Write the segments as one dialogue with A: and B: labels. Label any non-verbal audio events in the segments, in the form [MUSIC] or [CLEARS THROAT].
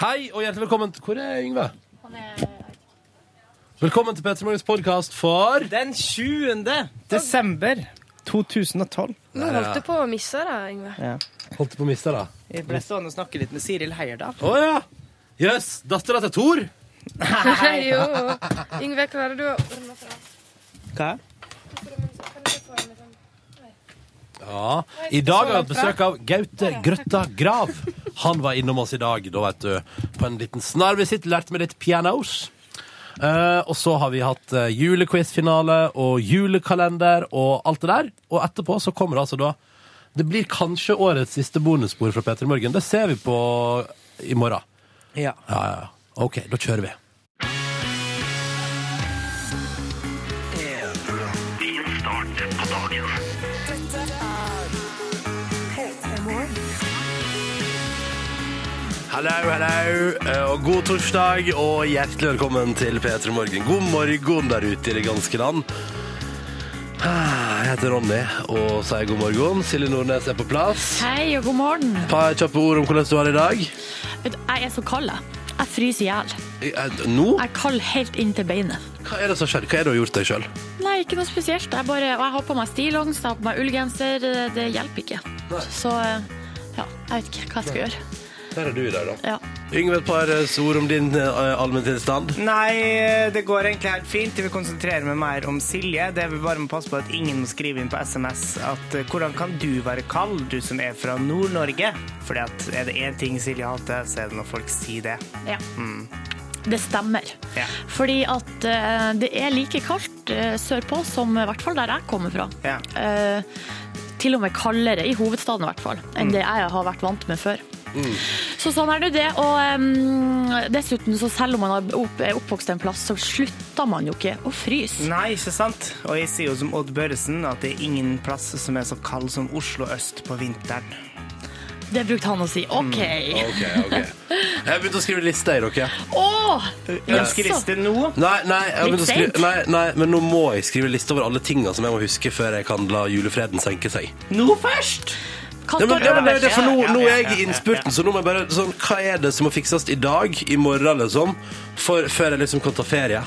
A: Hei og hjertelig velkommen til Hvor er Yngve? Velkommen til Petter Morgens podkast for
B: Den 20. desember 2012.
C: Nå holdt du på å miste det, Yngve. [LAUGHS]
A: Holdt på å miste det.
B: Jeg ble stående og snakke litt med Siril Heierdal.
A: Å ja! Jøss. Yes. Dattera til Tor.
C: jo. Yngve, klarer du å ordne fra?
B: Hva?
A: Ja. I dag har vi hatt besøk av Gaute Grøtta Grav. Han var innom oss i dag, da vet du. På en liten snarvisitt, lærte meg litt pianos. Eh, og så har vi hatt eh, julequiz-finale og julekalender og alt det der. Og etterpå så kommer det altså da Det blir kanskje årets siste bonusspor fra Peter i Morgen. Det ser vi på i morgen.
B: Ja.
A: Ja, ja, ja. OK, da kjører vi. Hallo, hallo, eh, og god torsdag, og hjertelig velkommen til P3 Morgen. God morgen der ute i det ganske land. Ah, Jeg heter Ronny, og sier god morgen. Silje Nordnes er på plass.
D: Hei og god morgen.
A: Et par kjappe ord om hvordan du har det i dag.
D: Vet du, Jeg er så kald, jeg. Jeg fryser i hjel.
A: I- eh, Nå?
D: Jeg er kald helt inn til beinet.
A: Hva er det som skjer? Hva er det du har gjort deg sjøl?
D: Nei, ikke noe spesielt. Jeg, bare, og jeg har på meg stillongs, jeg har på meg ullgenser. Det hjelper ikke. Så eh, ja, jeg vet ikke hva jeg skal gjøre.
A: Der er du i dag, da.
D: Ja.
A: Yngve, et par eh, ord om din eh, allmenntilstand.
B: Nei, det går egentlig helt fint. Jeg vil konsentrere meg mer om Silje. Det er vel bare å passe på at ingen må skrive inn på SMS at eh, hvordan kan du være kald, du som er fra Nord-Norge? Fordi at er det én ting Silje hater, så er det når folk sier det.
D: Ja. Det stemmer.
B: Ja.
D: Fordi at eh, det er like kaldt eh, sørpå som i hvert fall der jeg kommer fra.
B: Ja.
D: Eh, til og med kaldere, i hovedstaden i hvert fall, enn det jeg har vært vant med før. Så sånn er det jo det, og eh, dessuten så selv om man er opp- er oppvokst en plass, så slutter man jo ikke å fryse.
B: Nei, ikke sant? Og jeg sier jo som Odd Børresen at det er ingen plass som er så kald som Oslo øst på vinteren.
D: Det brukte han å si. OK. Å!
A: OK, OK. Jeg har begynt å skrive liste i dere.
B: Ønskeliste nå.
A: Nei, nei, jeg har
D: Litt
A: begynt å skrive,
D: sent.
A: nei, nei, men nå må jeg skrive liste over alle tinga som jeg må huske før jeg kan la julefreden senke seg.
B: Nå først!
D: Hva
A: Ja, men,
D: står
A: ja, men det er jo det, for
D: øverst?
A: nå,
B: ja,
A: nå
B: ja,
A: er
B: ja,
A: jeg i
B: ja,
A: innspurten, så nå må jeg bare sånn, Hva er det som må fikses i dag, i morgen, liksom? For, før jeg liksom kan ta ferie.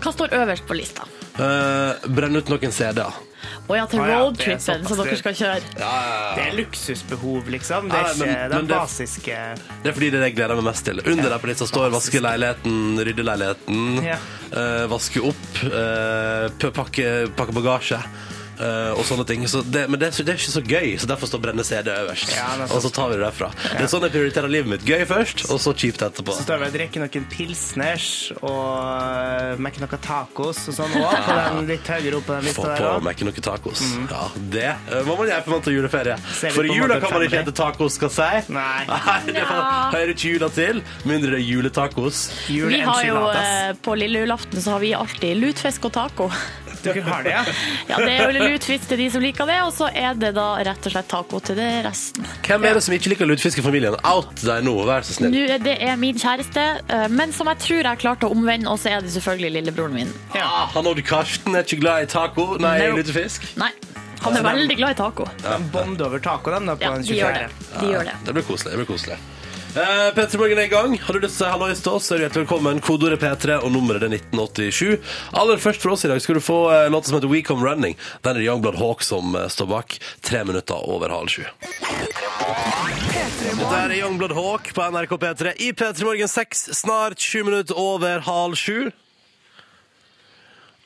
D: Hva står øverst på lista?
A: Eh, Brenne ut noen CD-er.
D: Å ja, til
B: Å ja, det er
D: roadtrippen som
B: såpass
D: dere skal kjøre.
B: Det er luksusbehov, liksom. Det
A: Nei,
B: er ikke
A: men-
B: det
A: men
B: er
A: det-
B: basiske
A: Det er fordi det er det jeg gleder meg mest til. Under der på lista står vaske leiligheten, rydde leiligheten,
B: Ja.
A: eh, vaske opp, eh, p- pakke, pakke bagasje. eh, og sånne ting så det, Men det, er så- det er ikke så gøy, så derfor står brenne CD øverst.
B: Ja, det er sant.
A: og så tar vi det derfra. Det er sånn jeg prioriterer livet mitt. Gøy først, og så kjipt etterpå.
B: Så står det å drikke noen pilsners og mekke noen tacos og sånn òg,
A: [LAUGHS]
B: på den litt høyere opp på den
A: Få
B: lista der
A: på
B: også.
A: meg ikke noe tacos. Ja, det eh, må man gjøre før man tar juleferie.
B: Ser vi
A: For
B: på
A: i
B: en
A: jula
B: måte
A: kan man ikke
B: frem til.
A: hete tacos, skal [LAUGHS] jeg si.
B: Nei.
A: det får- hører ikke jula til. Mindre det er juletacos.
D: Vi har jo,
B: Juleenchiladas.
D: eh, på lille julaften så har vi alltid lutfisk og taco.
B: Dere har det, ja?
D: Ja, det er jo lutfisk til de som liker det, og så er det da rett og slett taco til det resten.
A: Hvem er det som ikke liker lutefisk i familien? Out deg nå, vær så snill.
D: Nå, er det er min kjæreste, eh, men som jeg tror jeg klarte å omvende, og så er det selvfølgelig lillebroren min.
A: Ah, han Odd Karsten er ikke glad i taco, nei,
B: Nei.
A: lutefisk.
D: Nei, han er veldig glad i taco.
B: Bond over taco, den, da, på
D: Ja,
B: den
D: de gjør det.
B: 24.
D: De gjør det.
A: Det blir koselig. det blir koselig. Eh, P3 Morgen er i gang. Har du lyst til å si hallois til oss, så er du hjertelig velkommen. Kodeordet P3 og nummeret er 1987. Aller først for oss i dag skal du få eh, låta som heter We Come Running. Den er det Youngblood Hawk som eh, står bak. Tre minutter over halv sju. Dette er Youngblood Hawk på NRK P3 i P3 Morgen 6, snart sju minutter over halv sju.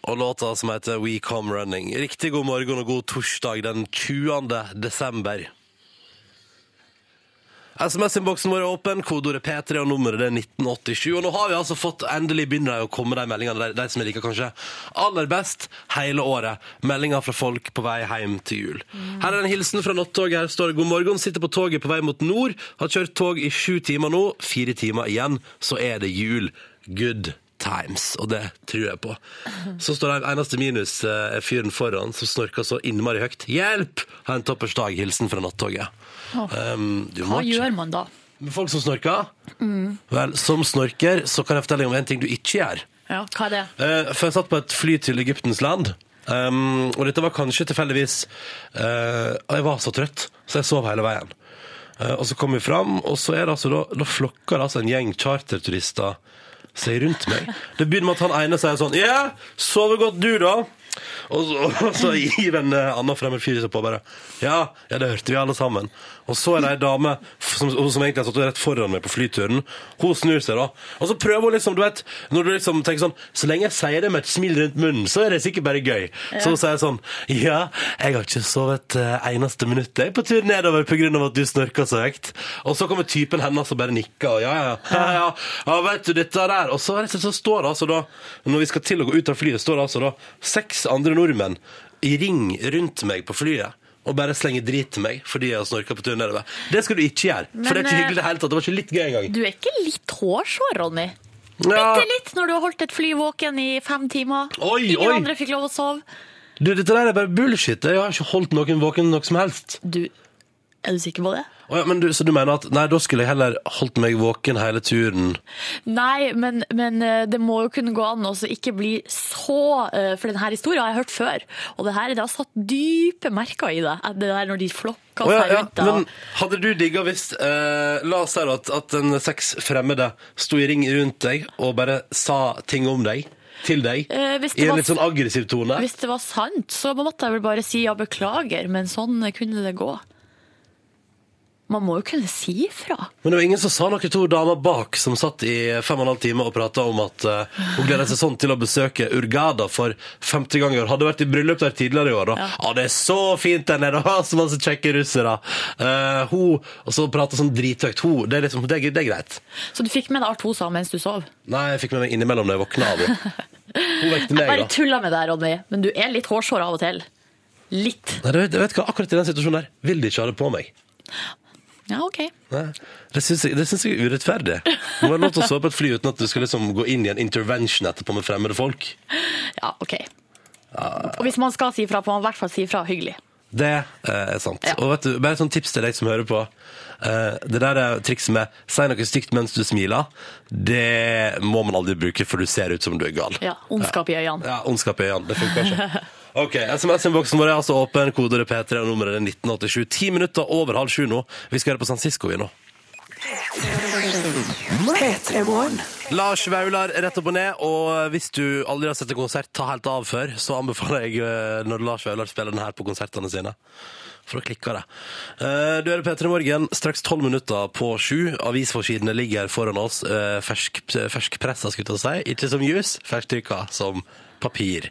A: Og låta som heter We Come Running. Riktig god morgen og god torsdag den 20. desember. SMS-innboksen vår er åpen, kodeordet P3 og nummeret det er 1987. Og nå har vi altså fått endelig begynner de å komme de meldingene, de, de som jeg liker kanskje aller best hele året. Meldinger fra folk på vei hjem til jul. Her er en hilsen fra nattoget. Her står det god morgen. Sitter på toget på vei mot nord. Har kjørt tog i sju timer nå. Fire timer igjen, så er det jul. Good times, og det tror jeg på. Så står det en eneste minus eh, er fyren foran som snorker så innmari høyt. Hjelp! Ha en toppers dag. Hilsen fra nattoget. Um, du må
D: Hva
A: ikke-
D: gjør man da?
A: med folk som snorker? Vel, som snorker så kan jeg fortelle deg om en ting du ikke gjør.
D: Ja, hva er det?
A: Eh, for jeg satt på et fly til Egyptens land, ehm, um, og dette var kanskje tilfeldigvis eh, Og jeg var så trøtt, så jeg sov hele veien. Eh, Og så kom vi fram, og så er det altså da, da flokker det altså en gjeng charterturister seg rundt meg. Det begynner med at han ene sier sånn Ja, sover godt du, da? Og så, [LAUGHS] og så gir en eh, annen fremmed fyr seg på og bare ja, ja, det hørte vi alle sammen. Og så er det ei dame f- som, hun som egentlig har stått rett foran meg på flyturen. Hun snur seg, da. Og så prøver hun liksom, du vet Når du liksom tenker sånn Så lenge jeg sier det med et smil rundt munnen, så er det sikkert bare gøy. Så hun sier sånn Ja, jeg har ikke sovet eh, eneste minutt jeg på tur nedover pga. at du snorka så høyt. Og så kommer typen hennes og bare nikker og ja,
D: [LAUGHS]
A: ja, ja. ja, ja vet du, dette der. Og så, er det så står det altså da, når vi skal til å gå ut av flyet, står det altså da seks andre nordmenn i ring rundt meg på flyet. Og bare slenger drit til meg fordi jeg har snorka på tur nedover. Det skal du ikke gjøre.
D: Men,
A: for det er ikke
D: eh,
A: hyggelig i det hele tatt. Det var ikke litt gøy engang.
D: Du er ikke litt hårsår, Ronny?
A: Ja.
D: Bitte litt når du har holdt et fly våken i fem timer.
A: Oi,
D: Ingen
A: oi.
D: andre fikk lov å sove.
A: Du, dette der er bare bullshit. Jeg har ikke holdt noen våken noe som helst.
D: Du, er du sikker på det?
A: Å ja, men du, så du mener at nei, da skulle jeg heller holdt meg våken hele turen?
D: Nei, men, men eh, det må jo kunne gå an å så ikke bli så eh, For denne historien har jeg hørt før. Og det her det har satt dype merker i deg. at Det der når de flokker
A: Å ja,
D: seg
A: ja,
D: rundt deg.
A: men hadde du digga hvis eh, La oss si da at, at en seks fremmede sto i ring rundt deg og bare sa ting om deg til deg
D: Eh, hvis det
A: i en
D: var
A: litt sånn aggressiv tone?
D: Hvis det var sant, så måtte jeg vel bare si ja, beklager, men sånn kunne det gå. Man må jo kunne si ifra.
A: Men det var ingen som sa noe to damer bak som satt i fem og en halv time og prata om at eh, hun gleda seg sånn til å besøke Urgada for femte gang i år. Hadde vært i bryllup der tidligere i år. da. Ja, det er så fint der nede! [LAUGHS] og Så masse kjekke russere. Eh, hun, og så prata sånn drithøyt. Hun, det er liksom, det er, det er greit.
D: Så du fikk med deg alt hun sa mens du sov?
A: Nei, jeg fikk med meg innimellom da jeg våkna av henne. Hun vekte
D: Jeg
A: meg,
D: bare
A: da.
D: tulla med deg, Ronny, men du er litt hårsår av og til. Litt.
A: Nei, du vet, du vet hva, akkurat i den situasjonen der vil de ikke ha det på meg.
D: Ja, OK.
A: Nei, Det syns jeg, det syns jeg er urettferdig. Må være lov til å sove på et fly uten at du skal liksom gå inn i en intervention etterpå med fremmede folk.
D: Ja, ok. Og hvis man skal si ifra, får man i hvert fall si ifra hyggelig.
A: Det eh, er sant.
D: Ja.
A: Og vet du, bare et sånt tips til deg som hører på. Eh, det der er trikset med 'si noe stygt mens du smiler', det må man aldri bruke, for du ser ut som du er gal.
D: Ja, Ondskap i øynene.
A: Ja, ondskap i øynene. Det funker ikke. [LAUGHS] Ok, SMS-innboksen vår er altså åpen. Kodet er P3, og nummeret er 1987. Ti minutter over halv sju nå. Vi skal høre på San Cisco vi nå. Lars Vaular rett opp og ned, og hvis du aldri har sett en konsert ta helt av før, så anbefaler jeg eh, når Lars Vaular spiller den her på konsertene sine. For da klikker det. Eh, Du hører P3 Morgen, straks tolv minutter på sju. Avisforsidene ligger foran oss. eh, Fersk, ferskpressa, skulle jeg til å si. Ikke som jus, fersktykka som papir.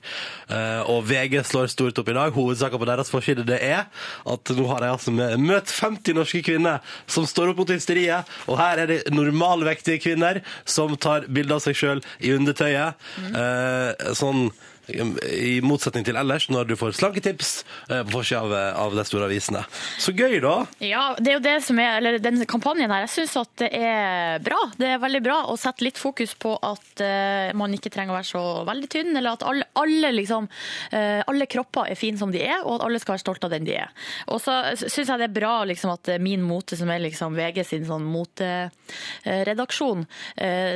A: Eh, Og VG slår stort opp i dag. Hovedsaken på deres forside det er at nå har de altså med- møtt 50 norske kvinner som står opp mot hysteriet. Og her er det normalvektige kvinner som tar bilde av seg sjøl i undertøyet. Eh, Sånn i motsetning til ellers, når du får slanketips eh, på forsida av, av de store avisene. Så gøy, da!
D: Ja, det er jo det som er, eller den kampanjen her, jeg synes at det er bra. Det er veldig bra å sette litt fokus på at eh, man ikke trenger å være så veldig tynn, eller at alle, alle, liksom, eh, alle kropper er fine som de er, og at alle skal være stolte av den de er. Og så synes jeg det er bra liksom, at eh, min mote, som er liksom VG sin sånn moteredaksjon, eh,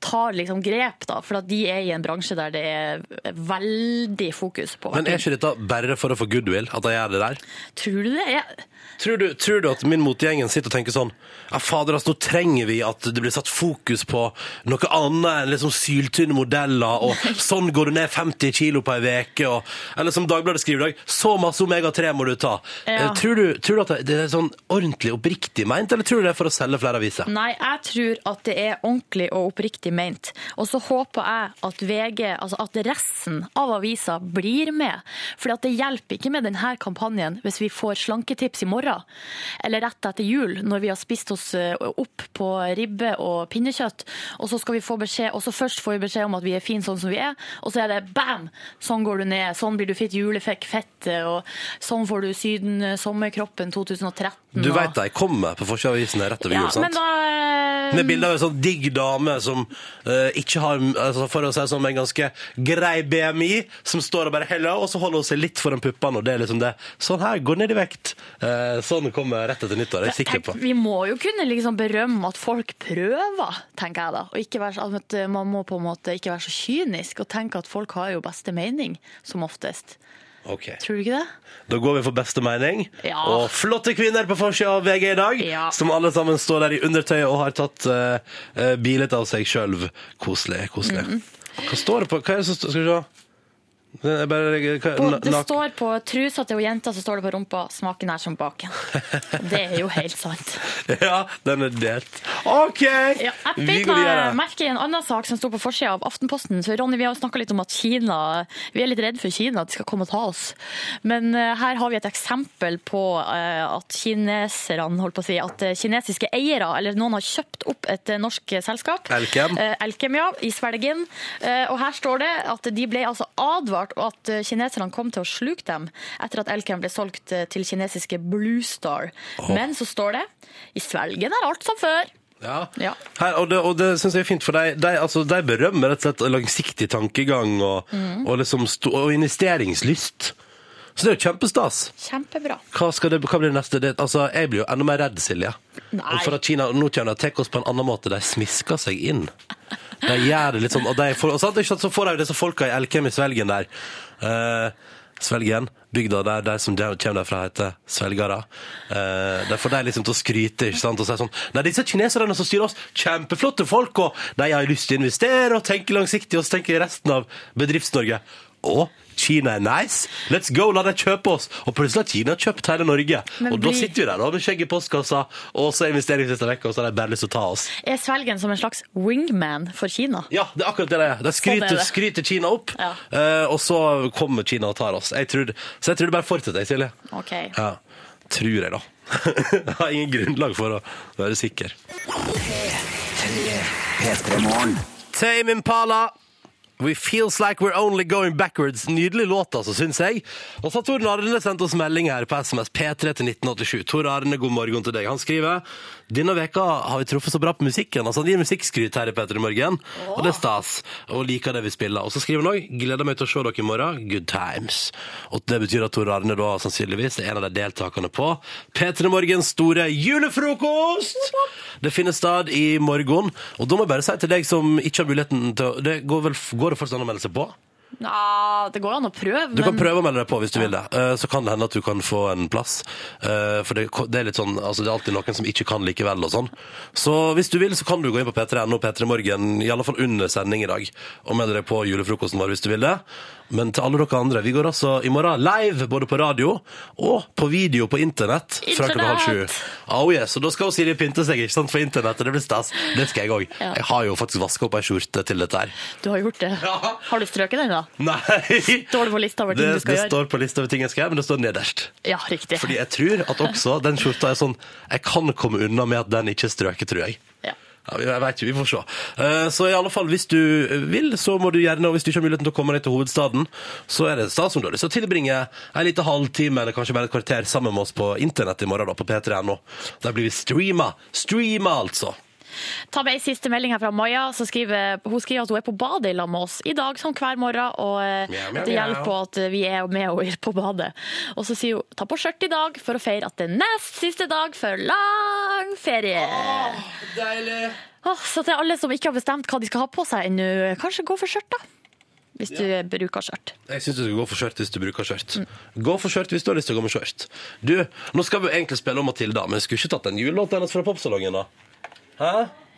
D: tar liksom grep, da, for at de er i en bransje der det er veldig fokus på.
A: Men er ikke dette bare for å få goodwill, at de gjør det der?
D: Tror du det? Jeg,
A: Tror du, tror du at min motegjengen sitter og tenker sånn Ja, fader, altså, nå trenger vi at det blir satt fokus på noe annet enn liksom syltynne modeller, og sånn går du ned 50 kilo på ei uke, og Eller som Dagbladet skriver i dag, så masse Omega-3 må du ta.
D: Ja.
A: Eh, Tror, du, tror du at det er sånn ordentlig oppriktig meint, eller tror du det er for å selge flere aviser?
D: Nei, jeg tror at det er ordentlig og oppriktig ment. Og så håper jeg at VG, altså at resten av avisa blir med. For det hjelper ikke med denne kampanjen hvis vi får slanketips i morgen, eller rett etter jul, når vi har spist oss eh, opp på ribbe og pinnekjøtt, og så skal vi få beskjed, og så først får vi beskjed om at vi er fine sånn som vi er, og så er det bam! Sånn går du ned, sånn blir du fitt julefekk fett, og sånn får du Syden eh, sommerkroppen 2013.
A: Du
D: og-
A: veit de kommer på forsida av avisene rett over
D: Mm. ja,
A: jul, sant?
D: Men da, eh,
A: Med bilde av en sånn digg dame som eh, ikke har altså For å si det sånn, en ganske grei BMI, som står og bare heller, og så holder hun seg litt foran puppene, og det er liksom det. Sånn her, gå ned i vekt. Eh, sånn kommer rett etter nyttår, det er jeg sikker på.
D: Tenk, Vi må jo kunne liksom berømme at folk prøver, tenker jeg da. Og ikke være, så- at eh, man må på en måte ikke være så kynisk og tenke at folk har jo beste mening, som oftest.
A: Å Ok.
D: Tror du ikke det?
A: Da går vi for beste mening.
D: Ja.
A: Og flotte kvinner på forsida av VG i dag,
D: Ja.
A: som alle sammen står der i undertøy og har tatt uh, bilde av seg sjøl. Koselig. koselig.
D: Mm.
A: Hva står det på? Hva er det som står Skal vi se. Det er bare, hva,
D: På,
A: na-
D: det
A: nak-
D: står på trusa til jenta, så står det på rumpa 'smaken er som baken'.
A: [LAUGHS]
D: Det er jo helt sant.
A: Ja, den er delt. OK!
D: Ja, jeg
A: vi
D: beit
A: går
D: meg
A: videre.
D: merke i en annen sak som sto på forsida av Aftenposten. Så Ronny, vi har snakka litt om at Kina Vi er litt redd for Kina, at de skal komme og ta oss. Men eh, her har vi et eksempel på eh, at kineserne, holdt på å si, at eh, kinesiske eiere, eller noen har kjøpt opp et eh, norsk selskap.
A: Elkem.
D: Eh, Elkem, ja, i Svelgen. Eh, og her står det at de ble altså advart og at eh, kineserne kom til å sluke dem etter at Elkem ble solgt eh, til kinesiske Blue Star. Men så står det i Svelgen er alt som før.
A: Ja.
D: Ja.
A: Her, og det, og det syns jeg er fint, for de, de, altså, de berømmer rett og slett langsiktig tankegang og,
D: Mhm.
A: og, liksom sto, og investeringslyst. Så det er jo kjempestas.
D: Kjempebra.
A: Hva, skal det, hva blir det neste? Det, altså, jeg blir jo enda mer redd, Silje.
D: Nei.
A: Og For at Kina nå kjenner jeg tar oss på en annen måte. De smisker seg inn. De gjør det litt sånn. Og, de får, og sant, ikke sant, så får de jo disse folka i Elkem i Svelgen der. Eh, Svelgen, bygda der de som der- kommer derfra, heter svelgere. Eh, der får de liksom til å skryte ikke sant? og si sånn Nei, disse kineserne som styrer oss, kjempeflotte folk, og de har lyst til å investere og tenke langsiktig, og så tenker resten av Bedrifts-Norge å, Kina er nice. Let's go, la dem kjøpe oss. Og plutselig har Kina kjøpt hele Norge.
D: Men
A: og da
D: blir-
A: sitter vi der da med skjegg i postkassa, og så er investeringslista vekk, og så har de bare lyst til å ta oss.
D: Er Svelgen som en slags wingman for Kina?
A: Ja, det er akkurat det det er. De
D: Sånn
A: skryter,
D: er det.
A: skryter Kina opp,
D: Ja.
A: eh, og så kommer Kina og tar oss. Jeg tror, så jeg tror det bare fortsetter, jeg, Silje.
D: Ok.
A: Ja, tror jeg, da. [LAUGHS] jeg har ingen grunnlag for å være sikker. Tame Impala. We feels like we're only going backwards. Nydelig låt, altså, syns jeg. Og så har Tor Arne sendt oss melding her på SMS P3 til 1987. Tor Arne, god morgen til deg. Han skriver denne veka har vi truffet så bra på musikken. Altså, han gir musikkskryt her i P3 Morgen, og det er stas. Og liker det vi spiller. Og så skriver han òg gleder meg til å se dere i morgen. Good times. Og det betyr at Tor Arne da sannsynligvis er en av de deltakerne på P3 Morgens store julefrokost! Det finner stad i morgen, og da må jeg bare si til deg som ikke har muligheten til å Det går, vel, går det fortsatt an å melde seg på?
D: Nå, det går an å prøve,
A: Du kan
D: men
A: prøve å melde deg på hvis du vil det. Eh, Så kan det hende at du kan få en plass. Eh, For det, det er litt sånn, altså det er alltid noen som ikke kan likevel og sånn. Så hvis du vil, så kan du gå inn på p3.no og P3 Morgen, i alle fall under sending i dag, og melde deg på julefrokosten vår hvis du vil det. Men til alle dere andre, vi går altså i morgen live både på radio og på video på internett fra klokka halv sju.
D: Internett!
A: Oh yes, og da skal jo Silje pynte seg ikke sant, for internettet, det blir stas. Det skal jeg òg.
D: Ja.
A: Jeg har jo faktisk vaska opp ei skjorte til dette her.
D: du har gjort det.
A: Ja.
D: Har du strøket den, da?
A: [LAUGHS] Nei!
D: Står det på lista over ting
A: det,
D: du
A: det
D: skal gjøre?
A: står på lista over ting jeg skal gjøre, men det står nederst.
D: Ja, riktig.
A: Fordi jeg tror at også den skjorta er sånn Jeg kan komme unna med at den ikke er strøket, tror jeg.
D: Ja.
A: Ja, vi- jeg vet jo, vi får se. Eh, Så i alle fall, hvis du vil, så må du gjerne, og hvis du ikke har muligheten til å komme deg til hovedstaden, så er det en stad som du har lyst til å tilbringe en liten halvtime, eller kanskje bare et kvarter, sammen med oss på internett i morgen, da, på p3.no. Der blir vi streama. Streama, altså.
D: Ta med ei siste melding her fra Maja. så skriver, hun skriver at hun er på badet i lag med oss i dag, som hver morgen. Og eh,
A: Mjau, mjau,
D: at
A: mjau.
D: det hjelper at vi er med henne på badet. Og så sier hun ta på skjørt i dag for å feire at det er nest siste dag før lang ferie.
A: Deilig.
D: Åh, så til alle som ikke har bestemt hva de skal ha på seg ennå, kanskje gå for skjørt, da. Hvis du bruker skjørt.
A: Jeg syns du skal gå for skjørt hvis du bruker skjørt. Gå for skjørt hvis du har lyst til å gå med skjørt. Du, nå skal vi egentlig spille om Matilda, men skulle ikke tatt en julelåt hennes fra popsalongen, da? Hæ?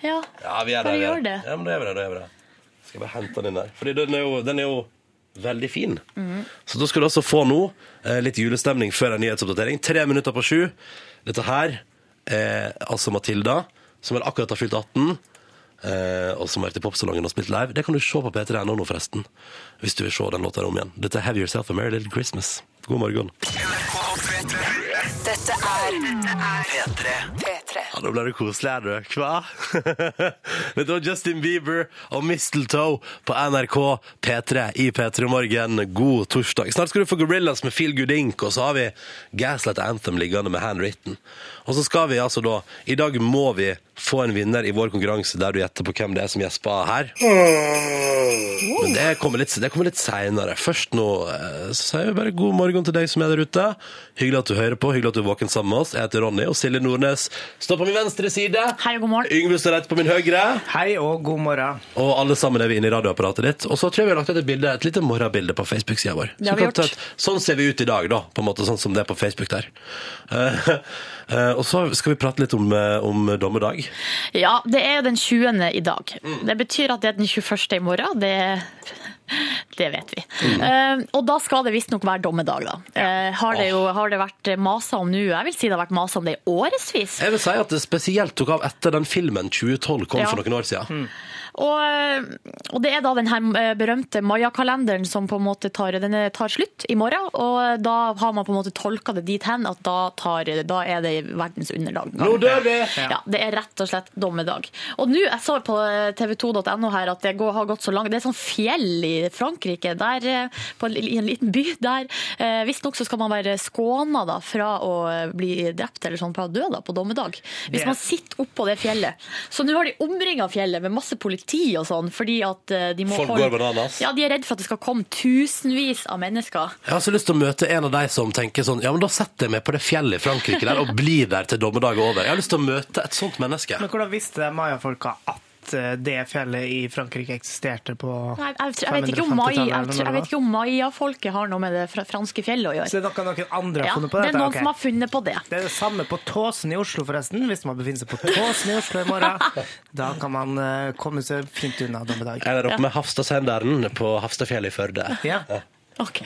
D: Ja,
A: Ja, vi gjør det.
D: bare
A: vi
D: gjør det.
A: Ja, men da gjør vi det, da gjør vi det. Skal jeg bare hente den inn der. Fordi den er jo, den er jo veldig fin. Så da skal du altså få nå eh, litt julestemning før en nyhetsoppdatering. Tre minutter på sju. Dette her er altså Matilda, som vel akkurat har fylt 18. eh, og som har vært i popsalongen og spilt live. Det kan du se på p3.no nå, forresten. Hvis du vil se den låta her om igjen. Dette er Have Yourself a Merry Little Christmas. God morgen.
E: Dette er P3. P3.
A: Ja, Nå ble det koselig, er du? Hva? [LAUGHS] Dette var Justin Bieber og Mistletoe på NRK P3 i P3 Morgen. God torsdag. Snart skal du få Gorillas med Feel Good Ink, og så har vi Gaslight Anthem liggende med Handwritten. Og så skal vi altså da I dag må vi få en vinner i vår konkurranse der du gjetter på hvem det er som gjesper her. Men det kommer litt, det kommer litt seinere. Først nå eh, så sier vi bare god morgen til deg som er der ute. Hyggelig at du hører på, hyggelig at du er våken sammen med oss. Jeg heter Ronny, og Silje Nordnes står på min venstre side.
D: Hei og god morgen.
A: Yngve står rett på min høyre.
B: Hei og god morgen.
A: Og alle sammen er vi inne i radioapparatet ditt. Og så tror jeg vi har lagt ut et bilde, et lite morgenbilde på Facebook-sida vår.
D: Det har
A: Så
D: vi
A: kan ta
D: gjort.
A: et- sånn ser vi ut i dag, da. På en måte sånn som det er på Facebook der. Eh, eh, [LAUGHS] og så skal vi prate litt om, eh, om dommedag.
D: Ja, det er jo den 20. i dag.
A: Mm.
D: Det betyr at det er den 21. i morgen. Det, det vet vi.
A: Mm.
D: Eh, og da skal det visstnok være dommedag, da. Eh, har, det jo, har det vært masa om nå? Jeg vil si det har vært masa om det i årevis.
A: Jeg vil si at det spesielt tok av etter den filmen 2012 kom
D: Ja.
A: for noen år siden.
D: Og, eh, og det er da den her eh, berømte Maya-kalenderen som på en måte tar, den tar slutt i morgen. Og eh, da har man på en måte tolka det dit hen at da, tar, da er det verdens underdag.
A: Nå dør vi!
D: Ja, Det er rett og slett dommedag. Og nå, jeg så på eh, tv2.no her at det går, har gått så langt. Det er sånn fjell i Frankrike, der, eh, på, en li- i en liten by. der eh, Visstnok så skal man være skåna da, fra å eh, bli drept eller sånn, fra å dø da, på dommedag. Hvis
B: Det-
D: man sitter oppå det fjellet. Så nå har de omringa fjellet med masse politi og sånn, fordi at eh, de må
A: Folk går bananas.
D: Ja, de er redd for at det skal komme tusenvis av mennesker.
A: Jeg har så lyst til å møte en av de som tenker sånn Ja, men da setter jeg meg på det fjellet i Frankrike der og blir der til dommedag er over. Jeg har lyst til å møte et sånt menneske.
B: Men hvordan visste de mayafolka at eh, det fjellet i Frankrike eksisterte på
D: Nei, jeg, jeg, vet ikke om
B: 550-tallet
D: mai-
B: eller
D: jeg,
B: når det
D: jeg vet
B: var?
D: ikke om maya-folket har noe med det fra- franske fjellet å gjøre.
B: Så det er noe noen andre har
D: Ja, det
B: funnet på
D: er
B: dette?
D: noen
B: ok.
D: som har funnet på det.
B: Det er det samme på Tåsen i Oslo, forresten. Hvis man befinner seg på Tåsen i Oslo i morgen, da kan man eh, komme seg fint unna dommedag.
A: Jeg er der oppe med Hafstadsenderen på Hafstadfjellet i Førde.
B: Ja.
D: Ok.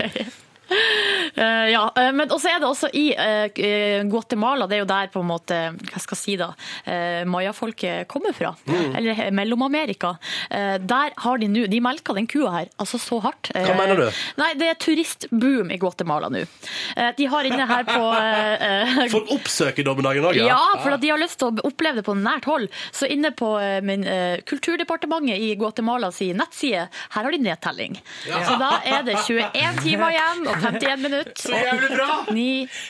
D: Eh, ja, eh, men også er det også i eh, eh, Guatemala, det er jo der på en måte, hva skal jeg si da, eh, mayafolket kommer fra, eller he- Mellom-Amerika. Eh, der har de nå, de melka den kua her, altså så hardt. Eh,
A: Hva mener du?
D: Nei, det er turistboom i Guatemala nå. Eh, de har inne her på eh, eh,
A: Folk oppsøker dommedagen òg,
D: Ja, for at de har lyst til å oppleve det på nært hold. Så inne på eh, min, eh, Kulturdepartementet i Guatemala sin nettside, her har de nedtelling. Så da er det 21 timer igjen og 51 minutter. Så jævlig bra! 9,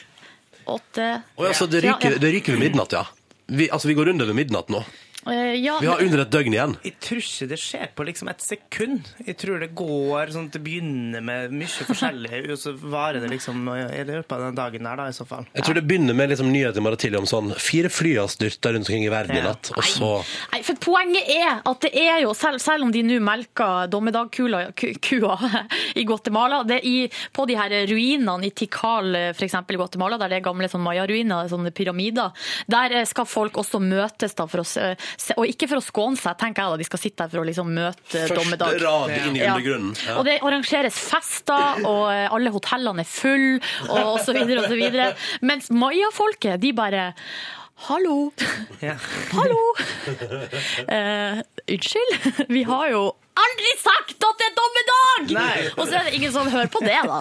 D: 8
A: Å ja, så det
D: Ja,
A: ryker,
D: ja.
A: det ryker ved midnatt, ja. Vi, altså, vi går under ved midnatt nå.
D: Eh, ja,
A: Vi har under et døgn igjen.
B: Jeg tror ikke det skjer på liksom et sekund. Jeg tror det går sånn at det begynner med mye forskjellig, og så varer det liksom i løpet av den dagen der, da, i så fall.
A: Jeg tror det begynner med liksom, nyhet i morgen tidlig om sånn fire fly har styrta rundt omkring i verden i natt, og så
D: Nei, for Poenget er at det er jo, selv, selv om de nå melker dommedagkula ku- kua [LAUGHS] i Guatemala det er i, På de her ruinene i Tikal f.eks. i Guatemala, der det er gamle sånn mayaruiner, sånne pyramider, der eh, skal folk også møtes, da, for å, s- se, og ikke for å skåne seg, tenker jeg da. De skal sitte der for å liksom møte
A: Første
D: dommedag.
A: rad inn i
D: Ja.
A: undergrunnen. Ja.
D: Og det arrangeres fester, og eh, alle hotellene er fulle, og og så videre og så videre.
A: [LAUGHS]
D: Mens mayafolket, de bare Hallo!
B: Ja.
D: Hallo! [LAUGHS] Eh, unnskyld, vi har jo aldri sagt at det er dommedag!
B: Nei.
D: Og så er det ingen som hører på det, da.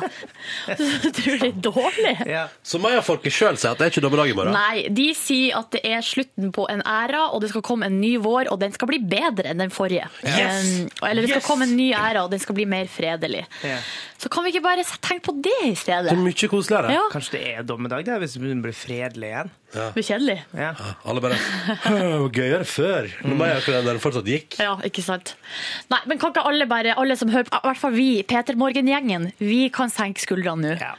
D: [LAUGHS] Så tror de det er dårlig.
B: Ja.
A: Så mayafolket sjøl sier at det er ikke dommedag i morgen.
D: Nei, de sier at det er slutten på en æra, og det skal komme en ny vår, og den skal bli bedre enn den forrige.
B: Yes!
D: Um, eller det skal
B: Yes!
D: komme en ny æra, og den skal bli mer fredelig.
B: Ja.
D: Så kan vi ikke bare tenke på det i stedet?
A: Det er mye koseligere.
D: Ja,
B: Kanskje det er dommedag, det, hvis det begynner å bli fredelig igjen.
D: det blir kjedelig.
B: Ja.
A: Alle bare [LAUGHS] «Hø, Gøyere før, når mayakalenderen fortsatt gikk.
D: Ja, ikke sant. Nei, men kan ikke alle bare, alle som hører på, i hvert fall vi, Peter Morgen-gjengen, vi kan senke skuldrene nå.
B: Ja.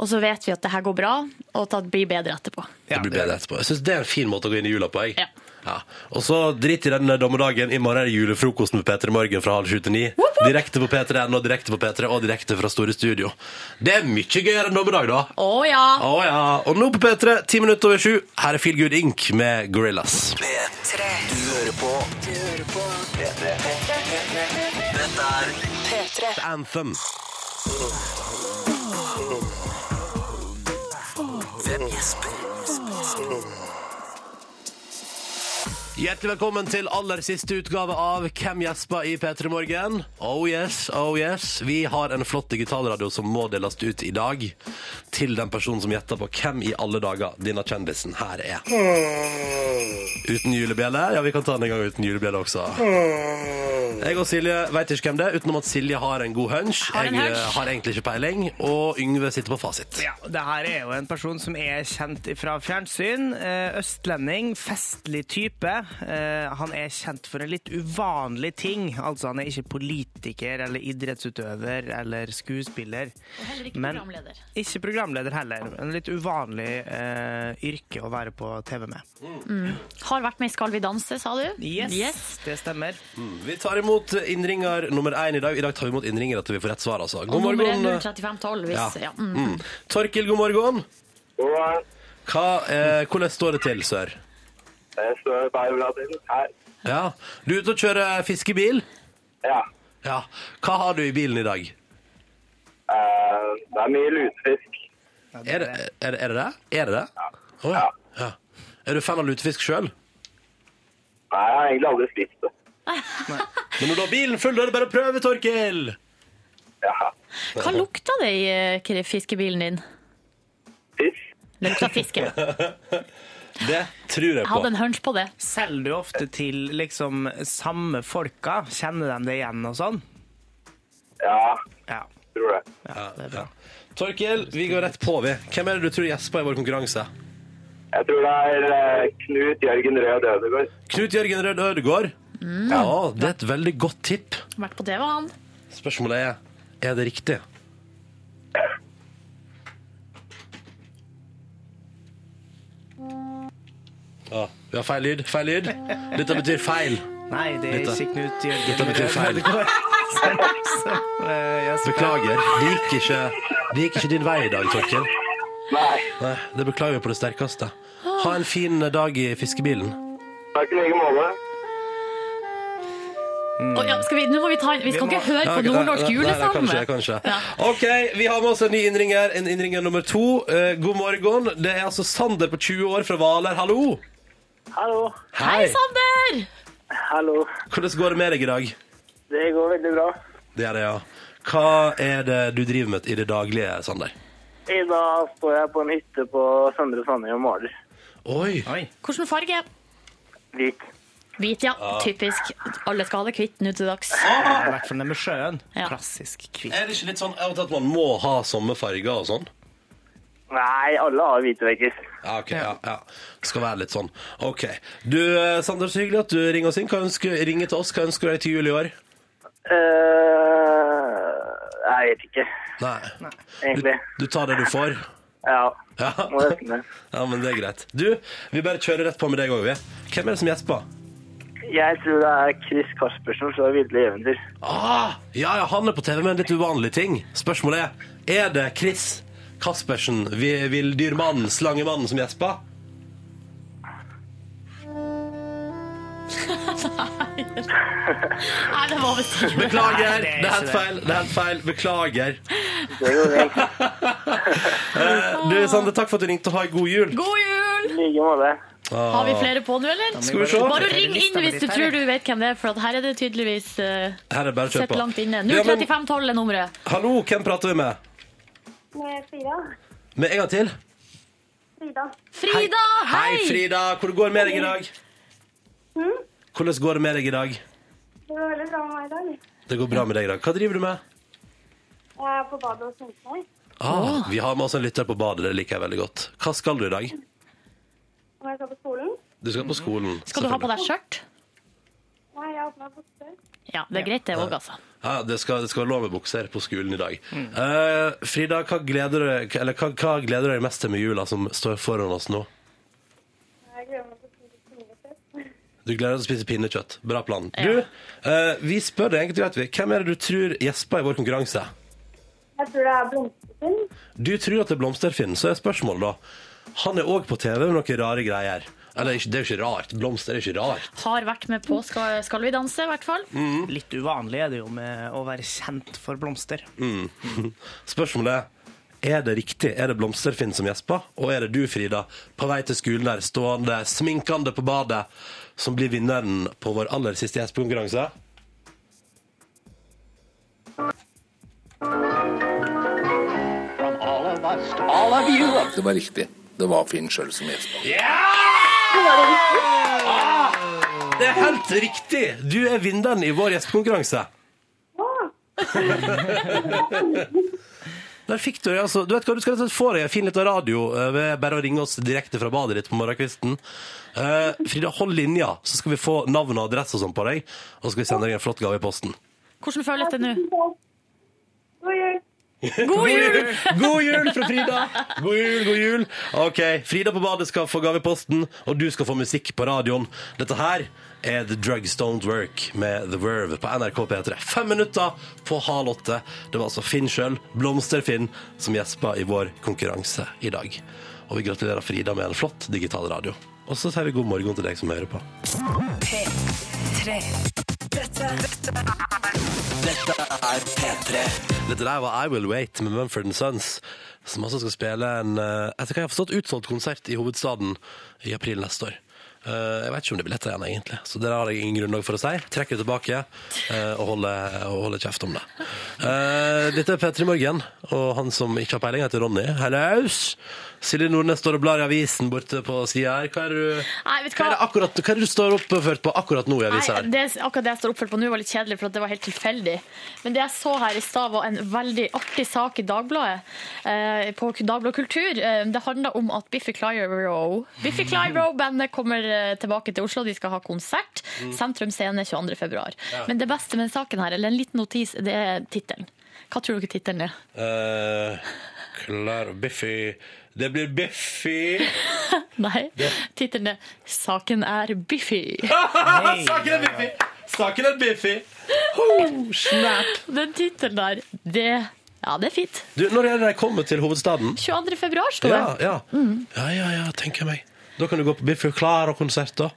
D: Og så vet vi at det her går bra, og at det blir bedre etterpå.
A: Det
B: Ja,
A: blir bedre etterpå. Jeg syns det er en fin måte å gå inn i jula på, jeg.
D: Ja.
A: Ja. Og så drit i den dommedagen. I morgen er det julefrokost med P3 Morgen fra halv sju til ni. Direkte på P3N og direkte på P3 og direkte fra Store Studio. Det er mye gøyere enn dommedag, da.
D: Å ja!
A: Å ja. Og nå på P3, ti minutter over sju, her er Feel Good Inc. med Gorillas.
E: P3. Du hører på. Du hører på. P3. Dette er P3.
A: Anthem.
E: Hvem gjesper?
A: Hjertelig velkommen til aller siste utgave av Hvem gjesper i P3 Morgen. Oh yes, oh yes. Vi har en flott digitalradio som må deles ut i dag til den personen som gjetter på hvem i alle dager denne kjendisen her er. Uten julebjelle? Ja, vi kan ta den en gang uten julebjelle også. Jeg og Silje veit ikke hvem det er, utenom at Silje har en god hunch.
D: Har en
A: Jeg eh,
D: hunch.
A: har egentlig ikke peiling, og Yngve sitter på fasit.
B: Ja, det her er jo en person som er kjent fra fjernsyn. eh, Østlending, festlig type. Eh, Han er kjent for en litt uvanlig ting. Altså, han er ikke politiker eller idrettsutøver eller skuespiller.
D: Heller ikke
B: Men-
D: programleder.
B: Ikke programleder heller. En litt uvanlig eh, yrke å være på TV med.
D: Har vært med i Skal vi danse, sa du?
B: Yes, det stemmer.
A: Vi tar imot innringer nummer én i dag. I dag tar vi imot innringere til vi får rett svar, altså. God
D: Og nummer
A: morgen.
D: er 03512, hvis
A: Ja.
D: ja. Mm.
A: Mm. Torkil, god morgen.
F: God morgen.
A: Hva, eh, hvordan står det til, sør?
F: Det står bare bra til. Her.
A: Ja. Du er ute og kjører fiskebil?
F: Ja.
A: Ja. Hva har du i bilen i dag?
F: Eh, det er mye lutefisk.
A: Er det er, det- er det? det? Er det det? Å, ja. ja. Er du fan av lutefisk sjøl?
F: Nei, jeg har egentlig aldri spist det.
A: Men når du har bilen full, da er det bare å prøve, Torkil!
F: Ja.
D: Hva lukta det i eh, fiskebilen din?
F: Fisk.
D: Det lukta fiske. Jeg
A: Det tror jeg
D: hadde
A: på.
D: en hunch på det.
B: Selger du ofte til liksom samme folka? Kjenner de det igjen og sånn?
F: Ja,
B: Ja,
F: tror det.
B: ja det er bra.
A: Torkil, vi går rett på, vi. Hvem er det du tror gjesper i vår konkurranse?
F: Jeg tror det er eh, Knut Jørgen Rød Ødegård.
A: Knut Jørgen Rød Ødegård. Ja, det er et veldig godt tipp.
D: Vært på TV, han.
A: Spørsmålet er er det riktig. Ja, Ah, vi har feil lyd. Feil lyd. Dette betyr feil.
B: Nei, det er
A: Dette-
B: ikke Knut Jørgen
A: Dette betyr feil.
B: Eh, ja, så-
A: Beklager. Det gikk ikke, det gikk ikke din vei i dag, Torkil.
F: Nei,
A: Nei, det beklager vi på det sterkeste. Ha en fin dag i fiskebilen.
F: takk i like måte.
D: Å, ja, skal vi, nå må vi, ta, vi skal
B: Vi må-
D: ikke høre
A: Ja,
D: på
A: ok, nei,
D: nordnorsk
A: nei, nei,
D: julesalme.
A: Kanskje, kanskje.
D: Ja.
A: OK, vi har med oss en ny innringer. En innringer nummer to. Eh, god morgen. Det er altså Sander på 20 år fra Hvaler. Hallo!
F: Hallo.
D: Hei, Sander!
F: Hallo.
A: Hvordan går det med deg i dag?
F: Det går veldig bra.
A: Det er det, ja. Hva er det du driver med i det daglige, Sander?
F: I dag står jeg på en hytte på Søndre Sandøy og maler.
A: Oi!
B: Oi.
D: Hvilken farge?
F: Hvit.
D: Hvit, ja. Typisk. Alle skal ha det kvitt nå til dags.
B: I hvert fall den med sjøen.
D: Ja.
B: Klassisk kvitt.
A: Er det ikke litt sånn av og til at man må ha sommerfarger og sånn?
F: Nei, alle har hvite vekker.
A: Ja, ok, ja, ja. Skal være litt sånn. Ok. Du, eh, Sander, så hyggelig at du ringer oss inn. Hva ønsker, ringer til oss. Hva ønsker du deg til jul i år?
F: Eh, jeg vet ikke,
A: Nei. Du,
F: egentlig.
A: du tar det du får.
F: Ja,
A: [LAUGHS] Ja.
F: må nesten det.
A: ja, men det er greit. Du, vi bare kjører rett på med deg òg, vi. Hvem er det som gjesper?
F: Jeg tror det er Chris Kaspersen fra Ville Eventyr.
A: Ah, ja, ja, han er på TV med en litt uvanlig ting. Spørsmålet er Er det Chris Kaspersen, vi- villdyrmannen, slangemannen, som gjesper?
D: Nei, det var visst ikke
A: Beklager!
B: Nei,
A: Det
B: det er
A: er helt
B: ikke det.
A: feil. det er helt feil, Beklager.
F: Det går helt
A: [LAUGHS] Eh, Du, Sande, takk for at du ringte. Ha en god jul. Ah.
D: God jul!
F: like med det.
D: Har vi flere på nå, eller?
A: Skal vi se.
D: Bare ring inn hvis du tror du vet hvem det er, for at her er det tydeligvis uh,
A: Her er bare å kjøre
D: sett
A: på.
D: langt inne.
A: Ja, men,
D: 03512 er nummeret.
A: hallo, hvem prater vi med?
G: med Frida.
A: Med en gang til.
G: Frida.
D: Frida, hei! Hmm?
A: Hei, Frida. Hvordan går det med deg i dag? Hvordan går det med deg i dag?
G: Det var veldig bra med meg i dag.
A: Det går bra med deg i dag. Hva driver du med?
G: Jeg er på badet og sminker meg.
A: Ah, vi har med oss en lytter på badet. Det liker jeg veldig godt. Hva skal du i dag?
G: Og jeg skal på skolen.
A: Du skal på skolen.
D: Skal du ha på deg skjørt?
G: Nei, jeg har på meg bukse.
D: Ja, det er greit det òg, altså.
A: Ja, det skal, det skal være lov med bukser på skolen i dag.
D: Hmm.
A: Eh, Frida, hva gleder, du, eller, hva, hva gleder du deg mest til med jula som står foran oss nå?
G: Jeg gleder meg til å spise sminkerfest.
A: Du gleder deg til å spise pinnekjøtt. Bra plan.
D: Ja.
A: Du, eh, vi spør deg egentlig, vet vi, hvem er det du tror gjesper i vår konkurranse?
G: Jeg tror det er blomsterfinn.
A: Du tror at det er Blomsterfinn, så er spørsmålet da. Han er òg på TV med noen rare greier. Eller, ikke- det er jo ikke rart. Blomster er ikke rart.
D: Har vært med på Skal, skal vi danse, i hvert fall.
B: Litt uvanlig er det jo med å være kjent for blomster.
A: Spørsmålet er er det riktig? Er det Blomsterfinn som gjesper? Og er det du, Frida, på vei til skolen der, stående, sminkende på badet, som blir vinneren på vår aller siste gjespekonkurranse.
H: Det var riktig. Det var Finn sjøl som gjespa.
A: Det er helt riktig! Du er vinneren i vår gjestekonkurranse. Der fikk du det, altså. Du vet hva, du skal rett og slett få deg en fin liten radio eh, ved bare å ringe oss direkte fra badet ditt på morgenkvisten. Eh, Frida, hold linja, så skal vi få navn og adresse og sånn på deg. Og så skal vi sende deg en flott gave i posten.
D: Hvordan føles det nå?
G: God jul.
D: God jul!
A: God jul fra Frida! God jul, god jul. Ok, Frida på badet skal få gave i posten, og du skal få musikk på radioen. Dette her er The Drugs Don't Work med The Verve på NRK P3. Fem minutter på halv åtte. Det var altså Finn sjøl, Blomster-Finn, som gjespa i vår konkurranse i dag. Og vi gratulerer Frida med en flott digital radio. Og så sier vi god morgen til deg som hører på. Dette der var I Will Wait med Mumford Sons, som altså skal spille en eh, etter hva jeg har forstått, utsolgt konsert i hovedstaden i april neste år. Eh, jeg vet ikke om det er billetter igjen, egentlig, så det har jeg ingen grunnlag for å si. Trekker det tilbake eh, og, holder, og holder kjeft om det. Eh, dette er P3 Morgen, og han som ikke har peiling, heter Ronny. Hellaus! Silje Nordnes står og blar i avisen borte på sida her. Hva er, du,
D: Nei, vet du
A: hva, er det
D: hva?
A: akkurat, hva er det du står oppført på akkurat nå i
D: Nei,
A: avisa her?
D: det, akkurat det jeg står oppført på nå, var litt kjedelig, for at det var helt tilfeldig. Men det jeg så her i stad, var en veldig artig sak i Dagbladet. Eh, på Dagbladet Kultur. Eh, det handla om at Biffy Clyro Biffy Clyro-bandet kommer eh, tilbake til Oslo. De skal ha konsert. Sentrum Scene 22.2. Men det beste med saken her, eller en liten notis, det er tittelen. Hva tror dere tittelen er? [LAUGHS]
A: Eh, klar, Biffy Det blir Biffy!
D: Nei, tittelen er 'Saken er Biffy'.
A: Saken er Biffy! Saken er Biffy! Ho, snap!
D: [LAUGHS] Den tittelen der, det Ja, det er fint.
A: Du, når er det de kommer til hovedstaden?
D: 22. februar, står det.
A: Ja, ja. ja, ja, ja tenker jeg meg. Da kan du gå på Biffy Clara-konsert, da.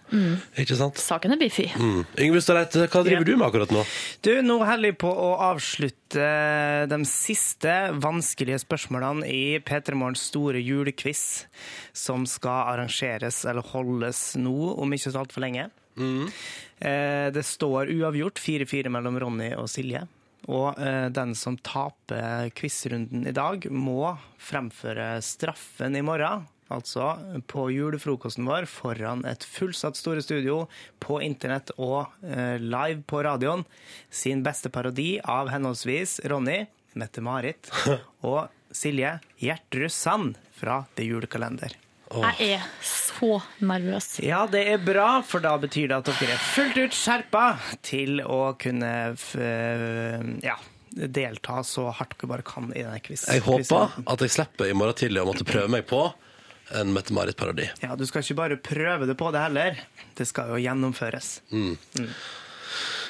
A: Ikke sant?
D: Saken er Biffy.
A: Mm. Yngve Stareite, hva driver
B: Ja.
A: du med akkurat nå?
B: Du, nå holder jeg på å avslutte eh, de siste vanskelige spørsmålene i P3 Morgens store julequiz, som skal arrangeres eller holdes nå, om ikke så altfor lenge. Eh, Det står uavgjort 4-4 mellom Ronny og Silje. Og eh, den som taper quizrunden i dag, må fremføre straffen i morgen. Altså på julefrokosten vår foran et fullsatt store studio, på internett og eh, live på radioen. Sin beste parodi av henholdsvis Ronny, Mette-Marit og Silje Gjertrud Sand fra Det Julekalender.
D: Jeg er så nervøs.
B: Ja, det er bra, for da betyr det at dere er fullt ut skjerpa til å kunne f eh, ja, delta så hardt dere bare kan i denne quiz.
A: Jeg håper
B: quizen.
A: at jeg slipper i morgen tidlig å måtte prøve meg på en Mette-Marit-parodi.
B: Ja, Du skal ikke bare prøve det på det heller. Det skal jo gjennomføres.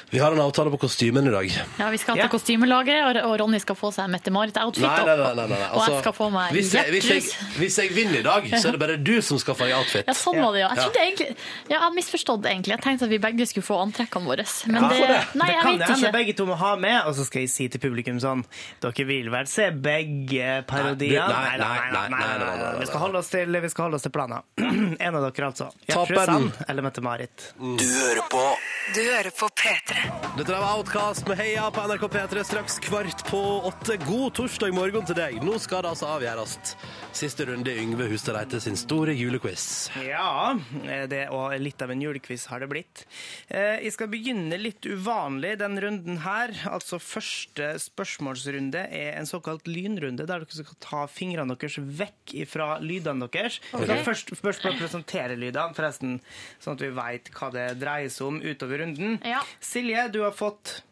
A: Vi har en avtale på kostymen i dag.
D: Ja, Vi skal til
B: Ja.
D: kostymelageret, og- og Ronny skal få seg Mette-Marit-outfit.
A: Nei, nei, nei. nei, nei. Altså,
D: og jeg skal få meg
A: hvis, jeg, hvis, jeg,
D: Gjertrud.
A: hvis jeg vinner i dag, så er det bare du som skal få deg outfit.
D: Ja, sånn var det, ja. Jeg
A: Ja.
D: trodde egentlig, ja, jeg hadde misforstått det, egentlig. Jeg tenkte at vi begge skulle få antrekkene våre. Men
A: Ja,
D: det,
A: for det.
D: Nei,
B: det
D: jeg
B: kan det
D: vet
B: hende
D: ikke.
B: begge to må ha med, og så skal jeg si til publikum sånn Dere vil vel se begge parodiene?
A: Nei, du- nei, nei, nei, nei, nei, nei.
B: Vi skal holde oss til, vi skal holde oss til planen. [CLEARS THROAT] en av dere, altså. Gjertrud
A: Taperen.
B: Sand eller Mette-Marit.
E: Du hører på
I: Du hører på P3.
A: Dette der var Outcast med Heia på NRK P3 straks kvart på åtte. God torsdag morgen til deg. Nå skal det altså avgjøres. Siste runde i Yngve Hustadreite sin store julequiz.
B: Ja, det, og litt av en julequiz har det blitt. Eh, Jeg skal begynne litt uvanlig den runden her. Altså Første spørsmålsrunde er en såkalt lynrunde, der dere skal ta fingrene deres vekk fra lydene deres. Dere kan først først bare presentere lydene, forresten, sånn at vi veit hva det dreier seg om utover runden.
D: Ja.
B: Silje, du har fått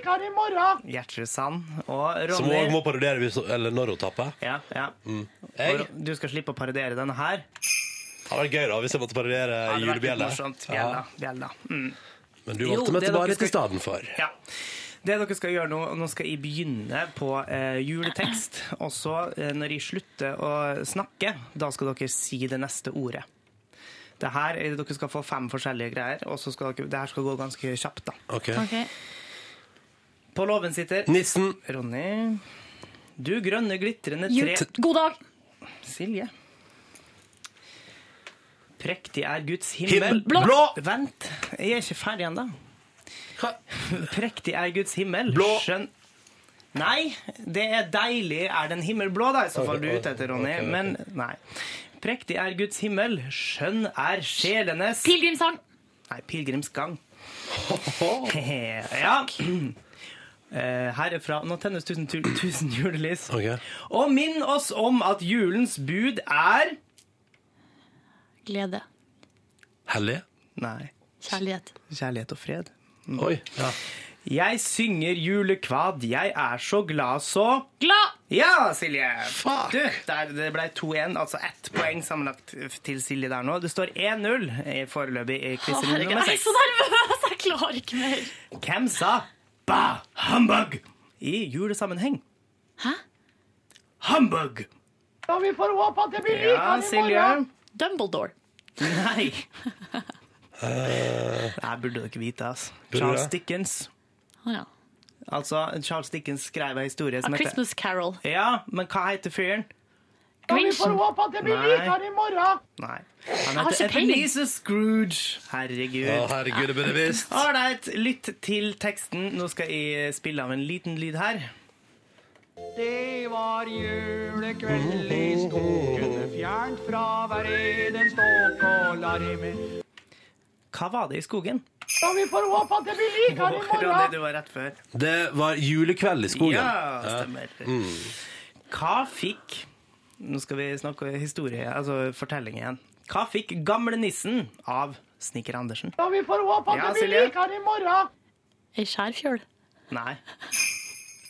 B: Gjertrud Sand og
A: Som òg
B: Ronny.
A: må Mm. parodiere hvis, eller når hun tapper.
B: Ja, ja.
A: Jeg
B: Og Ro- Du skal slippe å parodiere denne her.
A: hadde vært gøy da hvis jeg måtte parodiere
B: Ja, det hadde vært litt
A: julebjelle.
B: morsomt. Mm.
A: Ja,
B: Bjella, bjella.
A: men du
B: Jo,
A: valgte
B: det er dere
A: Mette-Marit
B: skal-
A: i stedet for.
B: Ja. Det dere skal gjøre nå, nå skal jeg begynne på eh, juletekst. Og så, eh, når jeg slutter å snakke, da skal dere si det neste ordet. Det her, er- dere skal få fem forskjellige greier, og så skal dere, det her skal gå ganske kjapt. da.
A: Ok.
D: Ok.
B: På låven sitter
A: Nissen.
B: Ronny. Du grønne, glitrende
D: Jul-
B: tre
D: God dag!
B: Silje. Prektig er Guds
A: Himmel.
B: himmel.
A: Blå.
B: Vent, jeg er ikke ferdig ennå.
A: Hva?
B: Prektig er Guds himmel.
A: Blå.
B: Skjønn Nei, det er deilig er den himmelblå, da, i så fall du er ute etter, Ronny. Men nei. Prektig er Guds himmel, skjønn er sjelenes
D: Pilegrimssang.
B: Nei, pilegrimsgang. [LAUGHS] ja. [CLEARS THROAT] Eh, Her er fra Nå tennes tusen, tu- [CLEARS THROAT] tusen julelys.
A: Ok.
B: Og minn oss om at julens bud er
D: Glede.
A: Hellig?
B: Nei.
D: Kjærlighet.
B: Kjærlighet og fred.
A: Oi. Ja.
B: Jeg synger julekvad, jeg er så glad så
D: Glad!
B: Ja, Silje!
A: Fuck.
B: Du, der, det ble 2-1, altså ett poeng sammenlagt til Silje der nå. Det står 1-0 i foreløpig i
D: Å,
B: quiz
D: herregud,
B: nummer
D: jeg er
B: seks.
D: så nervøs! Jeg klarer ikke mer.
B: Hvem sa ba humbug i julesammenheng?
D: Hæ?
B: Humbug! vi får håpe at det blir ja, [LAUGHS]
D: Dumbledore.
B: Silje. Nei.
D: Eh.
B: Det burde dere vite, altså.
A: Burde
B: Charles
A: det?
B: Dickens.
D: Å ja.
B: Altså, Charles Dickens skrev en historie som
D: A
B: heter
D: Christmas Carol.
B: Ja, men hva heter fyren?
D: Grinchen.
B: Nei. Nei. Han
D: har
B: heter
D: ikke peiling.
B: Ebenezer Scrooge. Herregud.
A: Å, herregud, det burde jeg visst.
B: Ålreit, lytt til teksten. Nå skal jeg spille av en liten lyd her. Det var julekveld i skogen, fjernt fra hver eden ståk og larmer. Hva var det i skogen? vi får håpe at det blir likere i morgen! Ronny, du var rett før.
A: Det var julekveld i skogen.
B: Oh, Ja, Mm. stemmer. Hva fikk Nå skal vi snakke historie, altså fortelling igjen. Hva fikk gamle nissen av Snikker Andersen? Ja, vi får håpe at det blir likere!
D: Ei skjærfjøl.
B: Nei.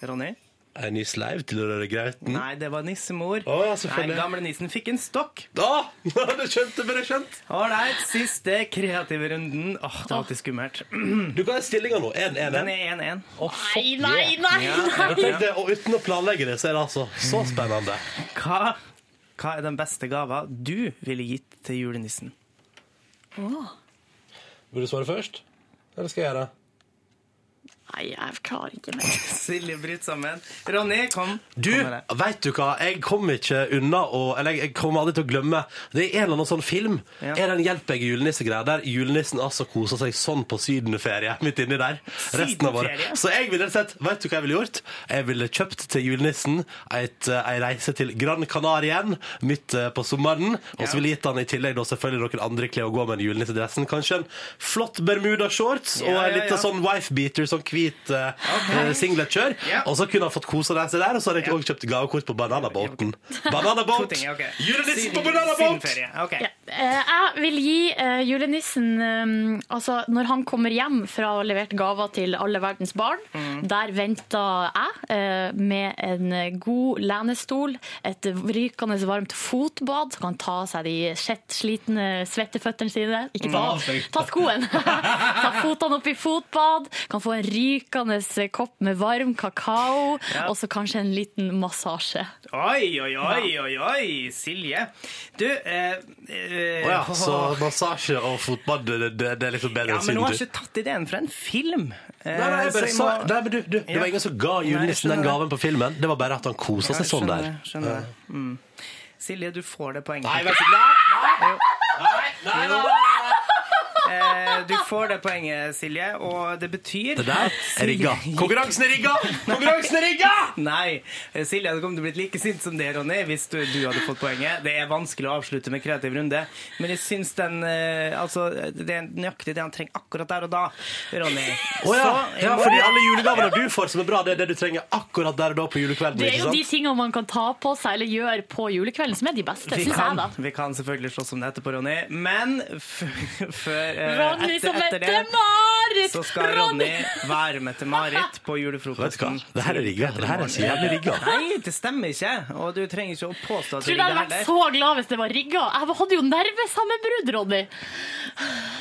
B: Ronny?
A: En ny sleiv til å røre grauten.
B: Nei, det var nissemor.
A: Å, ja,
B: Nei,
A: selvfølgelig.
B: gamle nissen fikk en stokk.
A: Da! [LAUGHS] Det skjønte bare skjønt.
B: Ålreit, siste kreative runden. Åh, det er alltid skummelt.
A: Du kan ha stillinga nå. 1-1.
B: Den er 1-1.
D: Nei, nei, nei!
A: Jeg tenkte, Og uten å planlegge det, så er det altså så spennende.
B: Hva, hva er den beste gava du ville gitt til julenissen?
A: Vil du svare først? Eller skal jeg gjøre det?
D: Nei, jeg klarer ikke mer.
B: Silje bryter sammen. Ronny, kom.
A: Du,
B: kom med det.
A: vet du hva? Jeg kommer ikke unna å Eller jeg kommer aldri til å glemme. Det er en eller annen sånn film.
B: Ja.
A: Er det en Hjelp meg julenisse-greie der julenissen altså koser seg sånn på sydenferie [LAUGHS] midt inni der? Resten av året.
B: Sydenferie?
A: Så jeg ville rett og slett Vet du hva jeg ville gjort? Jeg ville kjøpt til julenissen et, eh, ei reise til Gran Canaria midt eh, på sommeren. Og så ville jeg gitt han i tillegg da selvfølgelig noen andre klær å gå med enn julenissedressen. Kanskje en flott bermudashorts
B: Ja,
A: og en
B: ja,
A: liten
B: ja.
A: sånn wife-beater, sånn hvit eh, eh, singlet-kjør.
B: Ja.
A: Og så kunne han fått kosa seg der, og så hadde jeg
B: Ja.
A: også kjøpt gavekort på Bananabåten.
B: To
A: Bananabåt!
B: ting, [LAUGHS] ok.
A: Julenissen på
B: Syden-
A: Bananabåt!
B: sydenferie, ok.
D: Ja, eh, Jeg vil gi eh, julenissen eh, Altså, når han kommer hjem fra å ha levert gaver til alle verdens barn,
B: Mm.
D: der venter jeg eh, med en god lenestol, et rykende varmt fotbad, så kan han ta av seg de sjett slitne svetteføttene sine. Ikke ta
B: Mm.
D: av, ta skoen! [LAUGHS] ta fotene opp i fotbad, kan få en rykende kopp med varm kakao,
B: Ja.
D: og så kanskje en liten massasje.
B: Oi, oi, oi, oi, oi, Silje. Du eh, eh,
A: Å ja, så massasje og fotball, det, det, det er liksom bedre
B: Ja,
A: enn
B: men nå har jeg
A: sydentur.
B: ikke tatt ideen fra en film. Eh,
A: Nei, nei, jeg bare
B: så jeg
A: sa,
B: må-
A: nei, men du, du, det var
B: Ja.
A: ingen som ga
B: Nei, jeg
A: julenissen den
B: skjønner
A: gaven på filmen. Det var bare at han kosa
B: Ja,
A: seg sånn der.
B: skjønner, Skjønner det. Mm. Silje, du får det poenget.
A: Nei, vær så snill. Nei, nei, nei!
B: Eh, Du får det poenget, Silje, og det betyr
A: Det der
B: at
A: er rigga.
B: Silje-
A: Konkurransen er rigga! Konkurransen er rigga!
B: [LAUGHS] Nei. eh, Silje hadde kommet til å bli like sint som det, Ronny, hvis du, du hadde fått poenget. Det er vanskelig å avslutte med kreativ runde, men jeg syns den eh, Altså, det er nøyaktig det han trenger akkurat der og da, Ronny.
A: Å ja.
B: Så-
A: ja, fordi alle julegavene du får som er bra, det er det du trenger akkurat der og da på julekvelden.
D: Det er
A: ikke
D: jo
A: sant?
D: de tingene man kan ta på seg eller gjøre på julekvelden, som er de beste,
B: Vi
D: syns jeg,
B: kan, Eh,
D: da.
B: vi kan selvfølgelig slåss om det etterpå, Ronny, men f før eh,
D: Ronny
B: etter,
D: som
B: etter
D: heter
B: det
D: Marit!
B: så skal Ronny være med til Marit
A: Vet
B: på
A: du hva?
B: julefrokosten.
A: Det her er rigga. Det her er så jævlig rigga.
B: Nei, det stemmer ikke, og du trenger ikke å påstå at det
D: Tror du jeg
B: ligger
D: hadde vært
B: heller.
D: så glad hvis det var rigga? Jeg hadde jo nervesammenbrudd, Ronny.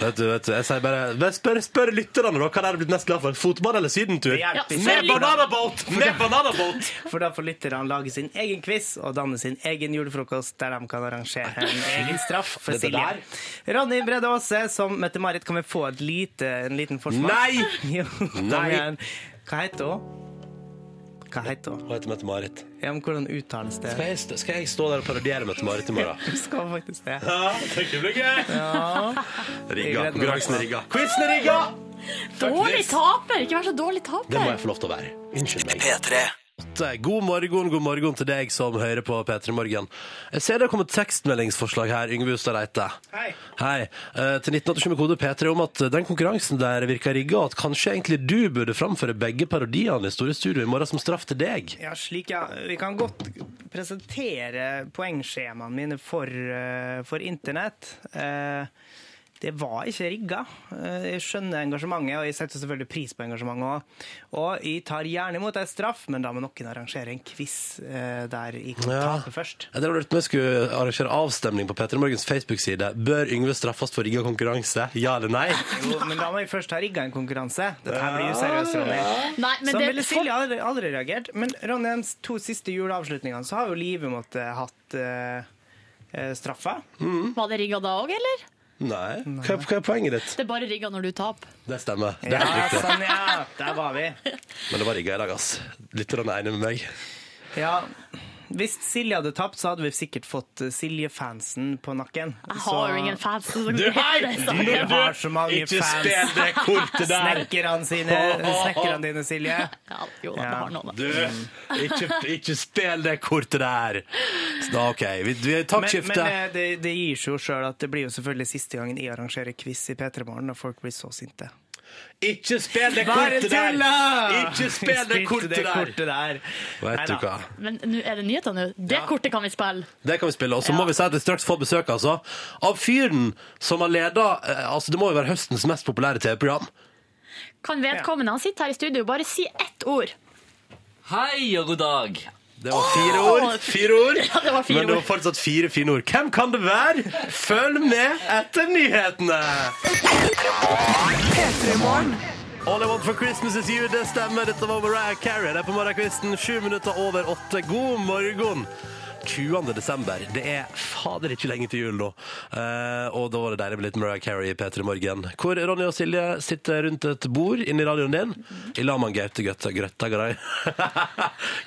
A: Vet du, vet du, jeg sier bare men Spør, spør lytterne, da. Hva er dere blitt mest glad for? Fotball eller sydentur?
B: Det hjelper ikke.
D: Ja,
A: Med bananabåt! Med bananabåt!
B: For da får lytterne lage sin egen quiz og danne sin egen julefrokost, der de kan arrangere en egen straff for
A: Dette
B: Silje. Ronny Brede Aase som Mette-Marit, kan vi få et [LAUGHS] lite, en liten forsmak?
A: Nei!
B: Jo, kom
A: Nei.
B: igjen. Hva heter hun? Hva heter hun?
A: Hun heter Mette-Marit.
B: Ja, men hvordan uttales det?
A: Skal, jeg stå- skal jeg stå der og parodiere Mette-Marit i morgen?
B: Du skal faktisk det.
A: Ja, tenker det blir gøy! Rigga. Konkurransen er rigga. Quizen er rigga!
D: Dårlig taper! Ikke vær så dårlig
A: Det må jeg
D: taper.
A: få lov til å være. Unnskyld meg.
E: P3
A: Åtte. God morgen, god morgen til deg som hører på P3 Morgen. Jeg ser det har kommet tekstmeldingsforslag her, Yngve Hustad Reite.
B: Hei.
A: Hei. Eh, Til 1987 med kode P3 om at eh, den konkurransen der virka rigga, og at kanskje egentlig du burde framføre begge parodiene i Store Studio i morgen som straff til deg.
B: Ja, slik, ja. Vi kan godt presentere poengskjemaene mine for, eh, for internett. Eh, Det var ikke rigga. Eh, Jeg skjønner engasjementet, og jeg setter selvfølgelig pris på engasjementet òg. Og jeg tar gjerne imot ei straff, men da må noen arrangere en quiz eh, der jeg kan
A: Ja.
B: tape først.
A: Jeg drev og lurte på om jeg skulle arrangere avstemning på P3 Morgens Facebook-side. Bør Yngve straffes for rigga konkurranse? Ja eller nei?
B: Jo, men da må jeg først ha rigga en konkurranse. Dette her blir useriøst, Ronny.
D: Nei, men
B: Som
D: det,
B: ville Silje aldri, aldri reagert. Men Ronny, de to siste juleavslutningene så har jo Live måttet hatt eh, eh, straffa.
D: Var det rigga da òg, eller?
A: Nei. Hva er, hva er poenget ditt?
D: Det er bare rigga når du taper.
A: Det stemmer. Det er
B: Ja,
A: helt riktig.
B: sånn, ja. Der var vi.
A: Men det var rigga i dag, ass. Lytterne er enige med meg.
B: Ja. Hvis Silje hadde tapt, så hadde vi sikkert fått eh, Silje-fansen på nakken.
D: Jeg
B: Så-
D: har jo ingen fans. så [LAUGHS] det- sånn.
B: Du har så mange fans.
A: det kortet
B: Snekkerne sine, snekkerne dine, Silje.
D: Ja, jo da, jeg har noen, da.
A: Du, ikke, ikke spill det kortet der! Så Da, OK. Vi, vi, takk,
B: Men, men
A: skifte.
B: eh, det, det gir seg jo sjøl at det blir jo selvfølgelig siste gangen jeg arrangerer quiz i P3 Morgen, og folk blir så sinte.
A: Ikke spill det
B: Bare
A: kortet der!
B: tulla!
A: Ikke spill det
B: Spilte
A: kortet
B: det
A: der!
B: kortet der.
A: Vet du
B: Neida.
A: hva?
D: Men nå er det nyheter nå. Det kortet kan vi spille.
A: Det kan vi spille. Og så må vi si at vi straks får besøk altså, av fyren som har leda eh, altså, Det må jo være høstens mest populære TV-program.
D: Kan vedkommende han sitter her i studio, bare si ett ord.
J: Hei og god dag.
A: Det var fire ord. Fire ord.
D: det var fire
A: Men det var
D: ord.
A: fortsatt fire fine ord. Hvem kan det være? Følg med etter nyhetene! All I Want for Christmas Is You, det stemmer. Dette var Mariah Carey. Det er på morgenkvisten, sju minutter over åtte. God morgen! 20. desember. Det er fader ikke lenge til jul nå. Eh, og da var det deilig med litt Mariah Carey i P3 Morgen. Hvor Ronny og Silje sitter rundt et bord inni radioen din i lag med Gaute Grøtta Grøtta Garay. [LAUGHS]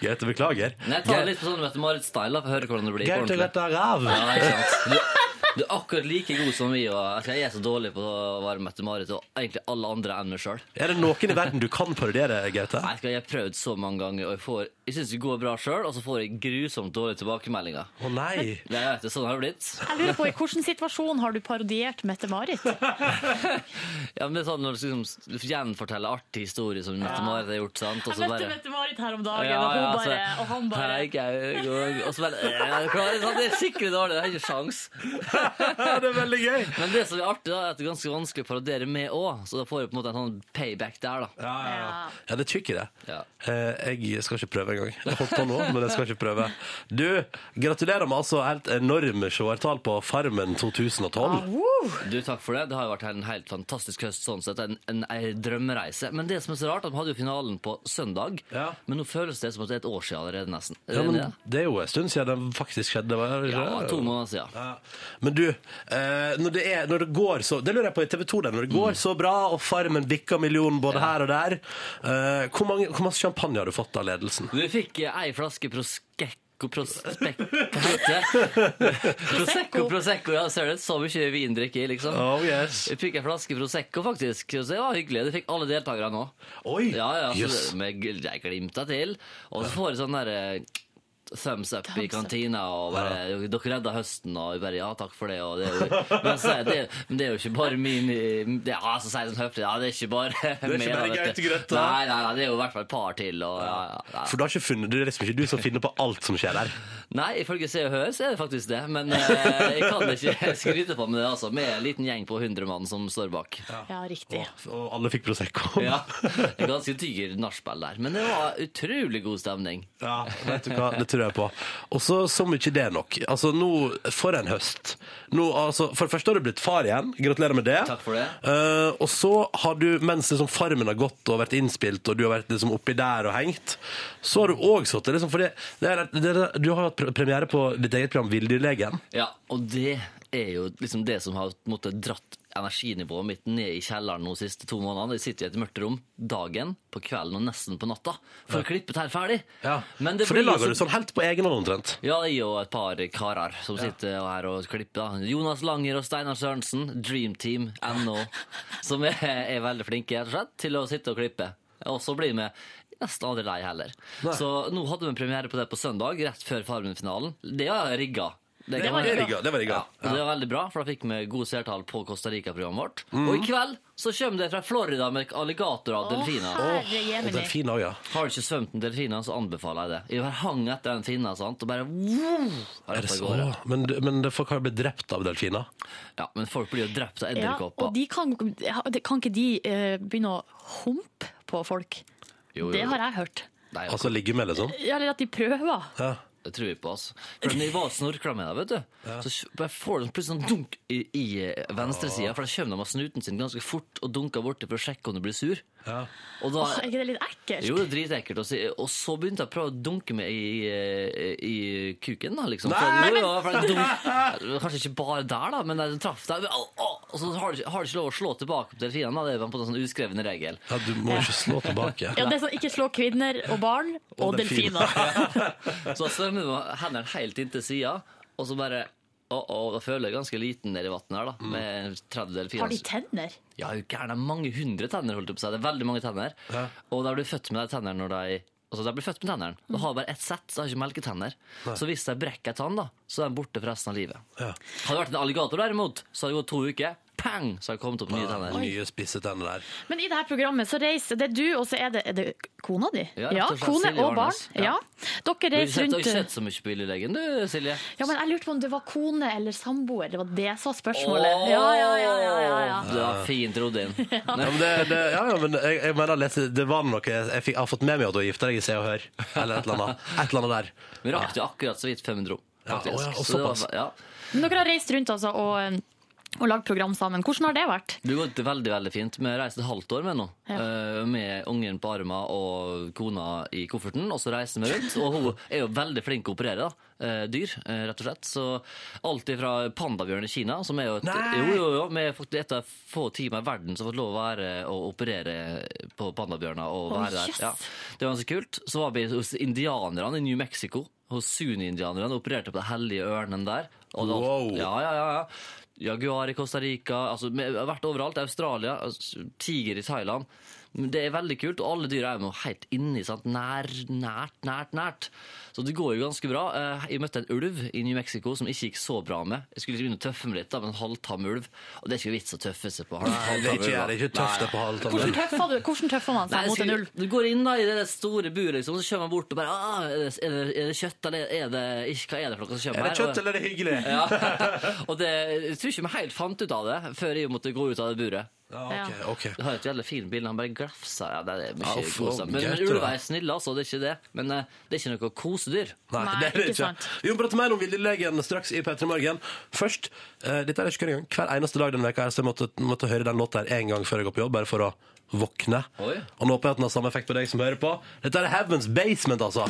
A: Gaute, beklager.
J: Nei, jeg tar det litt på sånn Mette-Marit-style da, for å høre hvordan det blir på
A: Gaute
J: ordentlig.
A: Grøtta Rav.
J: Ja, ikke sant? Du, du er akkurat like god som vi, og altså, jeg er så dårlig på å være Mette-Marit og egentlig alle andre enn meg sjøl.
A: Er det noen i verden du kan parodiere, Gaute?
J: Jeg skal- jeg har prøvd så mange ganger, og jeg, får, jeg syns det går bra sjøl, og så får jeg grusomt dårlige tilbakemeldinger.
A: Å nei.
J: Det, jeg vet, det, sånn har det blitt.
D: Jeg lurer på, I hvilken situasjon har du parodiert Mette-Marit?
J: Ja, men det er sånn når du skal liksom, gjenfortelle artig historie som Mette-Marit har gjort, sant, og
D: Jeg
J: så
D: møtte
J: bare
D: Mette-Marit her om dagen,
J: Ja,
D: og, hun
J: ja, altså,
D: bare, og han bare
J: Hei, Gaug. og- Og så bare ja, det er klart, sant, Det er skikkelig dårlig. Det er ikke sjans'.
A: det er veldig gøy.
J: Men det som er artig, da, er at det er ganske vanskelig å parodiere med òg, så da får du på en måte en sånn payback der, da.
A: Ja, ja, ja. ja det tykker jeg.
J: Ja.
A: Eh, jeg skal ikke prøve engang. Jeg holdt på nå, men jeg skal ikke prøve. Du, gratulerer med altså helt enorme seertall på Farmen 2012.
J: Du, takk for det. Det har jo vært en helt fantastisk høst sånn sett. En, en, en drømmereise. Men det som er så rart, at vi hadde jo finalen på søndag,
A: Ja.
J: men nå føles det som at det er et år siden allerede, nesten. Er
A: Ja,
J: du
A: men
J: enig i det?
A: det er jo en stund siden den faktisk skjedde. Var det
J: ja,
A: ikke det?
J: to måneder siden.
A: Ja. Men du, eh, når, det er, når det går så Det lurer jeg på i TV 2, der, når det
J: Mm.
A: går så bra, og Farmen bikker millionen både her og der eh, hvor, mange, hvor masse champagne har du fått av ledelsen?
J: Du fikk eh, ei flaske Prosecco Prospec... [LAUGHS] Hva heter det? Prosecco, Prosecco, ja, ser du. Så mye vin drikker jeg, liksom.
A: [LAUGHS] Oh yes.
J: Jeg fikk ei flaske Prosecco, faktisk. Så det var hyggelig. Det fikk alle deltakerne òg.
A: Oi!
J: Ja, ja, så
A: Jøss.
J: det- med gl- jeg glimta til. Og så får jeg sånn der eh, thumbs up i
D: Thumbs up.
J: kantina, og bare, dere redda høsten, og jeg bare ja, takk for det. Og det er jo, men, så, er det, men det er jo ikke bare min det, Ja, så sier jeg sånn høflig, ja, det er ikke
A: [LAUGHS]
J: bare
A: ikke
J: meg,
A: bare
J: da, vet
A: Gaute
J: du.
A: Grøtta.
J: Nei, nei, nei, det er jo i hvert fall et par til. Og, ja, ja, ja.
A: [LAUGHS] For du har ikke funnet, det er liksom ikke
J: [LAUGHS]
A: du som finner på alt som skjer der.
J: Nei, ifølge Se og Hør så er det faktisk det, men eh, jeg kan ikke [LAUGHS] skryte på meg det, altså. Med en liten gjeng på 100 mann som står
A: [LAUGHS]
J: bak.
D: Ja, riktig.
A: Og alle fikk Prosecco. [LAUGHS]
J: Ja, en ganske diger nachspiel der. Men det var utrolig god stemning.
A: Ja, vet du hva, det tror jeg på. Og så som ikke det er nok. Altså, nå, for en høst. Nå, altså, for det første har du blitt far igjen. Gratulerer med det.
J: Takk for det.
A: Eh, og så har du, mens liksom farmen har gått og vært innspilt, og du har vært liksom oppi der og hengt, så har du òg sittet liksom, fordi det er, det er, Du har jo hatt pre- premiere på ditt eget program Villdyrlegen.
J: Ja, og det er jo liksom det som har måttet dratt energinivået mitt ned i kjelleren nå de siste to månedene. Jeg sitter i et mørkt rom dagen, på kvelden og nesten på natta for å klippe dette ferdig.
A: Ja.
J: Men det
A: For det
J: blir jo
A: lager
J: så-
A: du sånn helt på egen hånd, omtrent.
J: ja, jeg og et par karer som sitter her og klipper. da. Jonas Langer og Steinar Sørensen, Dream Team NO, som er, er veldig flinke rett og slett, til å sitte og klippe. Og så blir vi nesten aldri lei heller. Så nå hadde vi premiere på det på søndag, rett før Farmen-finalen. Det var rigga. Det, kan
A: var
J: man-
A: rigga, det var rigga.
J: Ja, og det var veldig bra, for da fikk vi gode seertall på Costa Rica-programmet vårt. Og i kveld så kommer det fra Florida med alligatorer og delfiner.
D: herre
A: Og
D: jemini.
A: delfin òg, ja.
J: Har du ikke svømt med delfiner, så anbefaler jeg det. Jeg bare hang etter den finna sant? og bare wow,
A: Er det så?
J: gårde.
A: Men, men det- folk har jo blitt drept av delfiner.
J: Ja, Men folk blir jo drept av
D: Ja,
J: edderkopper.
D: og de kan, kan ikke de eh, begynne å humpe på folk?
J: Jo, jo,
D: Det har jeg hørt.
J: Nei,
A: Altså ligge med, liksom.
D: Ja, Eller at de prøver.
A: Ja.
J: Det tror vi på, altså. For når jeg var og snorkla med deg, vet du, så kj- bare får du plutselig sånn dunk i, i venstresida, for da kommer de med snuten sin ganske fort og dunker borti for å sjekke om du blir sur.
A: Ja.
J: Og da,
D: Åh, er ikke det litt ekkelt?
J: jo, det er dritekkelt. å si. Og så begynte jeg å prøve å dunke meg i, eh, i, i kuken, da, liksom.
A: Nei,
J: for, jo, jo, for jeg dunk, kanskje ikke bare der, da, men jeg traff der. Au, au! Og så har du, ikke- har du ikke lov å slå tilbake på delfinene, da. Det er på en sånn uskreven regel.
A: ja, du må ikke slå tilbake.
D: Ja, det er sånn, ikke slå kvinner og barn og,
A: Og delfiner.
D: delfiner.
J: Så svømmer med hendene helt inntil sida, og så bare Å, å, da føler jeg ganske liten nedi vannet her, da. Med 30 [LAUGHS]
D: Mm.
J: delfiner.
D: Har de tenner?
J: Ja, er jo gæren. Det er mange hundre tenner, holdt jeg på å si. Det er veldig mange tenner. Og da blir du født med de tennene når de Altså, de blir født med tennene. De har bare ett sett, så de har ikke melketenner. Så hvis de brekker en tann, da, så er de borte for resten av livet.
A: Ja.
J: Hadde det vært en alligator derimot, så hadde det gått to uker. Pang! Så har det kommet opp nye tenner.
A: Nye spisse tenner der.
D: Men i det her programmet så reiser det er du, og så er det, er det kona di?
J: Ja, rett og slett,
D: kone
J: Silje
D: og barn.
J: Ornes.
D: Ja.
J: Ja.
D: Dere
J: Du
D: reiser
J: har ikke sett- har
D: rundt eh,
J: ikke sett så mye på Billylegen, du, Silje.
D: Ja, men jeg lurte på om det var kone eller samboer. Det var det som var spørsmålet. Ja, ja, ja, ja, ja, ja.
J: Det var fint rodd
D: [LAUGHS]
J: inn.
A: Ja, men, det, det, ja, ja, men jeg, jeg mener, Lette, det var noe jeg, jeg, fikk, jeg har fått med meg at du har gifta deg i Se og Hør. Eller et eller annet, et eller annet der.
J: Vi rakk jo akkurat så vidt 500 rom.
A: Ja,
J: faktisk.
A: å ja, og
J: Så det var-
A: såpass.
J: ja.
D: Men dere har reist rundt altså, og, um, og lagd program sammen. Hvordan har det vært?
J: Det har gått veldig veldig fint. Vi reiste et halvt år med nå.
D: Ja.
J: Eh, Med ungen på armen og kona i kofferten. Og så reiser vi rundt. Og hun er jo veldig flink til å operere da. Eh, dyr, eh, rett og slett. Så alt fra pandabjørn i Kina, som er jo et,
A: Nei!
J: jo, jo, jo, vi er faktisk et av få team i verden som har fått lov å være og operere på pandabjørner.
D: Å,
J: og være der.
D: jøss.
J: Ja. Det var ganske kult. Så var vi hos indianerne i New Mexico. Hos Suni-indianerne. Opererte på Den hellige ørnen der. Og da-
A: Wow.
J: Ja, ja, ja, ja. Jaguar i Costa Rica. Altså, vi har vært overalt. Australia. altså, Tiger i Thailand. Men Det er veldig kult, og alle dyra er jo helt inni. Sant? Nær, nært, nært, nært. Så det går jo ganske bra. Eh, Jeg møtte en ulv i New Mexico som ikke gikk så bra med. Jeg skulle begynne å tøffe meg litt da, med en halvtam ulv, og det er ikke vits å tøffe seg på.
A: Nei, det er ikke, det er ikke tøft det på halv
D: Hvordan tøffer, du? Hvordan tøffer man seg
J: Nei,
D: mot en
J: skulle-
D: ulv?
J: Du går inn da i det der store buret, liksom, og så kommer man bort og bare ah, er, det, er, det, «Er det kjøtt, eller er det ikke? Hva er det for noe som kommer
A: Er det
J: her?»
A: kjøtt, eller er det hyggelig?
J: [LAUGHS] Ja. [LAUGHS] og det, jeg tror ikke vi helt fant ut av det før jeg måtte gå ut av det buret.
A: Ja, ok, ok.
J: Jeg har et jævlig fint bilde, han bare glafsa. Ja, det er mye
A: Ja, uff,
J: kos, da. Men,
A: greit,
J: men
A: det da.
J: ulver er snille, altså, det er ikke det. Men eh, det er ikke noe
A: [LAUGHS]
J: kosedyr.
A: Nei,
D: Nei,
A: det er det
D: ikke
A: ikke.
D: sant.
A: Vi må prate mer om Villelegen straks i P3 Morgen. Først, eh, dette er ikke hver gang. Hver eneste dag denne veka her, så jeg måtte, måtte høre den låta her en gang før jeg går på jobb, bare for å våkne.
J: Oi.
A: Og nå håper jeg at den har samme effekt på deg som hører på. Dette er Heaven's Basement, altså.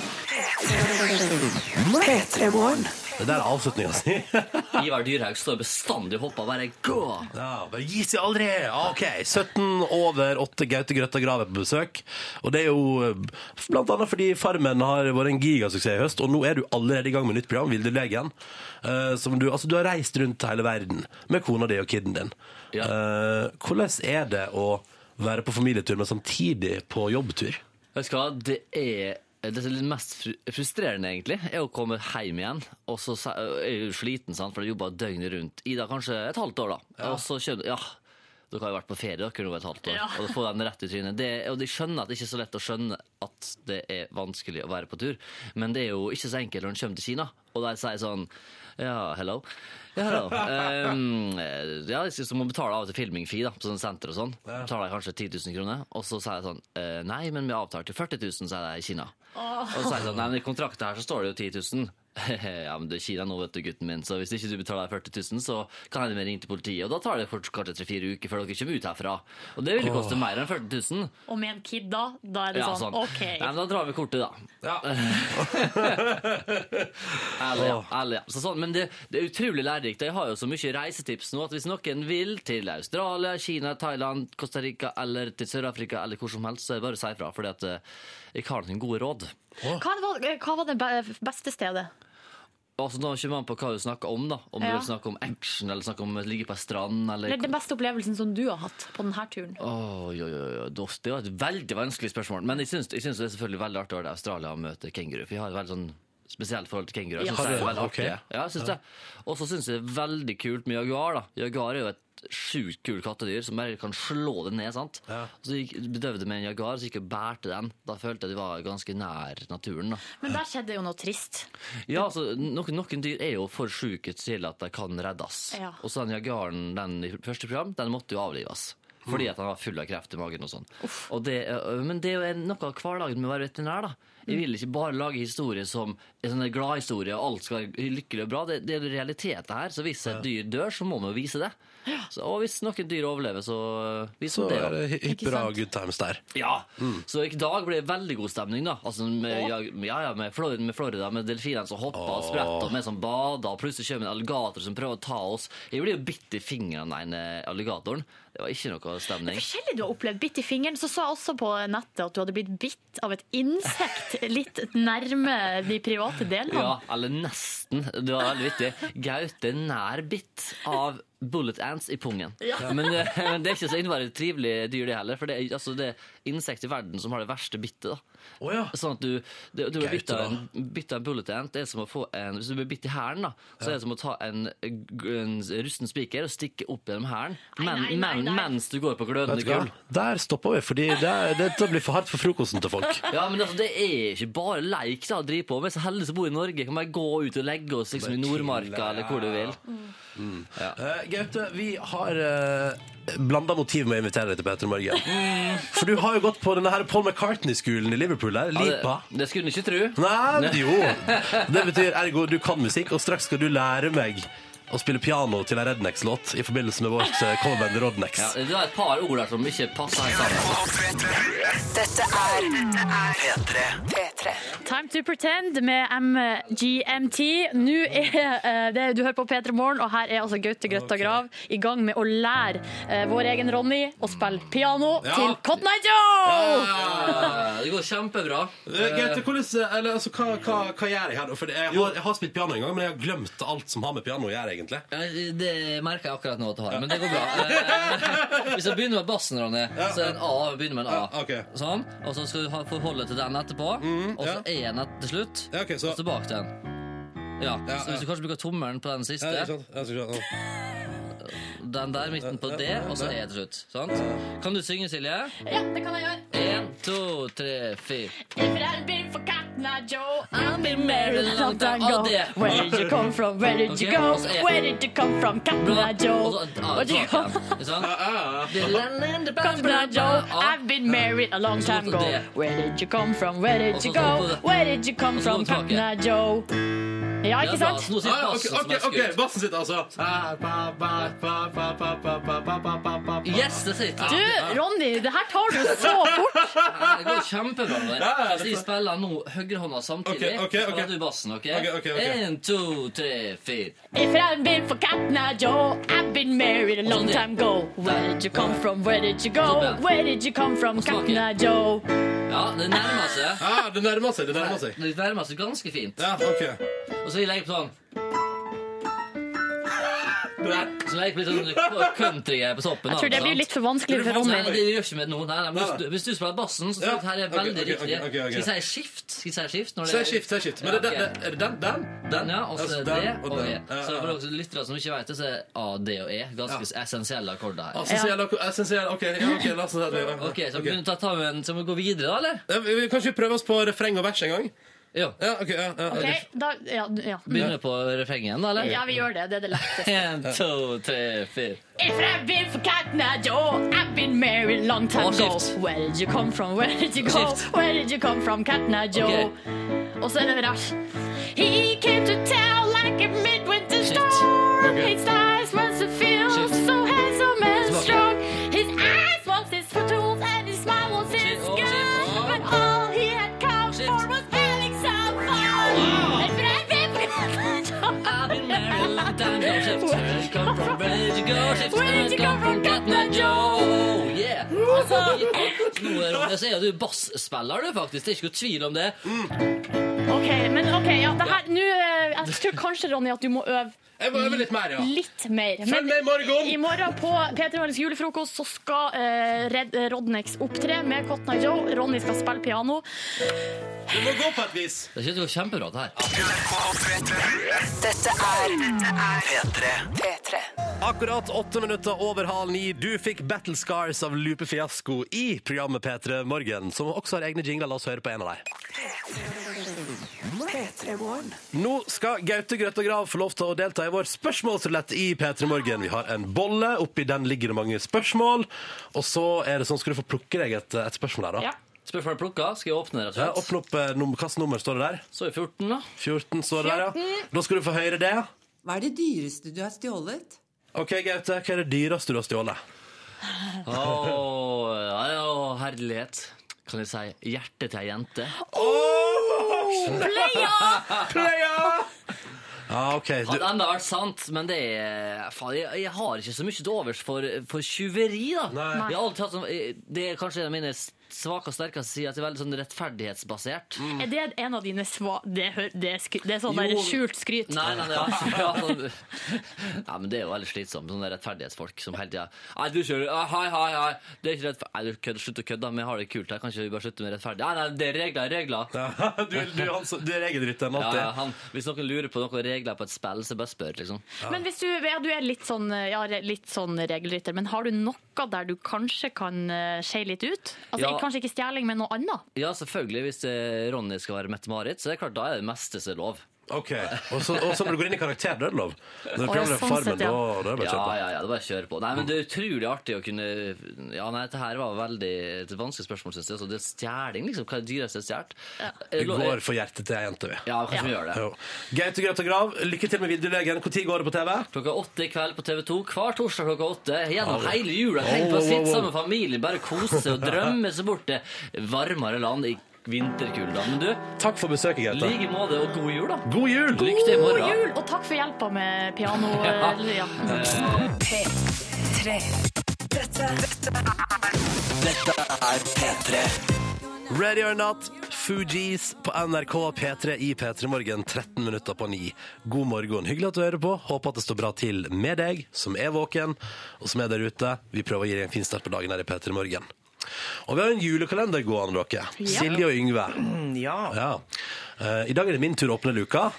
A: Det der er avslutninga si. [LAUGHS]
J: Ivar Dyrhaug står bestandig og hopper og bare gå!
A: Ja, bare gi seg aldri! Ok, 17 over 8 Gaute Grøtta Grav er på besøk. Og det er jo eh, blant annet fordi Farmen har vært en gigasuksess i høst, og nå er du allerede i gang med nytt program, Vildelegen. Uh, som du, altså, du har reist rundt hele verden med kona di og kiden din.
J: Ja.
A: Eh, hvordan er det å være på familietur, men samtidig på jobbtur?
J: Vet du hva, det er det som er litt mest fru- frustrerende, egentlig, er å komme hjem igjen, og så se- er jeg jo sliten, sant, for jeg jobber døgnet rundt i da kanskje et halvt år, da. Og så skjønner Ja, dere har jo vært på ferie dere nå et halvt år,
D: Ja.
J: og få den rett i trynet. Det, og de skjønner at det ikke er så lett å skjønne at det er vanskelig å være på tur, men det er jo ikke så enkelt når en kommer til Kina, og de sier sånn Ja, hello. Ja, hello. Ehm, ja, jeg synes du må betale av og til filming fee da, på sånne senter og sånn. Betaler jeg kanskje 10 000 kroner, og så sier jeg sånn «Eh, Nei, men vi avtaler til 40 000, sier jeg i Kina. Og så sier jeg sånn Nei, men i kontrakten her så står det jo 10 000. [LAUGHS] Ja, men det er Kina nå, vet du, gutten min, så hvis ikke du betaler 40 000, så kan hende vi ringer til politiet, og da tar det fort kanskje tre-fire uker før dere kommer ut herfra. Og det vil jo koste mer enn 40 000.
D: Og med en kid da, da er det
J: Ja,
D: sånn,
J: sånn.
D: OK.
J: Nei, men da drar vi kortet, da. [LAUGHS]
A: Ja.
J: Ærlig, ja. Ærlig, ja. Så sånn, men det, det er utrolig lære, lærerikt. Jeg har jo så mye reisetips nå at hvis noen vil til Australia, Kina, Thailand, Costa Rica eller til Sør-Afrika eller hvor som helst, så er det bare å si ifra, fordi at eh, jeg har noen gode råd.
D: Hva var, hva var det be- beste stedet?
J: Altså, Nå kommer an på hva du snakker om. da Om
D: Ja.
J: du vil snakke om action, eller snakke om å ligge på ei strand eller
D: Eller den beste opplevelsen som du har hatt på denne turen?
J: Oi, oi, oi, oi. Doff, Det var et veldig vanskelig spørsmål. Men jeg syns, jeg syns det er selvfølgelig veldig artig å være i Australia og møte kenguru. For jeg har et veldig sånn spesielt forhold til kenguru. Jeg
D: Ja.
J: syns det er
A: Har du det?
J: veldig artig.
A: Ok.
J: Ja, jeg syns det. Og så syns jeg det er veldig kult med jaguar. da Jaguar er jo et sjukt kult kattedyr som bare kan slå det ned. sant?
A: Ja.
J: Så jeg bedøvde med en jaguar, så gikk jeg og bærte den. Da følte jeg at jeg var ganske nær naturen. da
D: Men der skjedde jo noe trist.
J: ja, altså, noen, noen dyr er jo for syke til at de kan reddes.
D: Ja.
J: Og så den jagaren den i første program, den måtte jo avlives. Fordi at han var full av kreft i magen og sånn. Og det, øh, men det er jo en- noe av hverdagen med å være veterinær, da. Jeg vil ikke bare lage historier som er sånne gladhistorier, og alt skal være lykkelig og bra. Det, det er realitet det her. Så hvis et dyr dør, så må vi jo vise det. Så, og hvis noen dyr overlever, så øh, viser
A: Så
J: vi det.
A: er
J: da.
A: det hi-
D: Ikke
A: bra
D: sant?
A: good times der.
J: Ja, så i dag ble det veldig god stemning da altså, med, ja, ja, ja, med, Florida, med Florida Med delfinene som hopper og spretter Og med som bader Og plutselig kommer en alligator som prøver å ta oss Jeg blir jo bitt i fingeren av den eh, alligatoren Det var ikke noe stemning
D: Forskjellig du har opplevd. Bitt i fingeren. Så sa jeg også på nettet at du hadde blitt bitt av et insekt litt nærme de private delene.
J: Ja, eller nesten Det var veldig vittig Gaute er nær bitt av bullet ants i pungen men, eh, men det er ikke så innvarig trivelig dyr det heller For det er altså, det er insekt i verden som har det verste bittet da
A: Å ja.
J: Sånn at du, du, du blir bitt av
A: Gaute,
J: en, bitt av en bullet ant. Det er som å få en, hvis du blir bitt i hælen, da, så er det som å ta en, en rusten spiker og stikke opp gjennom hælen men,
D: nei, nei,
J: men,
D: nei.
J: mens du går på glødende
A: Vet du hva?
J: gull.
A: Der stopper vi, fordi det, dette blir for hardt for frokosten til folk.
J: Ja, men altså, Det er ikke bare leik da, å drive på med. Så heldig som bor i Norge, kan bare gå ut og legge oss liksom, i Nordmarka eller hvor du vil.
A: Mm.
J: Mm.
A: Eh, Gaute, vi har uh, blanda motiv med å invitere deg til Petter i morgen. For du har jo gått på denne her Paul McCartney-skolen i Liverpool der.
J: Ja,
A: Lipa.
J: det, det skulle en ikke tro.
A: Nei, men jo. Det betyr ergo du kan musikk, og straks skal du lære meg å spille piano til en Rednex-låt i forbindelse med vårt eh, coverband Rodnex.
J: Ja, det var et par ord der som ikke passer helt sammen.
I: Dette er dette er P3.
D: Time to pretend med MGMT. Nå er eh, det du hører på P3 Morgen, og her er altså Gaute Grøtta Grav i gang med å lære eh, vår egen Ronny å spille piano
A: Ja.
D: til Cotton Eye Joe!
J: Ja, det går kjempebra.
A: Eh, Gaute, hvordan- eller, altså, hva, hva, hva gjør jeg her? da? For jeg har, jeg har spilt piano en gang, men jeg har glemt alt som har med piano å gjøre, egentlig.
J: Ja, Det merker jeg akkurat nå at du har, men det går bra. Eh, [LAUGHS] Hvis jeg begynner med bassen, Ronny, så er det en A. Vi begynner med en
A: Ja,
J: A.
A: ok. Mm,
J: Sånn. Og så skal du ha- forholde til den etterpå, og så
A: ja.
J: én etter til slutt.
A: Ja, ok, så-
J: Og tilbake til den. Ja,
A: Ja,
J: så Hvis
A: ja.
J: du kanskje bruker tommelen på den
A: Ja, ikke
J: siste,
A: sant? Ja, ikke sant?
J: den der midten på D, og så E til slutt. Sant? Kan du synge, Silje?
D: Ja, det kan jeg gjøre.
J: Én, to, tre, fire.
D: If it had been for Cotton Eye Joe, I'd been married a long time
J: Og
D: ago.
J: det.
D: Where did you come from? Where did you
J: Ok,
D: go?
J: og så er-
D: Where did you come from, Cotton Eye
J: Og
D: Joe?
J: så A
D: Where did you
J: tilbake
D: come
J: igjen. Ikke sant? Det er land in the
D: Cotton Eye Joe,
J: A.
D: I've been married a long time ago.
J: Det.
D: Where did you come from? Where
J: Og
D: did
J: så
D: you
J: skal vi
D: go?
J: på det.
D: Where did you come
J: Og så
D: from,
J: skal vi
D: Cotton Eye Joe? Ja,
J: Ja,
D: ikke
J: bra.
D: sant?
J: Nå sitter
A: Ah,
J: bassen som er skutt.
A: Bassen sitt, altså.
J: Yes, det sitter.
D: Du, Ronny, det her tar du så fort.
J: Ja, Det går kjempebra. med
A: [LAUGHS] Ja, ja,
J: deg.
A: ja.
J: Hvis jeg spiller nå høyrehånda samtidig,
A: Ok, ok, ok.
J: spiller du bassen. ok?
A: Ok, ok, ok.
J: En, to, tre, fire.
D: If I've been for Cotton Eye Joe, I've been married a long time ago. Where did you come from? Where did you go? Where did you come from, Cotton Eye Joe?
J: Ja, det nærmer seg.
A: Ah, det nærmer seg, det nærmer seg.
J: Det nærmer seg ganske fint.
A: Ja, ok.
J: Og så legger jeg på sånn. Så legger jeg på litt sånn countrygreier på toppen.
D: Jeg tror det blir litt for vanskelig for
J: Nei,
D: Ronny.
J: det gjør ikke med noe. Nei, nei, men hvis, du, hvis du spiller bassen, så
A: Ja,
J: dette her er
A: ok,
J: veldig
A: ok,
J: riktig.
A: ok, ok, ok.
J: Skal jeg si skift? Skal jeg si skift? når det-
A: Se skift, se skift. Men
J: Ja,
A: det, det,
J: ok.
A: det, er det den, den?
J: Den, ja. Og så
A: Altså,
J: er
A: den
J: det
A: og
J: og
A: den.
J: E.
A: Ja,
J: Så
A: ja,
J: for
A: ja.
J: dere som lyttere som ikke vet det, så er A, D og E ganske essensielle akkorder her.
A: Essensiell, essensiell. Ok, ja, ok, la oss se det.
J: Ok, så vi begynner å ta, ta med en, så må vi gå videre, da, eller?
A: Ja, vi- vi- Kanskje vi prøver oss på refreng og vers en gang?
J: Ja.
A: Ja, ok, ja, ja.
D: Ok, da, ja, ja.
J: Begynner på refrenget igjen, da, eller?
D: ja, vi gjør det. Det er det letteste.
J: En, to, tre, fire.
D: If I've been for Cotton Eye Joe, I've been married a long time
J: Og
D: ago.
J: skift.
D: Where did you come from? Where did you go?
J: Skift.
D: Where did you come from, Cotton Eye Joe? Og så er det vers. He came to town like a midwinter storm.
A: Ok.
D: His eyes must have feel
J: Skift.
D: so handsome and
J: Tilbake.
D: strong. His eyes was his fortunes and his smile was his
J: Skift. Og
D: gun.
J: skift.
D: But all he had come
J: Skift.
D: for was Alex on fire. And for that been-
J: I've been married a long time ago. Skift. from? Where did you go? She Where did you come from? Katna Joe! Yeah! Altså, nå er Ronja, så er du bassspiller, du, faktisk. Det er ikke noe tvil om det.
D: OK, men ok, ja, det her, nå, eh, jeg tror kanskje, Ronny, at du må øve
A: Jeg må øve litt mer, ja.
D: litt mer.
A: Følg med i morgen!
D: I morgen på P3 Morgens julefrokost så skal eh, Red, eh, Rodnex opptre med Cotton Eye Joe. Ronny skal spille piano.
A: Det må gå på et vis.
J: Det synes jeg går kjempebra, det her.
I: Dette er P3. P3.
A: Akkurat åtte minutter over halv ni. Du fikk Battle Scars av Lupe Fiasko i programmet P3 Morgen, som også har egne jingler. La oss høre på en av dem. Nå skal Gaute Grøtta Grav få lov til å delta i vår spørsmålsrulett i P3 Morgen. Vi har en bolle. Oppi den ligger det mange spørsmål. Og så er det sånn, skal du få plukke deg et, et spørsmål her, da.
D: Ja.
J: Spør for deg plukka. Skal jeg åpne, rett
A: Ja,
J: og slett?
A: Åpne opp eh, num- hvilket nummer står det der.
J: Så er 14, da.
A: 14 står det der, ja. Da skal du få høre det.
K: Hva er det dyreste du har stjålet?
A: OK, Gaute, hva er det dyreste du har stjålet?
J: Å, ja, ja, å, herlighet. Kan jeg si hjertet til ei jente?
A: Ja, OK. Du,
J: Hadde enda vært sant, men det er faen, jeg, jeg har ikke så mye til overs for, for tjuveri, da.
A: Nei.
J: Jeg har alltid hatt sånn, det er kanskje en av mine svake og sterkeste sider, at det er veldig sånn rettferdighetsbasert.
D: Er det en av dine sva... Det, hø- det, er skry- det er sånn
J: Jo.
D: der skjult skryt.
J: [LAUGHS] Nei, nei, nei, altså, ja, sånn, [LAUGHS] nei, men det er jo veldig slitsomt. Sånne rettferdighetsfolk som hele tida Nei, du kjører ah, Hei, hei, hei. Det er ikke rettferdig. Nei, du kødder. Slutt å kødde. da. Vi har det kult her. Kanskje vi bare slutter med rettferdig? Nei, nei, det er regler. regler.
A: Ja, [LAUGHS] du, du, han, som- du er regelrytteren
J: Ja,
A: alltid.
J: ja, han, hvis noen lurer på noen regler på et spill, så bare spør, liksom.
D: Men hvis du, ja, du er litt sånn, ja, re- litt sånn regelrytter, men har du noe der du kanskje kan eh, skeie litt ut? Altså,
J: Ja.
D: Kanskje ikke stjeling, men noe annet?
J: Ja, selvfølgelig. Hvis eh, Ronny skal være Mette-Marit, så er det klart, da er det meste som er lov.
A: Ok, og så, og så når du går inn i karakter, da er det lov. Når du
D: Å, ja,
A: programleder
D: sånn
A: Farmen,
D: sett, ja.
A: da, da er det bare
J: Ja,
A: å kjøre på.
J: ja, ja, det er bare å kjøre på. Nei, men det er utrolig artig å kunne Ja, nei, dette her var veldig et vanskelig spørsmål, syns jeg. Altså, det er stjeling, liksom. Hva er det dyreste jeg har stjålet? Eh,
A: Vi går for hjertet til ei jente, vi.
J: Ja, kanskje vi gjør det.
A: Jo. Gaute Grøtta Grav, lykke til med videolegen. Når går det på TV?
J: Klokka åtte i kveld på TV 2. Hver torsdag klokka åtte. Gjennom
A: Ja, det-
J: hele jula. Tenk
A: Wow,
J: på å
A: wow,
J: sitte
A: wow.
J: sammen med familien, bare kose seg og drømme seg bort til varmere land i vinterkulda. Men du,
A: Takk for besøket,
J: i
A: Gaute.
J: like måte, og god jul, da.
A: God jul!
J: Lykke til i
D: God
J: morgen.
D: jul, og takk for hjelpa med
A: [LAUGHS]
D: piano. eh, ja.
I: P3. Dette, dette
A: Ready or not, Fugees på NRK P3 i P3 Morgen 13 minutter på 9. God morgen. Hyggelig at du hører på. Håper at det står bra til med deg, som er våken, og som er der ute. Vi prøver å gi deg en fin start på dagen her i P3 Morgen. Og vi har en julekalender gående, dere. Silje og Yngve.
B: Mm, Ja.
A: Ja. Eh, I dag er det min tur å åpne luka.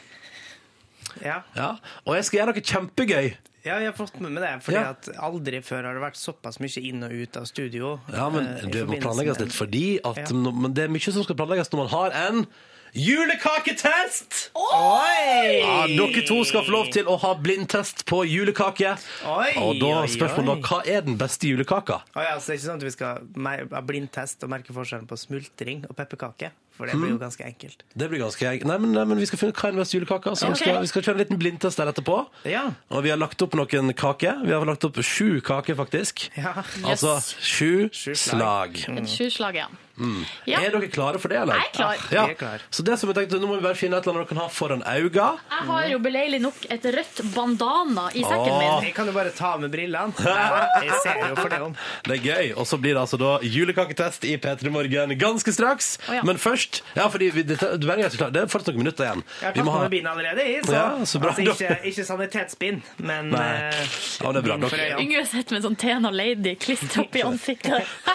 B: ja.
A: Ja. Og jeg skal gjøre noe kjempegøy.
B: Ja, jeg har fått med meg det. Fordi
A: Ja.
B: at aldri før har det vært såpass mye inn og ut av studio.
A: Ja, men
B: eh, i
A: det må
B: forbindelse
A: planlegges
B: med-
A: litt, fordi at
B: Ja.
A: nå- men det er mye som skal planlegges når man har en julekaketest!
B: Oi!
A: Ja, dere to skal få lov til å ha blindtest på julekake.
B: Oi,
A: og da
B: oi,
A: spørsmålet da,
B: oi.
A: hva er den beste julekaka?
B: Å ja, så det er ikke sånn at vi skal mer- ha blindtest og merke forskjellen på smultring og pepperkake. For det blir
A: Hmm.
B: jo ganske enkelt.
A: Det blir ganske eng- Nei, men, nei, men vi skal finne ut hva er den beste julekaka. Så
D: Ok.
A: vi, skal, vi skal kjøre en liten blindtest der etterpå.
B: Ja.
A: Og vi har lagt opp noen kaker. Vi har lagt opp sju kaker, faktisk.
B: Ja.
A: Altså sju,
B: Sju
A: slag.
B: slag. Mm.
D: Et sjuslag, ja. Ja.
A: Er dere klare for det, eller? Ah,
D: Jeg er klar.
A: Ja.
B: Jeg er klar.
A: Så det som jeg tenkte, nå må vi bare finne et eller annet dere kan ha foran auga.
D: Jeg har jo beleilig nok et rødt bandana i sekken
A: Åh.
D: min.
B: Jeg kan jo bare ta
A: [LAUGHS]
B: med brillene. Ja, Jeg ser jo for det om.
A: Det er gøy. Og så blir det altså da julekaketest i P3 Morgen ganske straks.
D: Å, ja.
A: Men først Ja, fordi vi, dette, du er ganske klar. Det er fortsatt noen minutter igjen.
B: Jeg har
A: Vi
B: tatt
A: må ha-
B: med bind allerede i, så,
A: Ja, så bra.
B: altså,
A: [LAUGHS]
B: ikke, ikke sanitetsbind, men
A: Nei.
B: eh,
A: Ja, det er bra
B: bind
A: nok.
B: for øynene.
D: Yngve sitter med en sånn Tena Lady klistra opp i
A: [LAUGHS]
D: ansiktet. [LAUGHS]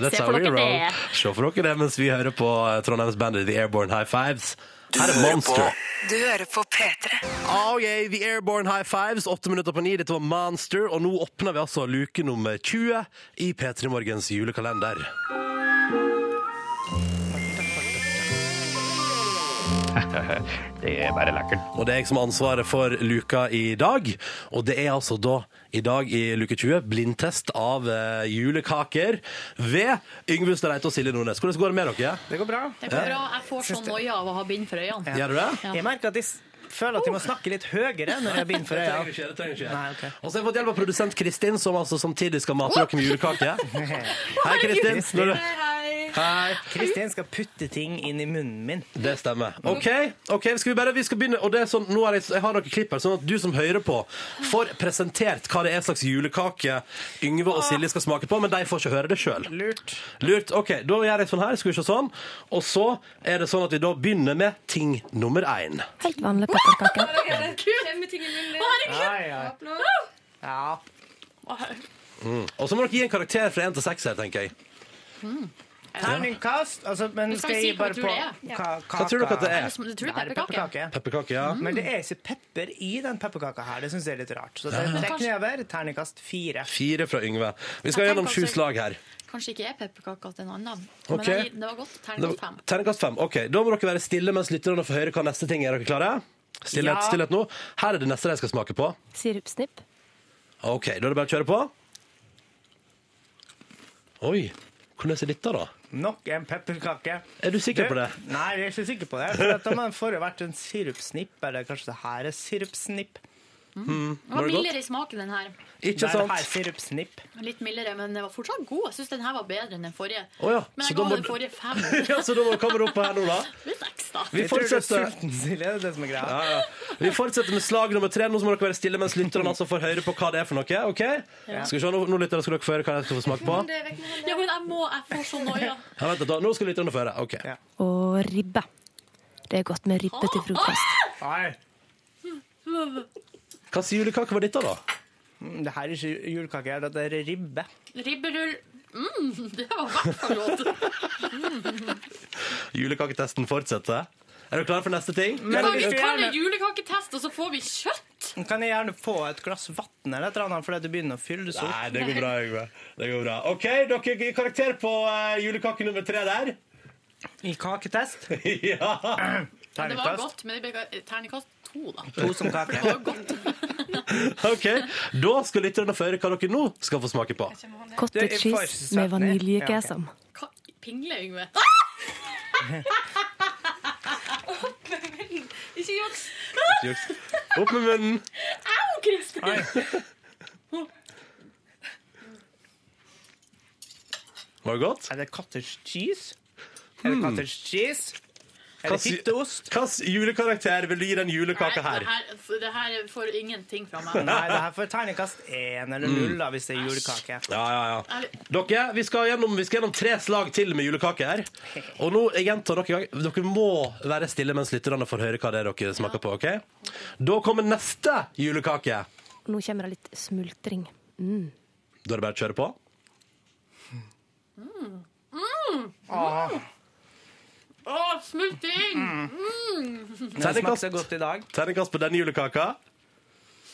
A: That's
D: Se
A: how
D: for
A: we
D: dere
A: roll.
D: det.
A: Se for dere det mens vi hører på eh, Trondheims bandet The Airborne High Fives. Her er Monster.
I: Du hører på P3.
A: Oh yeah, The Airborne High Fives, åtte minutter på ni. Dette var Monster, og nå åpner vi altså luke nummer 20 i P3 Morgens julekalender.
L: Det er bare lekkert.
A: Og det er jeg som har ansvaret for luka i dag. Og det er altså da, i dag i luke 20, blindtest av eh, julekaker ved Yngve Hustad Reite og Silje Nordnes. Hvordan går det med dere?
B: Det går bra.
D: Det går bra. Jeg får sånn noia av å ha bind for øynene.
A: Gjør du det?
D: Ja.
B: Jeg merker at jeg s- føler at jeg må snakke litt høyere når jeg har bind for
A: Det [LAUGHS] trenger
B: øynene.
A: du ikke. det trenger du ikke.
B: Nei, ok.
A: Og så har jeg fått hjelp av produsent Kristin, som altså samtidig skal mate dere med julekake. Hei, Kristin. Når du-
C: Hei, hei.
A: Hei.
B: Kristin skal putte ting inn i munnen min.
A: Det stemmer. OK, ok, skal vi bare vi skal begynne. Og det er sånn, nå har jeg, jeg har noen klipp her, sånn at du som hører på, får presentert hva det er slags julekake Yngve og Silje skal smake på, men de får ikke høre det sjøl.
B: Lurt.
A: Lurt. OK, da gjør jeg sånn her. Skal vi se sånn. Og så er det sånn at vi da begynner med ting nummer én.
M: Helt vanlig pepperkake.
B: Ja.
A: Mm. Og så må dere gi en karakter fra én til seks her, tenker jeg.
B: Terningkast. Altså, men
D: Men skal
B: skal
D: vi
B: jeg
D: si
B: gi bare
D: hva du
B: på
D: tror det er?
B: ka-
A: Hva tror dere at det er? Jeg
D: tror det er
B: Det er pepperkake.
A: Pepperkake, ja.
B: Men det er ikke pepper i den pepperkaka her. Det syns jeg er litt rart. Så det
A: Ja.
B: trekk nedover. Terningkast fire.
A: Fire fra Yngve. Vi skal gjennom sju slag her.
D: Kanskje ikke er pepperkaka til en annen.
A: Ok.
D: Men jeg- det var godt. Terningkast fem.
A: Terningkast fem. Ok, Da må dere være stille mens lytterne får høre hva neste ting er. Er dere klare? Stillhet,
M: Ja.
A: stillhet nå. Her er det neste de skal smake på.
M: Sirupsnipp.
A: Ok, Da er det bare å kjøre på. Oi. Hvordan er dette, da?
B: Nok en pepperkake.
A: Er du sikker på det?
B: Nei, jeg er ikke sikker på det. For at man får jo vært en sirupsnipp, eller kanskje det her er sirupsnipp.
D: Den var mildere i smaken, den her.
B: Ikke
A: sant?
B: Det her er sirupsnipp.
D: Litt mildere, men den var fortsatt god. Jeg syns den her var bedre enn den forrige.
A: Å ja,
D: Men
A: så
D: jeg
A: da
D: ga
A: må
D: den
A: du-
D: forrige fem.
A: [LAUGHS] ja, så da må du komme opp her nå, da. Vi
B: Jeg tror du er
A: fortsetter.
B: sulten, Silje. Det er det som er greia.
A: Ja, ja. Vi fortsetter med slag nummer tre. Nå så må dere være stille mens lytterne altså får høre på hva det er for noe. ok?
D: Ja.
A: Skal vi se, Nå, nå lytterne skal dere få høre hva de skal få smake på.
D: Ja, men jeg må, jeg får så noia.
A: Ja, vent, da. Nå skal lytterne få høre. ok.
M: Og ribbe. Det er godt med ribbe til frokost.
A: Hva slags julekake var dette, da?
B: Mm, Det her er ikke julekake, her, det er ribbe.
D: Ribberull. Mm, det var i hvert
A: [LAUGHS]
D: fall godt. Mm.
A: Julekaketesten fortsetter. Er dere klare for neste ting?
B: Men
D: Kan vi
B: du-
D: kalle det julekaketest, og så får vi kjøtt?
B: Kan jeg gjerne få et glass vann eller et eller annet, fordi du begynner å fylle det så
A: Nei, det går bra, Yngve. Det går bra. OK, dere gir karakter på eh, julekake nummer tre der. [LAUGHS]
B: I kaketest?
A: ja.
D: Ja, det var godt, men det ble terningkast to, da.
B: To som kake.
A: OK, da skal lytterne få høre hva dere nå skal få smake på.
M: Cottage cheese med vaniljegessam.
D: Hva? Pingle,
A: [LAUGHS]
D: Yngve.
C: Opp med munnen. Ikke juks.
A: Ikke juks. Opp med munnen.
C: Au, Kristin!
A: Var det godt?
B: Er det cottage cheese? Er
A: Hmm.
B: det cottage cheese? Er det
A: Hvilken
B: hytteost?
A: julekarakter vil du gi den julekaka
D: Nei,
A: her?
D: det her- Det her får ingenting fra meg.
B: Nei, det her får terningkast én
A: Hmm.
B: eller null da, hvis det er julekake.
A: Ja, ja, ja. Dere, vi skal, gjennom, vi skal gjennom tre slag til med julekake her. Og nå, jeg gjentar dere, en gang, dere må være stille mens lytterne får høre hva det er dere smaker på. ok? Da kommer neste julekake.
M: Nå kommer det litt smultring. Mm.
A: Da er det bare å kjøre på.
D: Mm. Mm. Mm. Å, smultring! Mm.
A: Terningkast- Terningkast på denne julekaka.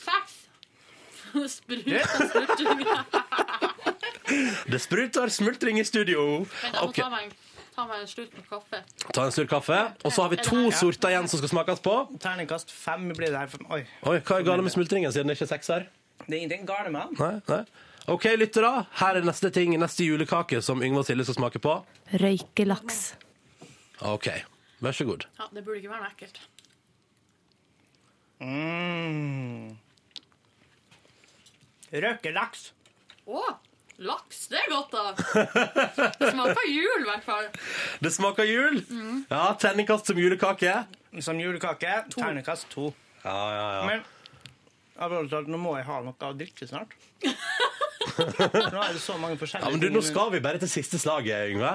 D: Seks. Sprut og smultring.
A: Det spruter smultring i studio.
D: Vent, jeg må
A: Ok,
D: ta meg, en- ta meg en slurk med kaffe.
A: Ta en slurk kaffe. Og så har vi to sorter igjen som skal smakes på.
B: Terningkast fem blir det her. For, oi.
A: Oi, Hva er galt med smultringen siden det ikke er seks her?
B: Det er ingenting galt med den.
A: Nei, nei. OK, lyttere. Her er neste ting, neste julekake som Yngve og Silje skal smake på.
M: Røykelaks.
A: OK, vær så god.
D: Ja, det burde ikke være noe ekkelt.
B: Mm. Røkelaks.
D: Å, laks. Det er godt, da. Det smaker jul, i hvert fall.
A: Det smaker jul.
D: Mm.
A: Ja, Terningkast som julekake.
B: Som julekake. Terningkast to.
A: Ja, ja, ja.
B: Men alvorlig talt, nå må jeg ha noe å drikke [LAUGHS] snart. nå er det så mange forskjellige
A: Ja, men du, Nå skal vi bare til siste slaget, Yngve.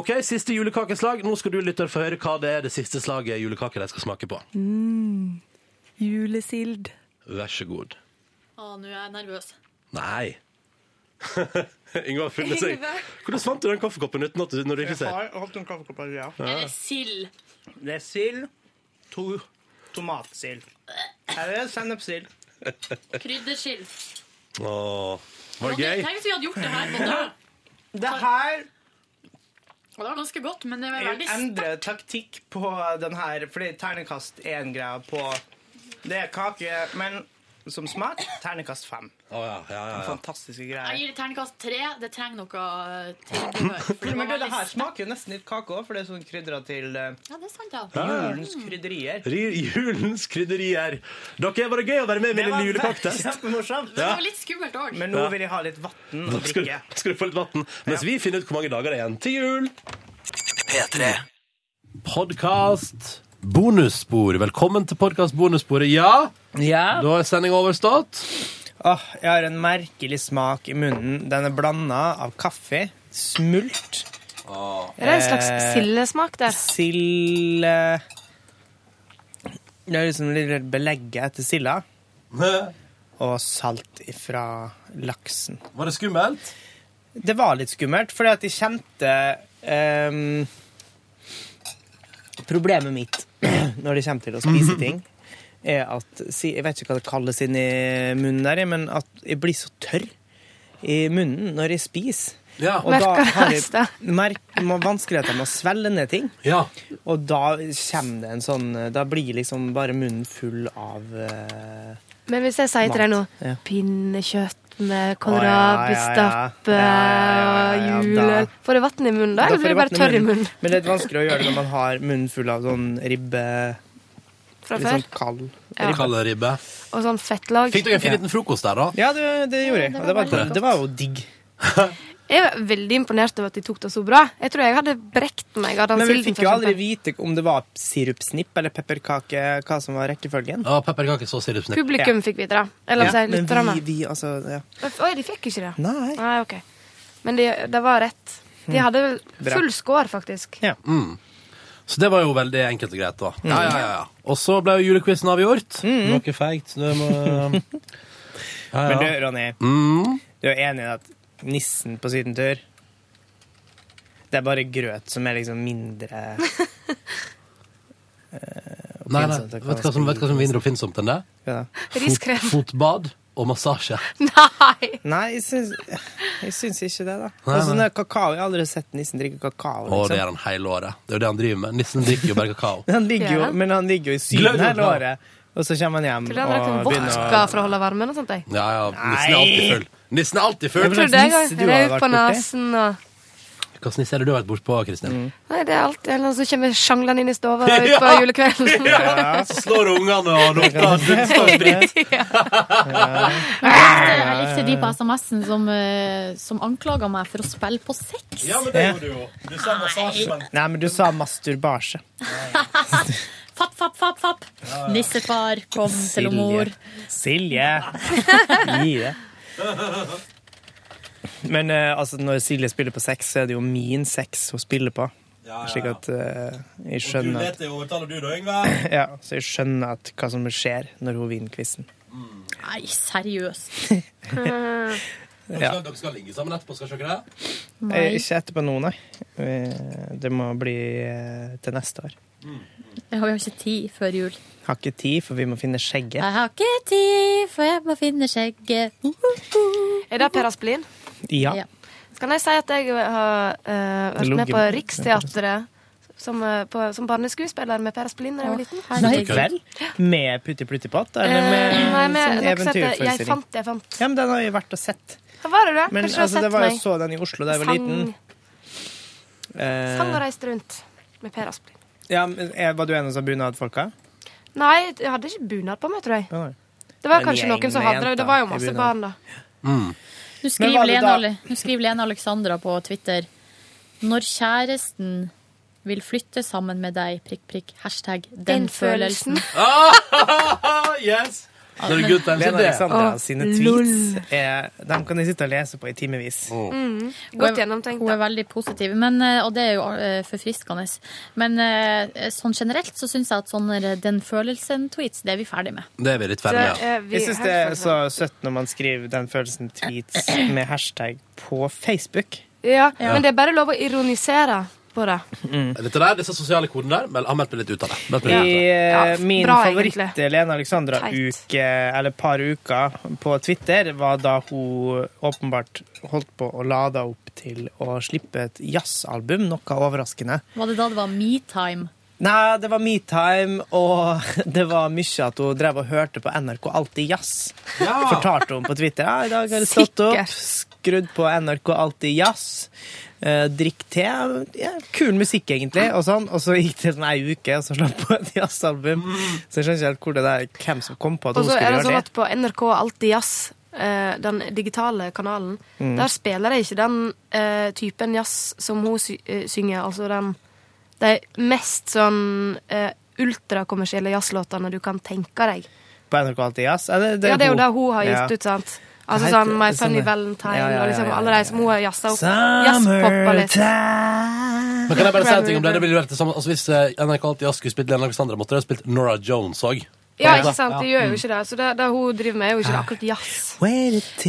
A: OK, siste julekakeslag. Nå skal du lytter få høre hva det er det siste slaget julekake de skal smake på.
M: Mm. Julesild.
A: Vær så god.
D: Å, nå er jeg nervøs.
A: Nei. [LAUGHS] Yngve har funnet seg.
D: Yngve.
A: Hvordan fant du den kaffekoppen uten at du, når du
B: Jeg
A: ikke ser?
B: har holdt en kaffekopp her, ja.
A: Ja. Er
D: det sild?
B: Det er sild. To tomatsild. Eller sennepsild.
D: Kryddersild.
A: Åh, var det
D: Ok,
A: gøy?
D: Tenk hvis vi hadde gjort det her på døren.
B: Det her
D: Og det var ganske godt, men det var
B: Jeg
D: veldig
B: vil endre taktikk på den her, fordi ternekast er en greie på Det er kake, men som smak ternekast fem.
A: Oh, ja, ja, ja, ja.
B: Fantastiske
D: Jeg
B: greier.
D: gir det terningkast tre. Det trenger noe eh, tilbehør. for det
B: Men
D: var
B: det, det
D: veldig
B: her smaker jo nesten litt kake òg, for det er sånn krydra til eh,
D: Ja, det er sant, ja.
B: julens krydderier.
A: Ri- Julens krydderier. Dere, var det gøy å være med i min lille [LAUGHS] julekaktest?
B: [LAUGHS] Kjempemorsomt.
A: Ja.
D: Litt skummelt òg.
B: Men nå vil jeg ha litt vann å
A: Skal,
B: drikke.
A: skal du få litt vann? Mens vi finner ut hvor mange dager det er igjen til jul.
E: P3.
A: Podkast bonusspor. Velkommen til podkast bonussporet. Ja,
B: Ja.
A: da er sendinga overstått.
B: Åh, jeg har en merkelig smak i munnen. Den er blanda av kaffe, smult Eh,
M: Er det en slags sildesmak der?
B: Sild eh, Det er liksom litt belegget etter silda. Og salt fra laksen.
A: Var det skummelt?
B: Det var litt skummelt, fordi at jeg kjente ehm, Problemet mitt [CLEARS THROAT] når det kommer til å spise ting, er at si- Jeg vet ikke hva det kalles inni munnen der, men at jeg blir så tørr i munnen når jeg spiser. Og da
M: Merker
B: har jeg
M: det, Astrid.
B: merk, må- vanskeligheter med å svelge ned ting. Og da kommer det en sånn Da blir liksom bare munnen full av eh,
M: Men hvis jeg sier til deg nå
B: Ja.
M: pinnekjøtt
B: Å,
M: med
B: ja, ja, ja.
M: kålrabistappe og juleøl Får du vann i munnen da,
B: Da
M: eller
B: får
M: blir
B: du
M: du bare
B: vann
M: tørr i munnen?
B: Men det er litt vanskelig å gjøre det når man har munnen full av sånn ribbe
M: Fra
B: Litt
M: før?
B: sånn kald
M: Ja.
B: ribbe.
A: Kald ribbe.
M: Og sånn fettlag.
A: Fikk dere en fin liten frokost der, da?
B: Ja, det, det gjorde jeg.
M: Ja, det
B: Og
M: var
B: Det var,
M: veldig godt.
B: det var jo digg.
M: Jeg er veldig imponert over at de tok det så bra. Jeg tror jeg hadde brekt meg av den
B: Men vi
M: silden.
B: fikk jo aldri vite om det var sirupsnipp eller pepperkake, hva som var rekkefølgen.
A: Ja, pepperkake så sirupsnipp.
M: Publikum fikk vite det. Eller om
B: Ja,
M: jeg lytter
B: Men
M: meg.
B: vi, vi altså ja.
M: Oi, de fikk ikke det?
B: Nei. Hm.
M: ok. Men det de var rett. De hadde vel
A: Bra.
M: full score, faktisk.
A: Mm. Så det var jo veldig enkelt og greit, da. Mm. Ja, ja, ja, Mm. ja. Og så ble jo julequizen avgjort. Noe feigt. så Det [LAUGHS] må ja,
B: Men du,
A: ja.
B: Ronny,
A: Mm.
B: du er enig i at nissen på sydentur Det er bare grøt som er liksom mindre
A: Nei, nei.
B: oppfinnsomt, det kan
A: Vet du hva som, vet du hva som vinner oppfinnsomt enn det? Fot,
M: Riskrem.
A: fotbad og massasje.
M: [LAUGHS] Nei!
B: Nei, jeg syns, jeg syns ikke det, da.
A: Nei,
B: Altså,
A: nei.
B: når kakao, Jeg har aldri sett nissen drikke kakao. liksom.
A: Å, det gjør han hele året. Det er jo det han driver med. Nissen drikker jo bare kakao.
B: Men Han ligger
M: Gjør
B: jo,
M: han?
B: men han ligger jo i
A: Gløgg
B: Syden
A: og
B: hele
A: kakao.
B: året. Og så kommer han hjem
M: Tror du han drakk en
B: og
M: vodka
B: begynner å
M: for å holde varmen og sånt? Jeg,
A: Ja, ja. Nissen er alltid full. Nissen er alltid
M: jeg
A: full.
M: trodde jeg
B: nisse du har
M: røyk
B: vært
M: på
B: borti?
M: nesen og
A: Hva sniss er det Mm. du har vært bortpå, Kristin?
M: Nei, det er alltid en eller annen som kommer sjanglende inn i
B: [LAUGHS]
M: stua utpå
A: Ja.
M: julekvelden. [LAUGHS]
A: Ja. Slår ungene [LAUGHS] og lukter
D: Jeg
B: eh,
D: likte de på SMS-en som, eh, som anklaga meg for å spille på sex.
A: Ja, men det gjorde du jo. Du sa massasje, men
B: Nei, men du sa masturbasje.
D: Fapp, fapp, fapp, fapp. Nissefar, kom til mor.
B: Silje. [LAUGHS] Gi det. Men eh, altså, når Silje spiller på sex, så er det jo min sex hun spiller på.
A: Ja, ja,
B: Slik
A: ja.
B: at eh, jeg skjønner at,
A: jo overtaler du, da, Yngve.
B: ja, Så jeg skjønner at hva som skjer når hun vinner quizen.
D: Nei, seriøst.
A: Dere skal, dere skal ligge sammen etterpå, skal dere ikke det?
B: Eh, Ikke etterpå nå, nei. Eh, Det må bli eh, til neste år.
D: Jeg har jo ikke tid før jul.
B: Har ikke tid, for vi må finne skjegget.
D: Jeg har ikke tid, for jeg må finne skjegget.
M: Er det Per Asplin?
B: Ja.
D: Ja.
M: Kan jeg si at jeg har eh, vært med på Riksteatret som, eh, på- som barneskuespiller med Per Asplin da jeg var liten?
B: Nei vel? Med Putti Plutti Pott, eller med,
M: Eh, Nei, med
B: sånn
M: noe som heter Jeg
B: eventyrforestilling?
M: fant, jeg fant.
B: Ja, men den har jo vært og sett.
M: Hva var det, da?
B: Men
M: Kanskje du har
B: altså, det
M: sett
B: var jo
M: meg?
B: så den i Oslo da jeg var
M: Sang.
B: liten. Eh,
M: Sang og reiste rundt med Per Asplin.
B: ja, men er- var du en av de bunadfolka?
M: Nei, jeg hadde ikke bunad på meg, tror jeg.
B: Ja, nei.
M: Det var
B: Men
M: kanskje
B: gjeng
M: noen som
B: med
M: hadde det. Det
B: jenter
M: var jo
B: i
M: masse
B: bunad.
M: barn, da.
D: Nå
B: Men var
D: skriver,
B: det
D: Lena,
B: da-
D: Ale- nå skriver Lena Alexandra på Twitter Når kjæresten vil flytte sammen med deg, prikk, prikk, hashtag den
M: Den følelsen.
D: følelsen.
A: Ah, yes! Det er good times
B: Lena
A: in det.
B: Alexandra
M: Å,
B: sine
M: lol.
B: tweets er, dem kan jeg sitte og lese på i timevis.
M: Mm.
D: Hun
M: Godt
D: er-
M: gjennomtenkt.
D: Hun er
M: da.
D: veldig positiv, men, eh, og det er jo eh, forfriskende. Men eh, sånn generelt så syns jeg at sånn eh, den følelsen-tweets, det er vi ferdig med.
A: Det er vi litt ferdig med.
M: Det er Eh, vi
B: Jeg syns
M: helt
B: det er så
M: ferdig
B: søtt når man skriver den følelsen tweets med hashtag på Facebook.
M: med. ja, Men det er bare lov å ironisere på det.
A: Dette der, disse sosiale kodene der, meld, jeg meldte meg litt ut av det. Meldt meg
B: I
A: litt ut av det.
M: Ja,
B: eh, min
M: bra,
B: favoritt
M: egentlig.
B: Lene Alexandra-uke, eller par uker, på Twitter, var da hun åpenbart holdt på å lade opp til å slippe et jazzalbum, noe overraskende.
D: Var det da det var me-time?
B: Nei, det var metime, og [LAUGHS] det var mye at hun drev og hørte på NRK Alltid Jazz. Fortalte hun på Twitter. Ja, i dag har jeg stått opp, skrudd på NRK Alltid Jazz, eh, drikk te. Ja, kul musikk, egentlig, og sånn. Og så gikk det sånn ei uke, og så slapp hun et jazzalbum. Så jeg skjønner ikke helt hvor det der, hvem som kom på at
M: Og
B: hun
M: så
B: skulle
M: er det sånn
B: gjøre
M: at
B: det.
M: på NRK Alltid Jazz, eh, den digitale kanalen,
B: Mm.
M: der spiller de ikke den eh, typen jazz som hun sy eh, synger, altså den de mest sånn eh, ultrakommersielle jazzlåtene du kan tenke deg.
B: På NRK Alltid Jazz? Er
M: ja, det er jo
B: hun?
M: det hun har gitt
B: Ja.
M: ut, sant? Altså
B: Det
M: sånn
B: heter-
M: My Funny
B: sånn-
M: Valentine
B: Ja, ja, ja,
M: og liksom
B: ja,
M: alle de som hun har jazza opp. sånn Jazzpoppa litt.
A: Summertime Men kan jeg bare si en ting om det? det ville vært det samme altså, Hvis eh, NRK alltid Jazz skulle spilt Lene Alexandra, måtte de ha spilt Nora Jones òg.
M: Ja, ikke sant? Det gjør jo ikke det. Så det, det hun driver med, er jo ikke akkurat jazz.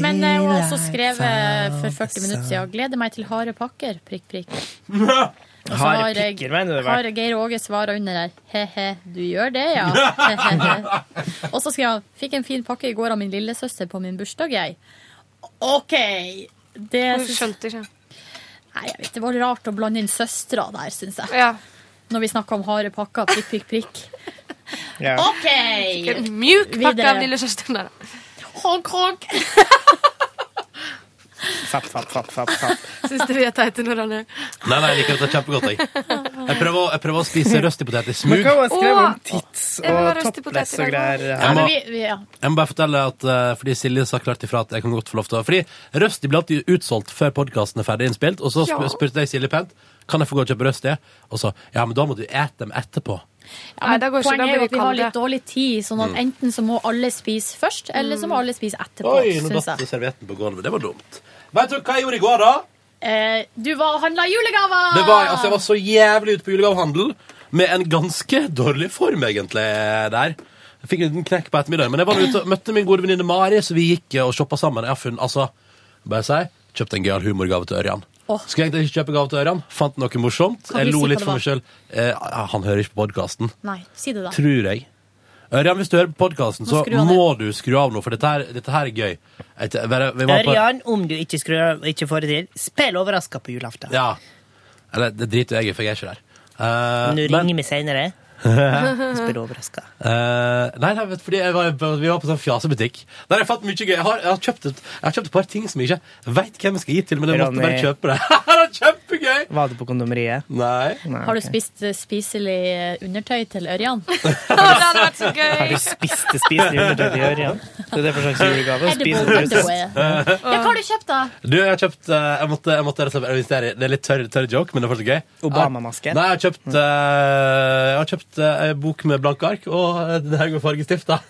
D: Men eh, hun har også skrevet
M: altså.
D: for 40 minutter siden 'Gleder meg til harde pakker', prikk,
B: [LAUGHS]
D: prikk. Og
B: Harde
D: så har jeg-
B: pikker, mener du vel?
D: Har Geir Åge svaret under her. He-he, du gjør det,
B: [LAUGHS]
D: ja. og så skrev han 'Fikk en fin pakke i går av min lillesøster på min bursdag, jeg'. OK! Det
M: Hun skjønte ikke.
D: Nei, jeg vet, Det var rart å blande inn søstera der, syns jeg.
M: Ja.
D: Når vi snakker om harde pakker, prikk, prikk, prikk. OK!
M: En mjuk pakke
D: Videre.
M: av lillesøsteren der.
D: Honk, honk.
B: Fapp, fapp, fapp, fapp, fapp.
M: Syns du vi er teite når han er
A: Nei, nei, jeg liker dette kjempegodt, jeg. Jeg prøver, å- jeg prøver å spise røstipotet i smug.
B: Men hva var det skrevet om
A: Åh.
B: tits
A: Jeg vil ha
B: og
A: røstipotet i
B: topless og
A: dag.
B: greier?
A: Ja, men vi-
D: vi, ja.
A: Jeg må bare fortelle at eh, fordi Silje sa klart ifra at jeg kan godt få lov til å Fordi Røsti blir alltid utsolgt før podkasten er ferdig innspilt, og så sp
D: Ja.
A: spurte jeg Silje pent kan jeg få gå og kjøpe Røsti, og så ja, men da må du ete dem etterpå.
D: Ja, men
M: det går ikke, da
D: poenget er
M: blir
D: jo
M: vi
D: at vi har
M: kalde.
D: litt dårlig tid, sånn at
A: Mm.
D: enten så må alle spise først, eller
M: Mm.
D: så må alle spise etterpå.
A: Oi, nå
D: synes
A: datt
D: jeg.
A: servietten på gulvet. Det var dumt. Vet du hva jeg gjorde i går, da?
D: Eh, du var og handla julegaver!
A: Det var, altså, jeg var så jævlig ute på julegavehandel med en ganske dårlig form, egentlig, der. Jeg fikk en liten knekk på ettermiddagen, men jeg var ute og møtte min gode venninne Mari, så vi gikk eh, og shoppa sammen. Jeg har funnet, altså, bare si, kjøpte en gøyal humorgave til Ørjan.
D: Åh.
A: Skulle egentlig ikke kjøpe gave til Ørjan, fant noe morsomt.
D: Kan
A: Jeg
D: du
A: lo
D: si hva
A: litt
D: det
A: for
D: var?
A: meg sjøl. Eh, han hører ikke på podkasten,
D: Nei, si det, da.
A: tror jeg. Ørjan, hvis du hører på podkasten,
D: Må
A: så
D: skru av
A: må du skru av nå, for dette her, dette her er gøy. Jeg te- bare- vi var på-
B: Ørjan, om du ikke, skrur, ikke får det til, spill overraska på julaften.
A: Ja. Eller, det driter jeg i, for jeg er ikke der. Eh,
B: Nå
A: men-
B: ringer vi seinere. [LAUGHS] Spill overraska.
A: Eh, nei, nei, vet, du, fordi jeg var, vi var på sånn fjasebutikk. Der jeg fant mye gøy. Jeg har, jeg har, kjøpt, et, jeg har kjøpt et par ting som jeg ikke veit hvem jeg skal gi til, men jeg måtte
B: Ronny.
A: bare kjøpe det. [LAUGHS] det er kjempegøy!
B: Var du på kondomeriet?
A: Nei.
D: Har du spist eh, spiselig eh, undertøy til Ørjan?
M: Det hadde vært så
B: Har du
M: gøy!
B: spist det spist undertøy til Ørjan? Det er det for slags julegave.
D: Edible
B: Spis
A: [LAUGHS]
D: underwear. Ja, hva har du kjøpt, da?
A: Du, jeg har kjøpt eh, Jeg måtte, jeg måtte rett og slett investere i Det er litt tørr, tørr joke, men det er fortsatt gøy.
B: Obamamaske.
A: Nei, jeg har kjøpt eh, Jeg har kjøpt eh, ei bok med blanke ark og eh, den her med fargestifter.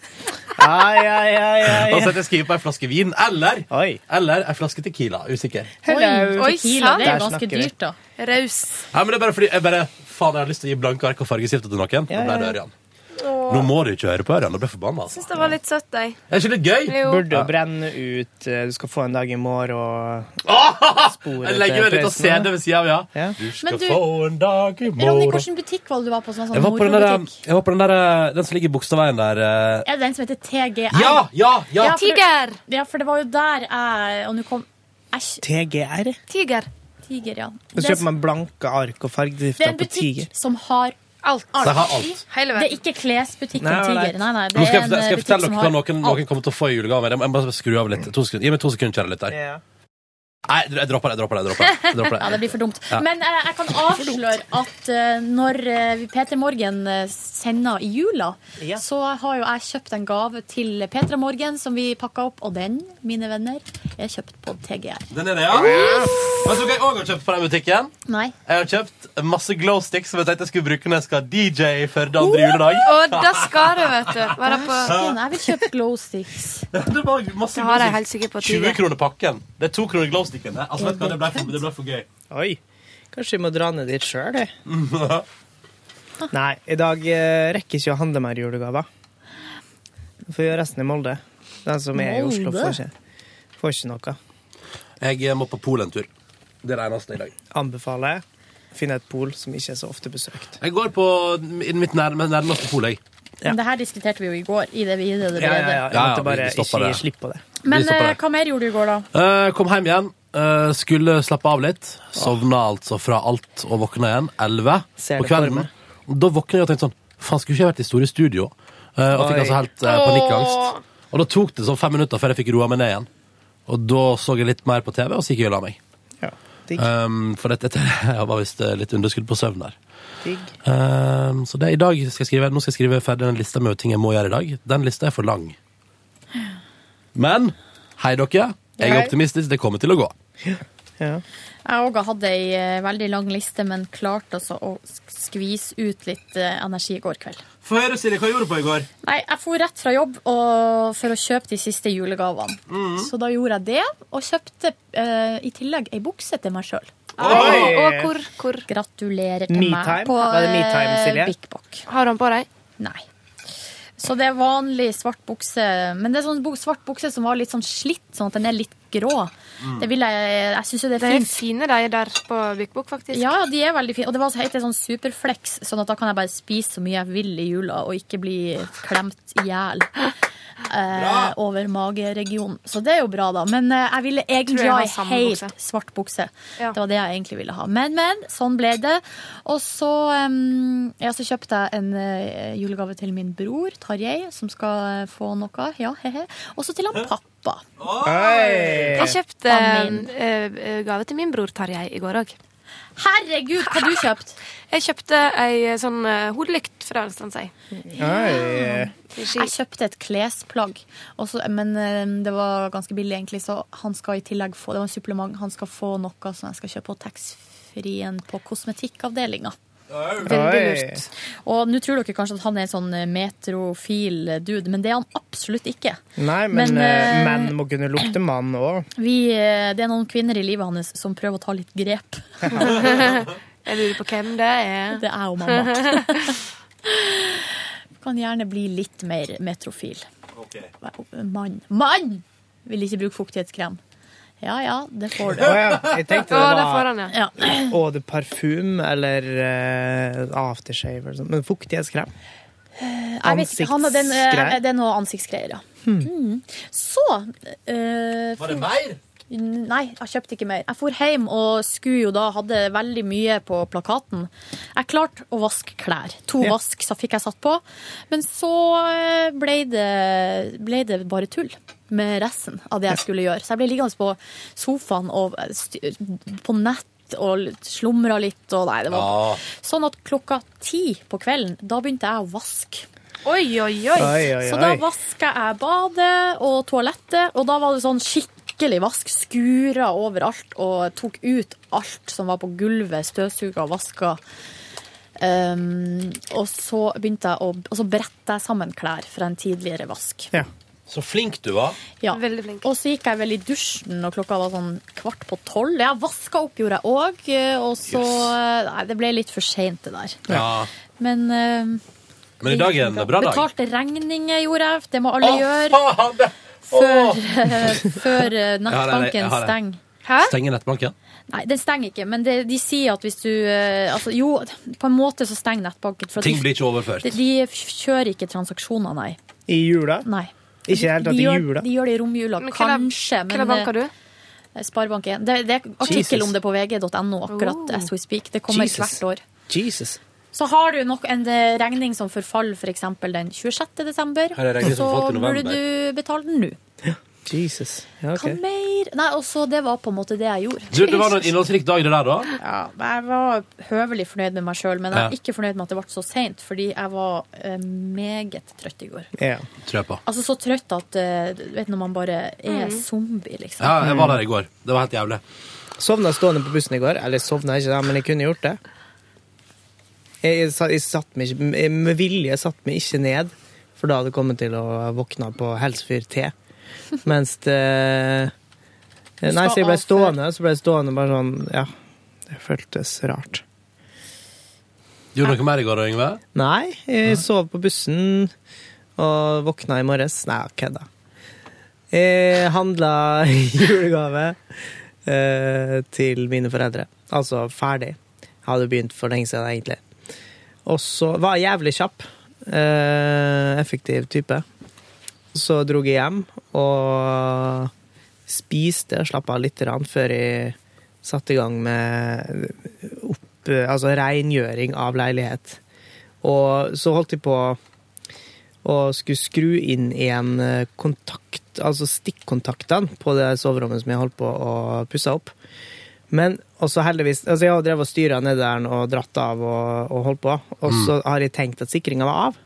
B: Ai, ai, ai, ai.
A: Og så at jeg skriver på ei flaske vin eller, eller ei flaske Tequila. Usikker.
M: Hello. Oi,
D: Tequila, det er
A: Der
D: jo ganske
A: snakker vi.
D: dyrt, da.
M: Raus.
A: Ja, men det er bare fordi jeg bare Faen, jeg har lyst til å gi blanke ark og fargestifter til noen. Da
M: Ja,
A: ble
M: ja,
A: det
M: ja.
A: Ørjan. Nå må du ikke høre på Ørjan. Da blir jeg forbanna. Altså.
M: Syns det var litt søtt, jeg.
A: Er ikke det gøy?
M: Jo.
B: Burde jo brenne ut eh, Du skal få en dag i morgen og sporet
A: Jeg legger meg litt og ser det ved siden av, ja. Du
D: Men
A: skal
D: du-
A: få en dag i
D: Ronny,
A: morgen
D: hvilken butikk var det du var på? Sånn, sånn,
A: Jeg var på den der,
D: morobutikk?
A: jeg var på den der eh, Den som ligger i Bogstadveien der. eh.
D: Er det den som heter TGR?
A: Ja, ja, ja.
D: for- Ja, for det var jo der jeg Og nå kom Æsj.
B: TGR?
M: Tiger.
D: Tiger, ja.
B: Så
D: Det er-
B: kjøper man blanke ark og
D: Det er
B: fargedrifter
D: en
B: på
D: butikk
B: tiger.
D: som har alt.
A: Den har alt.
D: Det er ikke klesbutikken
A: Nei, nei, nei.
D: Tiger. Nei, nei, det
A: Nå skal
D: er
A: jeg,
D: en eh,
A: skal jeg
D: butikk
A: fortelle
D: som
A: dere hva
D: har
A: noen, noen kommer til å få i julegave. Jeg må bare skru av litt. To sekunder. Gi meg to sekunder, kjære lytter. Nei, jeg dropper det. jeg dropper det, jeg dropper det. Jeg dropper det.
D: [LAUGHS] ja, det blir for dumt.
A: Ja.
D: Men eh, jeg kan avsløre at eh, når eh, P3 Morgen eh, sender i jula, så har jo jeg kjøpt en gave til P3 Morgen som vi pakka opp, og den, mine venner, er kjøpt på TGR.
A: Den er det, ja. Vet du hva jeg òg har kjøpt på den butikken?
D: Nei.
A: Jeg har kjøpt masse glow sticks som jeg tenkte jeg skulle bruke når jeg skal DJ første andre juledag.
M: Og da skal du, vet du. Være på
D: Æsken, jeg vil kjøpe glow sticks.
A: [LAUGHS] Det var masse
M: Det har jeg helt sikkert på
A: 20
M: tiger.
A: kroner pakken. Det er 2 kroner glowsticken. det. Altså, vet du hva, det ble for, det ble for gøy. [LAUGHS]
B: Oi. Kanskje vi må dra ned dit sjøl, jeg. Nei, i dag eh, rekker ikke å handle mer julegaver. Vi får gjøre resten i Molde. Den som er i Oslo,
A: Molde?
B: får ikke, får ikke noe.
A: Jeg eh, må på Polen-tur. Det er det eneste i dag.
B: Anbefaler finne et pol som ikke er så ofte besøkt.
A: Jeg går på i mitt nær, men nærmeste pol, jeg.
D: Men Det her diskuterte vi jo i går. i det videre, det
B: Ja, ja,
D: brede.
B: ja. Jeg
A: Ja, ja,
B: måtte bare
A: vi stopper
B: ikke
A: det.
B: gi slipp på det.
D: Men
A: Vi stopper
D: eh,
A: der.
D: hva mer gjorde du i går, da?
A: Eh, kom hjem igjen. Eh, skulle slappe av litt. Sovna altså fra alt og våkna igjen elleve
B: Ser
A: på
B: det for
A: kvelden.
B: meg.
A: Da våkna jeg og tenkte sånn Faen, skulle ikke jeg vært i store studio? Eh, og fikk
B: Oi.
A: altså helt eh, panikkangst. Og da tok det sånn fem minutter før jeg fikk roa meg ned igjen. Og da så jeg litt mer på TV, og så gikk jeg og la meg. Um, for dette, [LAUGHS] jeg var visst eh, litt underskudd på søvn der.
B: Digg.
A: Um, så det, i dag skal jeg skrive, nå skal jeg skrive ferdig den lista med ting jeg må gjøre i dag. Den lista er for lang. Men hei, dere. Jeg er
B: Hei.
A: optimistisk. Det kommer til å gå.
B: Ja.
D: Jeg òg hadde ei eh, veldig lang liste, men klarte altså å sk- skvise ut litt eh, energi i går kveld.
N: Få høre, Silje, hva gjorde du på i går?
D: Nei, jeg for rett fra jobb og, for å kjøpe de siste julegavene.
N: Mm.
D: Så da gjorde jeg det, og kjøpte eh, i tillegg ei bukse til meg sjøl.
M: Oi! Og hvor-
D: Gratulerer til
M: Me
D: meg
M: time?
D: på
M: Var det me time,
D: eh,
M: Silje?
D: Big Bock. Har han på deg? Nei. Så det er vanlig svart bukse, men det er sånn bo- svart bukse som var litt sånn slitt, sånn at den er litt grå.
M: Mm.
D: Det vil jeg, jeg synes jo det er
M: Det er
D: fint.
M: fine de der på Big Book, faktisk.
D: Ja, de er veldig fine. Og det var så helt en sånn superflex, sånn at da kan jeg bare spise så mye jeg vil i jula og ikke bli klemt i hjel. Eh, over mageregionen. Så det er jo bra, da. Men eh, jeg ville
M: Tror
D: egentlig
M: jeg
D: ha
M: har
D: ei
M: samme
D: helt
M: bukse.
D: svart bukse.
M: Ja.
D: Det var det jeg egentlig ville ha. Men, men, sånn ble det. Og så, em, ja, så kjøpte jeg en eh, julegave til min bror, Tarjei, som skal eh, få noe. Ja, he-he. Og så til han pappa.
M: Jeg kjøpte
D: Amen.
M: eh, gave til min bror Tarjei i går òg.
D: Herregud, hva du kjøpt?
M: Jeg kjøpte ei sånn eh, hodelykt fra Ørnstrandsøy.
D: Ja. Jeg kjøpte et klesplagg, og så- men eh, det var ganske billig, egentlig. Så han skal i tillegg få Det var en supplement. Han skal få noe som jeg skal kjøpe på taxfree-en på kosmetikkavdelinga.
M: Veldig lurt.
D: Og nå tror dere kanskje at han er en sånn eh, metrofil dude, men det er han absolutt ikke.
B: Nei, men,
D: Men,
B: eh,
D: eh,
B: menn må kunne lukte mann òg.
D: Vi, eh, det er noen kvinner i livet hans som prøver å ta litt grep.
M: Jeg lurer på hvem det er.
D: Det er jo mamma. Kan gjerne bli litt mer metrofil. Mann. Mann! Vil ikke bruke fuktighetskrem. Ja ja, det får du.
B: Å ja, jeg tenkte det Å, det var- får han,
D: ja.
B: Og det parfyme eller eh, aftershave eller sånt. Men fuktighetskrem.
D: Jeg vet ikke, han, den, eh,
B: Ansiktsgreier.
D: det er noe ansiktsgreier, ja. Mm. Så eh,
B: Var det
D: fin-
B: mer?
D: Nei, jeg kjøpte ikke mer. Jeg for hjem og skulle jo da hadde veldig mye på plakaten. Jeg klarte å vaske klær. To
M: Ja.
D: vask så fikk jeg satt på. Men så eh, ble det, ble det bare tull med resten av det jeg skulle gjøre. Så jeg ble liggende på sofaen og eh, styr, på nett. Og slumra litt. Og nei, det var.
M: Ah.
D: Sånn at klokka ti på kvelden, da begynte jeg å vaske.
M: Oi, oi, oi.
D: Oi, Så da vaska jeg badet og toalettet, og da var det sånn skikkelig vask. Skura overalt og tok ut alt som var på gulvet. Støvsuga og vaska. Um, og så begynte jeg å Og så bretta jeg sammen klær fra en tidligere vask.
B: Ja.
A: Så flink du var.
D: Ja. Og så gikk jeg vel i dusjen, og klokka var sånn kvart på tolv. Ja, vaska opp gjorde jeg òg, og så Nei, det ble litt for seint, det der.
A: Ja.
D: Men um,
A: Men i dag er en bra dag.
D: Betalte regninger gjorde jeg. Det må alle gjøre. Før, før eh, nettbanken
A: Jeg har det, jeg har det.
D: stenger.
A: Stenge nettbanken.
D: Nei, den stenger ikke, men det, de sier at hvis du eh, altså, Jo, på en måte så stenger nettbanken. for at
A: Ting
D: de-
A: blir ikke overført.
D: De, de f- kjører ikke transaksjoner, nei.
B: I jula?
D: Nei.
B: Ikke helt
D: De,
B: at i
D: gjør,
B: jula.
D: de gjør det i romjula,
M: Men hva er-
D: kanskje.
M: hva er banker du?
D: Sparebank1. Det, det er artikkel
B: Jesus.
D: om det på vg.no akkurat
M: Oh.
D: as we speak. Det kommer
B: Jesus.
D: hvert år.
B: Jesus.
D: Så har du nok en eh, regning som forfaller f.eks. den 26. desember,
B: Her er regning som
D: så
B: forfalt i
D: burde
B: november.
D: du betale den nå.
B: Jesus. Ja,
D: Hva
B: ok.
D: mer? Nei, og så det var på en måte det jeg gjorde.
A: Du, det var en innholdsrik dag, det der, da.
D: Ja, jeg var høvelig fornøyd med meg sjøl, men jeg
A: Ja.
D: er ikke fornøyd med at det ble så seint, fordi jeg var eh, meget trøtt i går.
B: Ja.
A: Tror jeg på.
D: Altså så trøtt at eh, du vet når man bare er zombie, liksom.
A: Ja, jeg var der i går. Det var helt jævlig.
B: Sovna stående på bussen i går. Eller sovna ikke, da, men jeg kunne gjort det. Jeg, jeg, sa- jeg satt meg ikke jeg, Med vilje satt meg ikke ned, for da hadde jeg kommet til å våkne på helsefyr te. Mens det Nei, så jeg ble stående, så ble jeg stående bare sånn Ja. Det føltes rart.
A: Gjorde du noe mer i går, Yngve?
B: Nei, jeg sov på bussen og våkna i morges. Nei, kødda. Jeg handla [LAUGHS] julegave eh, til mine foreldre. Altså ferdig. Jeg hadde begynt for lenge siden, egentlig. Og så var jeg jævlig kjapp. eh, effektiv type. Så dro jeg hjem og spiste og slappa av litt grann før jeg satte i gang med opp, altså rengjøring av leilighet. Og så holdt jeg på å skulle skru inn igjen kontakt, altså stikkontaktene på det soverommet som jeg holdt på å pusse opp. Men også heldigvis altså Jeg har drevet og styra ned der og dratt av og, og holdt på, og så har jeg tenkt at sikringa var av.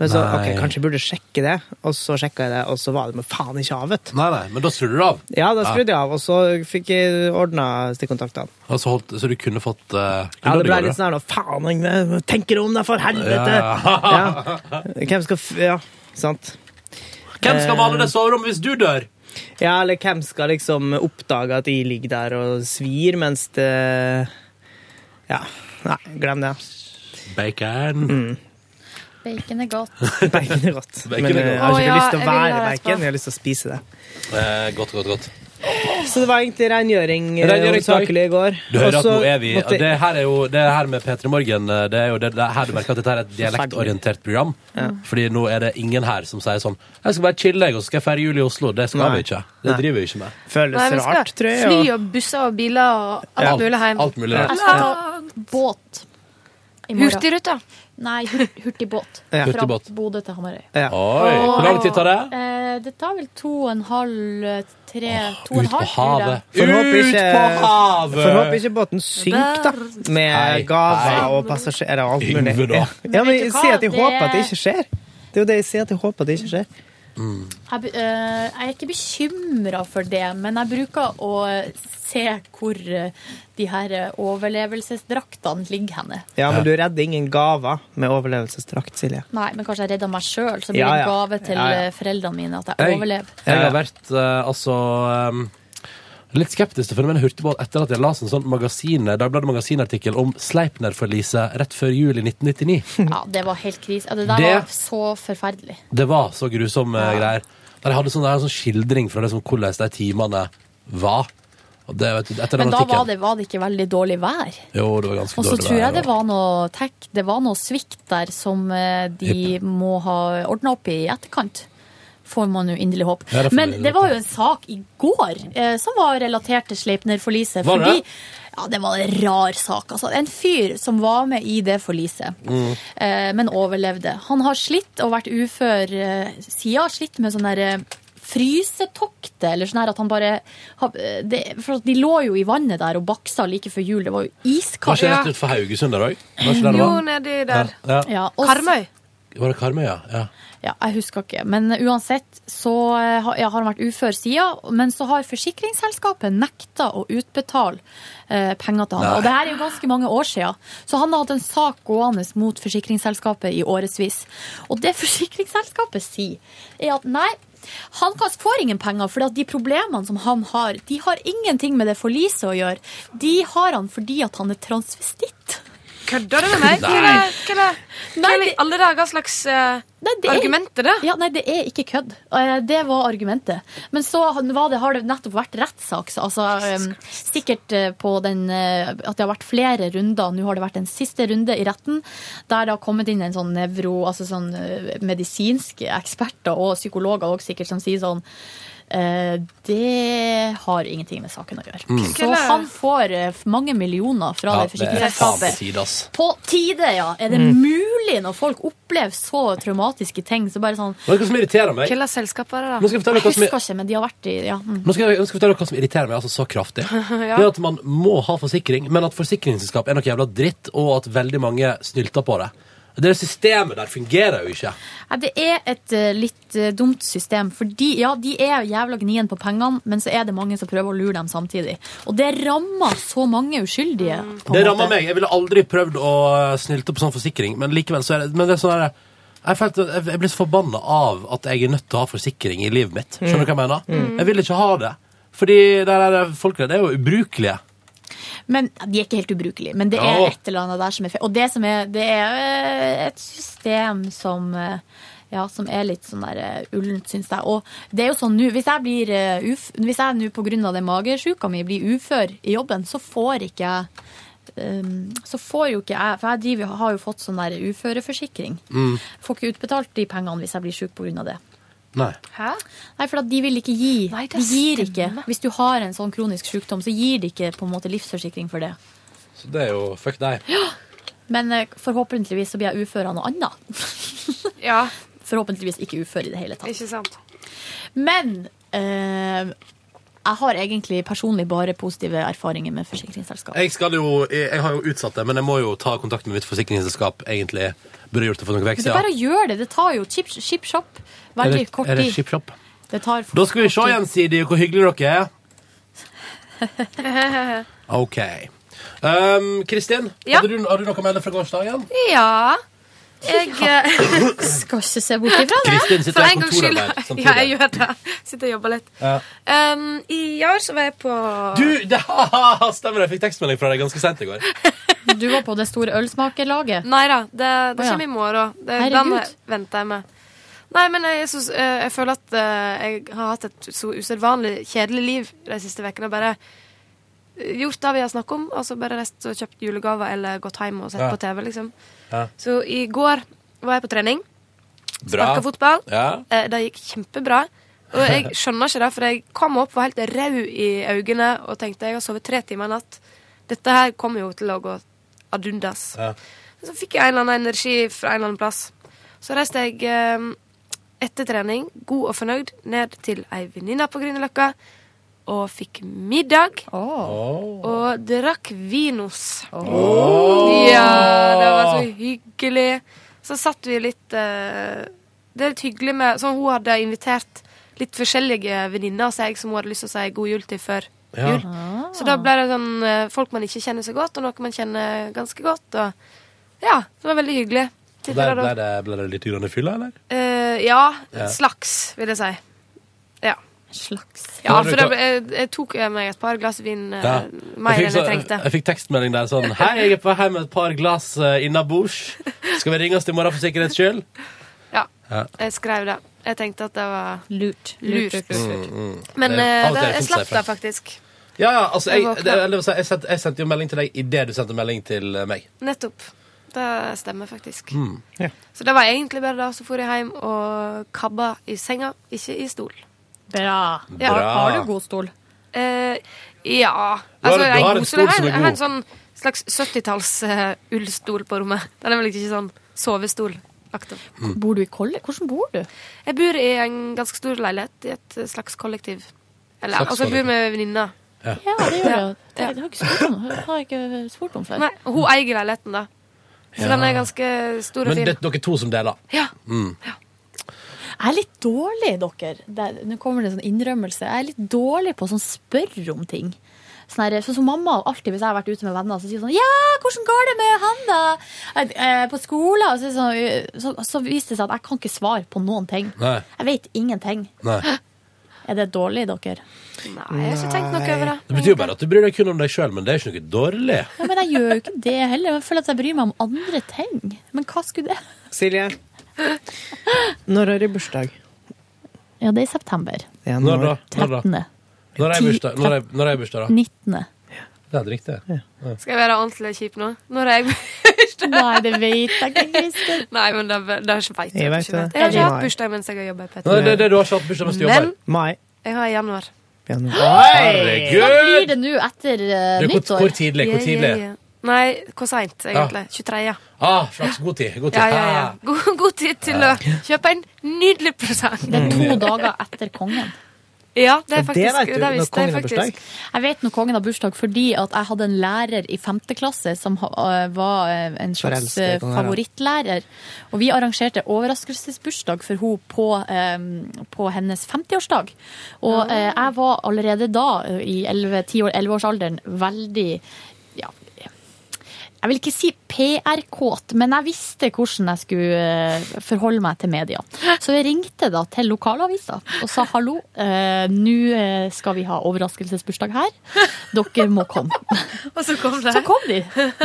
B: Men så,
A: Nei.
B: ok, kanskje jeg burde sjekke det, og så sjekka jeg det, og så var det med faen ikke av, vet du.
A: Nei, nei, men da skrur du av.
B: Ja, da skrudde jeg av, og så fikk jeg ordna stikkontaktene.
A: Ja, så, holdt, så du kunne fått eh,
B: Ja,
A: kunne
B: det ble
A: gått,
B: litt sånn her nå, faen, Yngve, tenker du om deg, for helvete!
A: Ja.
B: Ja. Hvem skal f... Ja, sant.
A: Hvem skal male
B: Eh,
A: det soverommet hvis du dør?
B: Ja, eller hvem skal liksom oppdage at jeg ligger der og svir, mens det Ja. Nei, glem det.
A: Bacon.
D: Bacon er godt.
B: Bacon er godt.
A: Bacon
B: Men eh,
A: er
B: jeg
A: godt.
B: har
A: Å,
B: ikke
A: ja,
B: lyst til å
A: jeg ville
B: være
A: vært på.
B: bacon, jeg har lyst til å spise det.
A: Eh, godt, godt, godt.
B: Så det var egentlig rengjøring eh,
A: Rengjøring, takk.
B: hovedsakelig i går.
A: Du hører
B: Og
A: at
B: så
A: nå er vi
B: måtte-
A: Det her er jo det her med P3 Morgen eh, Det er jo det, det er her du merker at dette er et dialektorientert program. Fordi nå er det ingen her som sier sånn 'Jeg skal bare chille, jeg, og så skal jeg feire jul i Oslo'. Det skal
B: Nei.
A: vi ikke. Det driver vi ikke med.
B: Føles
M: Nei, vi skal
B: rart, tror jeg.
M: Fly
B: og-
M: og busser og biler og
A: Ja,
M: alt mulig hjem.
A: alt mulig rart.
M: Ja.
A: Jeg skal
D: Båt. i morgen.
M: Hurtigruta.
D: Nei, hur- hurtigbåt.
A: [LAUGHS] Ja.
D: Fra
A: Hurtigbåt.
D: Bodø til Hamarøy.
A: Oi, hvor lang tid tar det?
D: Eh, det tar vel to og en halv, eh, tre To
A: Ut
D: og en
A: på
D: halv, tror jeg.
A: havet. Ut på havet!
B: Får håpe ikke båten synker, da. Med
A: Hei,
B: gaver
A: hei.
B: og passasjerer og alt mulig.
A: Yngve, da.
B: Ja. Ja, men
D: Vet
B: jeg
D: du hva?
B: sier at jeg
D: Det-
B: håper at det ikke skjer. Det er jo det jeg sier at jeg håper at det ikke skjer.
D: Jeg, be- eh, jeg er ikke bekymra for det, men jeg bruker å se hvor eh, de her eh, overlevelsesdraktene ligger henne.
B: Ja, men du redder ingen gaver med overlevelsesdrakt, Silje.
D: Nei, men kanskje jeg redda meg sjøl, så blir det
B: Ja,
D: en
B: ja.
D: gave til
B: Ja, ja.
D: eh, foreldrene mine at jeg
A: Jeg,
B: [LAUGHS]
D: overlever.
A: jeg har vært eh, altså ehm, litt skeptisk til fenomenet hurtigbåt etter at jeg las en sånn magasin, Dagbladet magasinartikkel om Sleipner-forliset rett før jul i 1999.
D: Ja, det var helt krise. Ja, Det der
A: Det-
D: var så forferdelig.
A: Det var så grusomme greier. Der jeg hadde sånn, der en sånn skildring fra det som hvordan de timene var. Og det, vet du, etter den
D: Men da var
A: artikkelen
D: det, var det ikke veldig dårlig vær.
A: Jo, det var ganske
D: Og så
A: dårlig
D: tror jeg
A: og-
D: det var noe tech, det var noe svikt der som eh, de må ha ordna opp i i etterkant. Får man jo inderlig håp.
A: Ja, det får
D: Men
A: vi
D: det var jo en sak i går eh, som var relatert til Sleipner-forliset.
A: Var det
D: Fordi
A: det?
D: ja, det var en rar sak. Altså, en fyr som var med i det forliset,
A: Mm.
D: eh, men overlevde. Han har slitt og vært ufør eh, siden. Har slitt med sånn der eh, frysetoktet, eller sånn her at han bare har- eh, det, For at de lå jo i vannet der og baksa like før jul. Det var jo
A: Var ikke
D: iskaldt.
A: det rett utenfor Haugesund der òg?
D: Jo, nedi der.
A: Ja. Ja.
D: Ja, og Karmøy.
A: Var det Karmøy, ja? ja.
D: Ja, jeg husker ikke. Men uansett så eh, har- ja, har han vært ufør siden, men så har forsikringsselskapet nekta å utbetale eh, penger til han.
A: Nei.
D: Og det her er jo ganske mange år siden. Så han har hatt en sak gående mot forsikringsselskapet i årevis. Og det [LAUGHS] forsikringsselskapet sier, er at nei, han kan- får ingen penger, for de problemene som han har, de har ingenting med det forliset å gjøre. De har han fordi at han er transvestitt.
M: Kødder du med meg? Hva
D: Nei.
M: er det- hva er det- hva er det i alle dager slags eh, argument?
D: er det? Ja, nei, det er ikke kødd. Eh, Det var argumentet. Men så var det, har det nettopp vært rettssak. så Altså, eh, sikkert eh, på den eh, at det har vært flere runder. Nå har det vært en siste runde i retten der det har kommet inn en sånn nevro, altså sånn eh, medisinske eksperter og psykologer også sikkert som sier sånn eh, det har ingenting med saken å gjøre.
A: Mm.
D: Så han får eh, mange millioner fra
A: ja
D: det
A: det er faen på
D: forsikringsselskapet.
A: tide, ass.
D: På tide, ja. Er det
A: Mm.
D: mulig når folk opplever så traumatiske ting? Så bare sånn
A: Vet du hva som irriterer meg?
D: Hvilket selskap var det, da?
A: Nå skal jeg fortelle dere hva som-
D: husker ikke, men de har vært i ja. mm.
A: Nå skal jeg, nå skal jeg fortelle dere hva som irriterer meg altså, så
D: [LAUGHS]
A: kraftig.
D: Ja.
A: Det er at man må ha forsikring, men at forsikringsselskap er noe jævla dritt, og at veldig mange snylter på det. Det systemet der fungerer jo ikke.
D: Nei, Det er et eh, litt eh, dumt system. Fordi, ja, De er jævla gnien på pengene, men så er det mange som prøver å lure dem samtidig. Og det rammer så mange uskyldige. på en
A: Mm. Det
D: måte.
A: rammer meg. Jeg ville aldri prøvd å eh, snylte på sånn forsikring, men likevel så er det, men det er sånn der, jeg, følte, jeg- jeg blir så forbanna av at jeg er nødt til å ha forsikring i livet mitt. Skjønner du hva jeg mener?
D: Mm.
A: Jeg vil ikke ha det. Fordi der er det, folk der, det er jo ubrukelige.
D: Men De er ikke helt ubrukelige, men det er
A: Ja.
D: et eller annet der som er feil. Og det, som er, det er eh, et system som eh, ja, som er litt sånn der eh, ullent, syns jeg. Og det er jo sånn nå, hvis jeg blir eh, uf, hvis jeg nå på grunn av den magesjuka mi blir ufør i jobben, så får ikke jeg eh, så får jo ikke jeg For jeg driver, har jo fått sånn der uføreforsikring.
A: Mm.
D: Får ikke utbetalt de pengene hvis jeg blir sjuk pga. det.
A: Nei.
D: Hæ? Nei, for at de vil ikke gi. de gir ikke. Hvis du har en sånn kronisk sykdom, så gir de ikke på en måte livsforsikring for det.
A: Så det er jo fuck deg.
D: Men eh, forhåpentligvis så blir jeg ufør av noe annet. [LAUGHS] ja. Forhåpentligvis ikke ufør i det hele tatt. Ikke sant. Men eh, jeg har egentlig personlig bare positive erfaringer med forsikringsselskap.
A: Jeg, skal jo, jeg jeg har jo utsatt det, men jeg må jo ta kontakt med mitt forsikringsselskap. egentlig. Burde gjort det for noen
D: Det
A: vekk
D: er bare å
A: siden.
D: gjøre det. Det tar jo chip, chip shop
A: Er
D: veldig
A: det-
D: kort
A: er det
D: tid.
A: chip-shop?
D: Det tar
A: Da skal vi se gjensidig hvor hyggelige dere er.
M: [LAUGHS]
D: ja,
A: OK. Um, Kristin,
M: Ja.
A: hadde du, har du noe å melde fra gårsdagen?
M: Ja. Jeg eh,
D: Skal ikke se bort ifra
A: det. Kristin sitter i
M: For en gangs skyld.
A: kontorarbeid samtidig.
M: [LAUGHS] Ja, jeg gjør det. Sitter og jobber litt.
A: Ja.
M: Um, I år så var jeg på
A: Du, [LAUGHS] det, stemmer, jeg fikk tekstmelding fra deg ganske sent i går.
D: Du var på det store ølsmakerlaget.
M: Nei da, det, det
D: Å, ja.
M: kommer i morgen. Det, den eh,
D: Herregud.
M: venter jeg med. Nei, men jeg, synes, eh, jeg føler at eh, jeg har hatt et så usedvanlig kjedelig liv de siste ukene. Bare gjort det vi har snakket om, og så bare reist og kjøpt julegaver eller gått hjem og sett
A: Ja.
M: på TV, liksom.
A: Ja.
M: Så i går var jeg på trening. Sparka fotball. Eh, Det gikk kjempebra. Og jeg skjønner ikke det, for jeg kom opp var helt rød i øynene og tenkte jeg har sovet tre timer i natt. Dette her kommer jo til å gå ad undas.
A: Ja.
M: Så fikk jeg en eller annen energi fra en eller annen plass. Så reiste jeg eh, etter trening, god og fornøyd, ned til ei venninne på Grünerløkka og fikk middag. Og drakk vinos. Ja, det var så hyggelig. Så satt vi litt eh, Det er litt hyggelig med Sånn, hun hadde invitert litt forskjellige venninner av seg som hun hadde lyst til å si god jul til før
A: Ja.
M: jul. Så da ble det sånn eh, folk man ikke kjenner så godt, og noe man kjenner ganske godt. Og ja, det var veldig hyggelig.
A: Og der ble det, ble det litt grann i fylla, eller?
M: Eh, ja,
A: Ja.
M: Slags, vil jeg si. Ja.
D: Slags.
M: Ja,
A: Har du
M: for da,
A: ta-
M: jeg, jeg tok eh, meg et par glass vin eh,
A: Ja.
M: mer
A: fikk
M: enn jeg
A: så-
M: trengte.
A: jeg fikk tekstmelding der sånn Hei, jeg er på vei med et par glass uh, innabords. Skal vi ringe oss i morgen for sikkerhets skyld?
M: Ja,
A: Ja.
M: jeg skrev det. Jeg tenkte at det var
D: lurt.
M: lurt.
A: Mm, mm.
M: Men
A: Det er
M: eh,
A: av og
M: det,
A: til fint
M: jeg
A: å si
M: slapp
A: fra.
M: det faktisk.
A: Ja, ja, altså,
M: Jeg
A: jeg,
M: våkna.
A: det, eller, altså, jeg, sendte, jeg sendte jo melding til deg idet du sendte melding til eh, meg.
M: Nettopp. Det stemmer faktisk.
A: Mm.
M: Så det var egentlig bare da så for jeg hjem og kabba i senga, ikke i stol.
D: Bra.
A: Ja. Bra.
D: Har, har du god stol?
M: Eh, ja
A: Du har-
M: Altså,
A: du
M: jeg
A: har en
M: koser
A: stol
M: meg.
A: som er
M: Jeg har en
A: god.
M: sånn slags 70-talls eh, ullstol på rommet. Den er vel ikke sånn sovestolaktig.
A: Mm.
D: Bor du i kolle? Hvordan bor du?
M: Jeg bor i en ganske stor leilighet i et slags kollektiv. Eller,
D: Slags
M: altså, jeg bor med venninner.
A: Ja,
D: det gjør jeg. Det har jeg ikke spurt om, det har jeg ikke spurt om før.
M: Nei, og hun eier leiligheten, da. Så
A: Ja.
M: den er ganske stor og
A: Men
M: fin.
A: det er dere to som deler.
M: Ja.
A: Mm.
D: Jeg er litt dårlig, dere. Der, nå kommer det en sånn innrømmelse. Jeg er litt dårlig på å sånn spørre om ting. Sånn her, sånn som mamma alltid, Hvis jeg har vært ute med venner, så sier hun sånn 'Ja, hvordan går det med han, da?' Eh, eh, På skolen. Og så, er det sånn, så, så viser det seg at jeg kan ikke svare på noen ting.
A: Nei.
D: Jeg vet ingenting.
A: Nei.
D: Er det dårlig, dere?
M: Nei, jeg har ikke tenkt noe over det.
A: Det betyr jo bare at du bryr deg kun om deg sjøl, men det er ikke noe dårlig.
D: Ja, men jeg gjør jo ikke det heller. Jeg føler at jeg bryr meg om andre ting. Men hva skulle det
B: Silje, når har du bursdag?
D: Ja, det er i september.
B: Ja,
A: Når da? Når da?
D: 13.
A: Når er jeg bursdag, når er- når er jeg bursdag da?
D: 19.
A: Det er helt riktig. Ja.
M: Skal jeg være ordentlig kjip nå? Når er jeg [LAUGHS]
D: Nei, det vet jeg ikke, Kristin.
M: Nei, men det, det vet jeg,
B: Jeg vet
M: ikke.
B: det.
M: Jeg har ikke hatt
B: Nei.
M: bursdag mens jeg har jobba i P3.
A: Nei, det, det, du har ikke hatt bursdag mens du jobber?
M: Men-
B: Mai.
M: Jeg har i januar.
B: Januar.
D: Hva
A: Herregud!
D: blir det nå etter eh,
A: Du, hvor-
D: nyttår?
A: hvor tidlig, hvor tidlig?
M: Nei, hvor seint, egentlig. 23. Ja.
A: Ah, flaks. God tid. God tid.
M: Ja, ja, ja. God, god tid til å kjøpe en nydelig presang.
D: Det er to dager etter kongen.
M: Ja, det er faktisk Det, visste jeg faktisk.
D: Jeg vet når kongen har bursdag fordi at jeg hadde en lærer i femte klasse som ha- øh, var øh, en slags
O: Forelsket i den der,
D: øh,
O: da.
D: favorittlærer. Og vi arrangerte overraskelsesbursdag for henne på, øh, på hennes 50-årsdag. Og øh, jeg var allerede da, øh, i 11 10 år- 11-årsalderen, veldig ja, jeg vil ikke si PR-kåt, men jeg visste hvordan jeg skulle eh, forholde meg til media. Så jeg ringte da til lokalavisa og sa hallo, eh, nå eh, skal vi ha overraskelsesbursdag her. Dere må komme.
M: [LAUGHS] Og så kom det.
D: Så kom
M: [LAUGHS]
D: de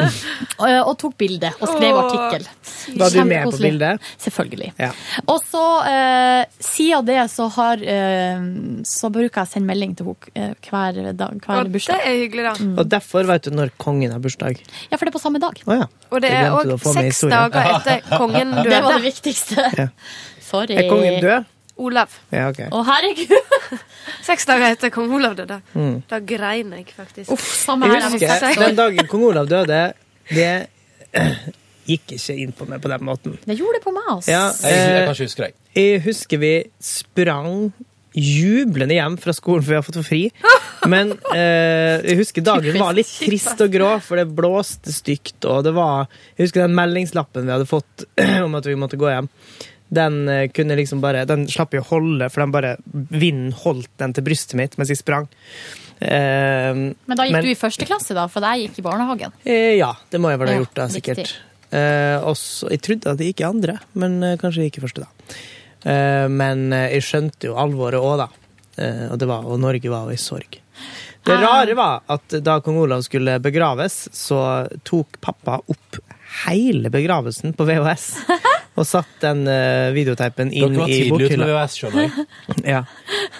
D: eh, og tok bilde og skrev
M: Åh,
D: artikkel.
B: Var du med på
D: Kjempekoselig.
B: bildet?
D: Selvfølgelig.
B: Ja.
D: Og så, eh, siden det, så, har, eh, så bruker jeg å sende melding til henne eh, hver, dag, hver
M: Og det
D: bursdag.
M: er hyggelig, da.
B: Og derfor vet du når kongen har bursdag.
D: Ja, for det er på samme dag.
B: Å ja.
M: Og det
B: Jeg
M: er
B: glemte
M: òg
B: å få med
M: seks
B: historien.
M: dager etter kongen døde.
D: Det var det viktigste.
B: Ja.
D: Sorry.
M: Eh.
B: Er kongen død?
M: Olav.
B: Ja, ok.
D: Å, herregud!
M: Seks dager etter kong Olav døde.
B: Mm.
M: Da grein jeg faktisk.
D: Uff, samme
B: Jeg husker den dagen kong Olav døde, det [CLEARS THROAT] gikk ikke inn på meg på den måten.
D: Det gjorde det på meg, altså.
B: Ja,
A: Jeg, jeg kan ikke huske deg.
B: Jeg husker vi sprang jublende hjem fra skolen, for vi har fått for fri. Men eh, jeg husker dagen var litt trist og grå, for det blåste stygt. Og det var Jeg husker den meldingslappen vi hadde fått [CLEARS THROAT] om at vi måtte gå hjem. Den eh, kunne liksom bare Den slapp jeg å holde, for den bare vinden holdt den til brystet mitt mens jeg sprang. Eh,
O: Men da gikk du i første klasse, da, for jeg gikk i barnehagen.
B: Eh, ja, det må jeg vel ha gjort, da,
O: Ja,
B: sikkert.
O: riktig.
B: Eh, og så- jeg trodde at det gikk i andre, men eh, kanskje det gikk i første, da. Eh, men eh, jeg skjønte jo alvoret òg, da. Eh, og, det var, og Norge var jo i sorg. Det
O: Ah.
B: rare var at da kong Olav skulle begraves, så tok pappa opp hele begravelsen på
O: [LAUGHS]
B: VHS. Og satt den eh, videoteipen inn
A: Dere var
B: i
A: tidlig ute med
B: bokhylla.
A: VHS, skjønner jeg.
B: Ja.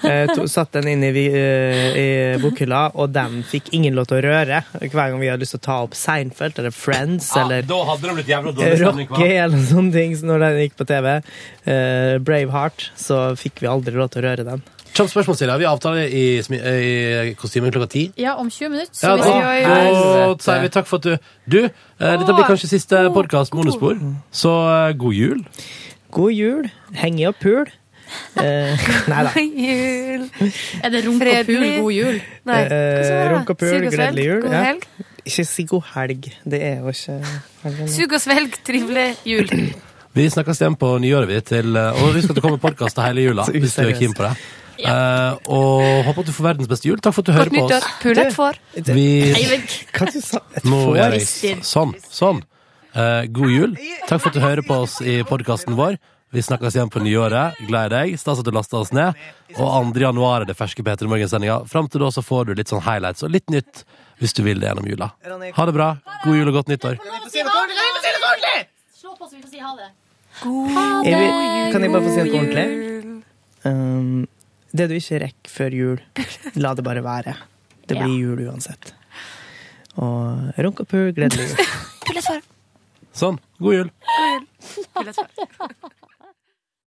B: Eh, to, satt den inn i, vi- eh, i bokhylla, og den fikk ingen lov til å røre. Hver gang vi hadde lyst til å ta opp Seinfeld eller Friends eller
A: Da hadde Ah, det blitt jævla dårlig stemning. hva?
B: Rocky eller sånne ting så når den gikk på TV, eh, Braveheart, så fikk vi aldri lov til å røre den.
A: Kjapt spørsmål, Silje. Vi avtaler i, smi- i kostymen klokka ti.
O: Ja, om 20 minutter.
A: Ja,
O: Så hvis eh,
A: da da sier vi takk for at du Du, eh, dette blir kanskje siste podkast med Onespor, så eh, god jul.
B: God jul. Heng i og pul. Eh, [LAUGHS] nei da.
M: jul.
O: Er det runk og pul, god jul?
M: Nei. hva skal
B: Eh,
M: jeg
B: Runk
M: gjøre?
B: og pul,
M: Sug og svelg,
B: gledelig jul.
M: God
B: ja.
M: helg.
B: Ikke si god helg. Det er jo ikke [LAUGHS] helgen.
M: Sug og svelg, trivelig jul.
A: Vi snakkes igjen på nyåret, vi. Til, eh, og husk at det kommer podkast hele
M: [LAUGHS]
A: jula. hvis du er keen på det. Eh, og håper at du får verdens beste jul. Takk for at du hører
M: Godt
A: på
M: nyttår.
A: oss.
M: Pulet får.
A: Vi
B: Hva du sa
A: Nå
B: får
A: gjør
B: rister.
A: jeg sånn. sånn. Eh, god jul. Takk for at du hører på oss i podkasten vår. Vi snakkes igjen på nyåret. Gled deg. Stas at du lasta oss ned. Og 2. januar er det ferske P3 Morgen-sendinga. Fram til da så får du litt sånn highlights og litt nytt hvis du vil det gjennom jula. Ha det bra. God jul og godt nyttår.
O: Slå på så vi får si ha det.
B: Jeg vil- Kan jeg bare få si noe ordentlig? Um, det du ikke rekker før jul, la det bare være. Det blir jul uansett. Og runk og pul, gledelig jul.
M: Pulet får.
A: Sånn. God jul.
M: God jul. Pulet får.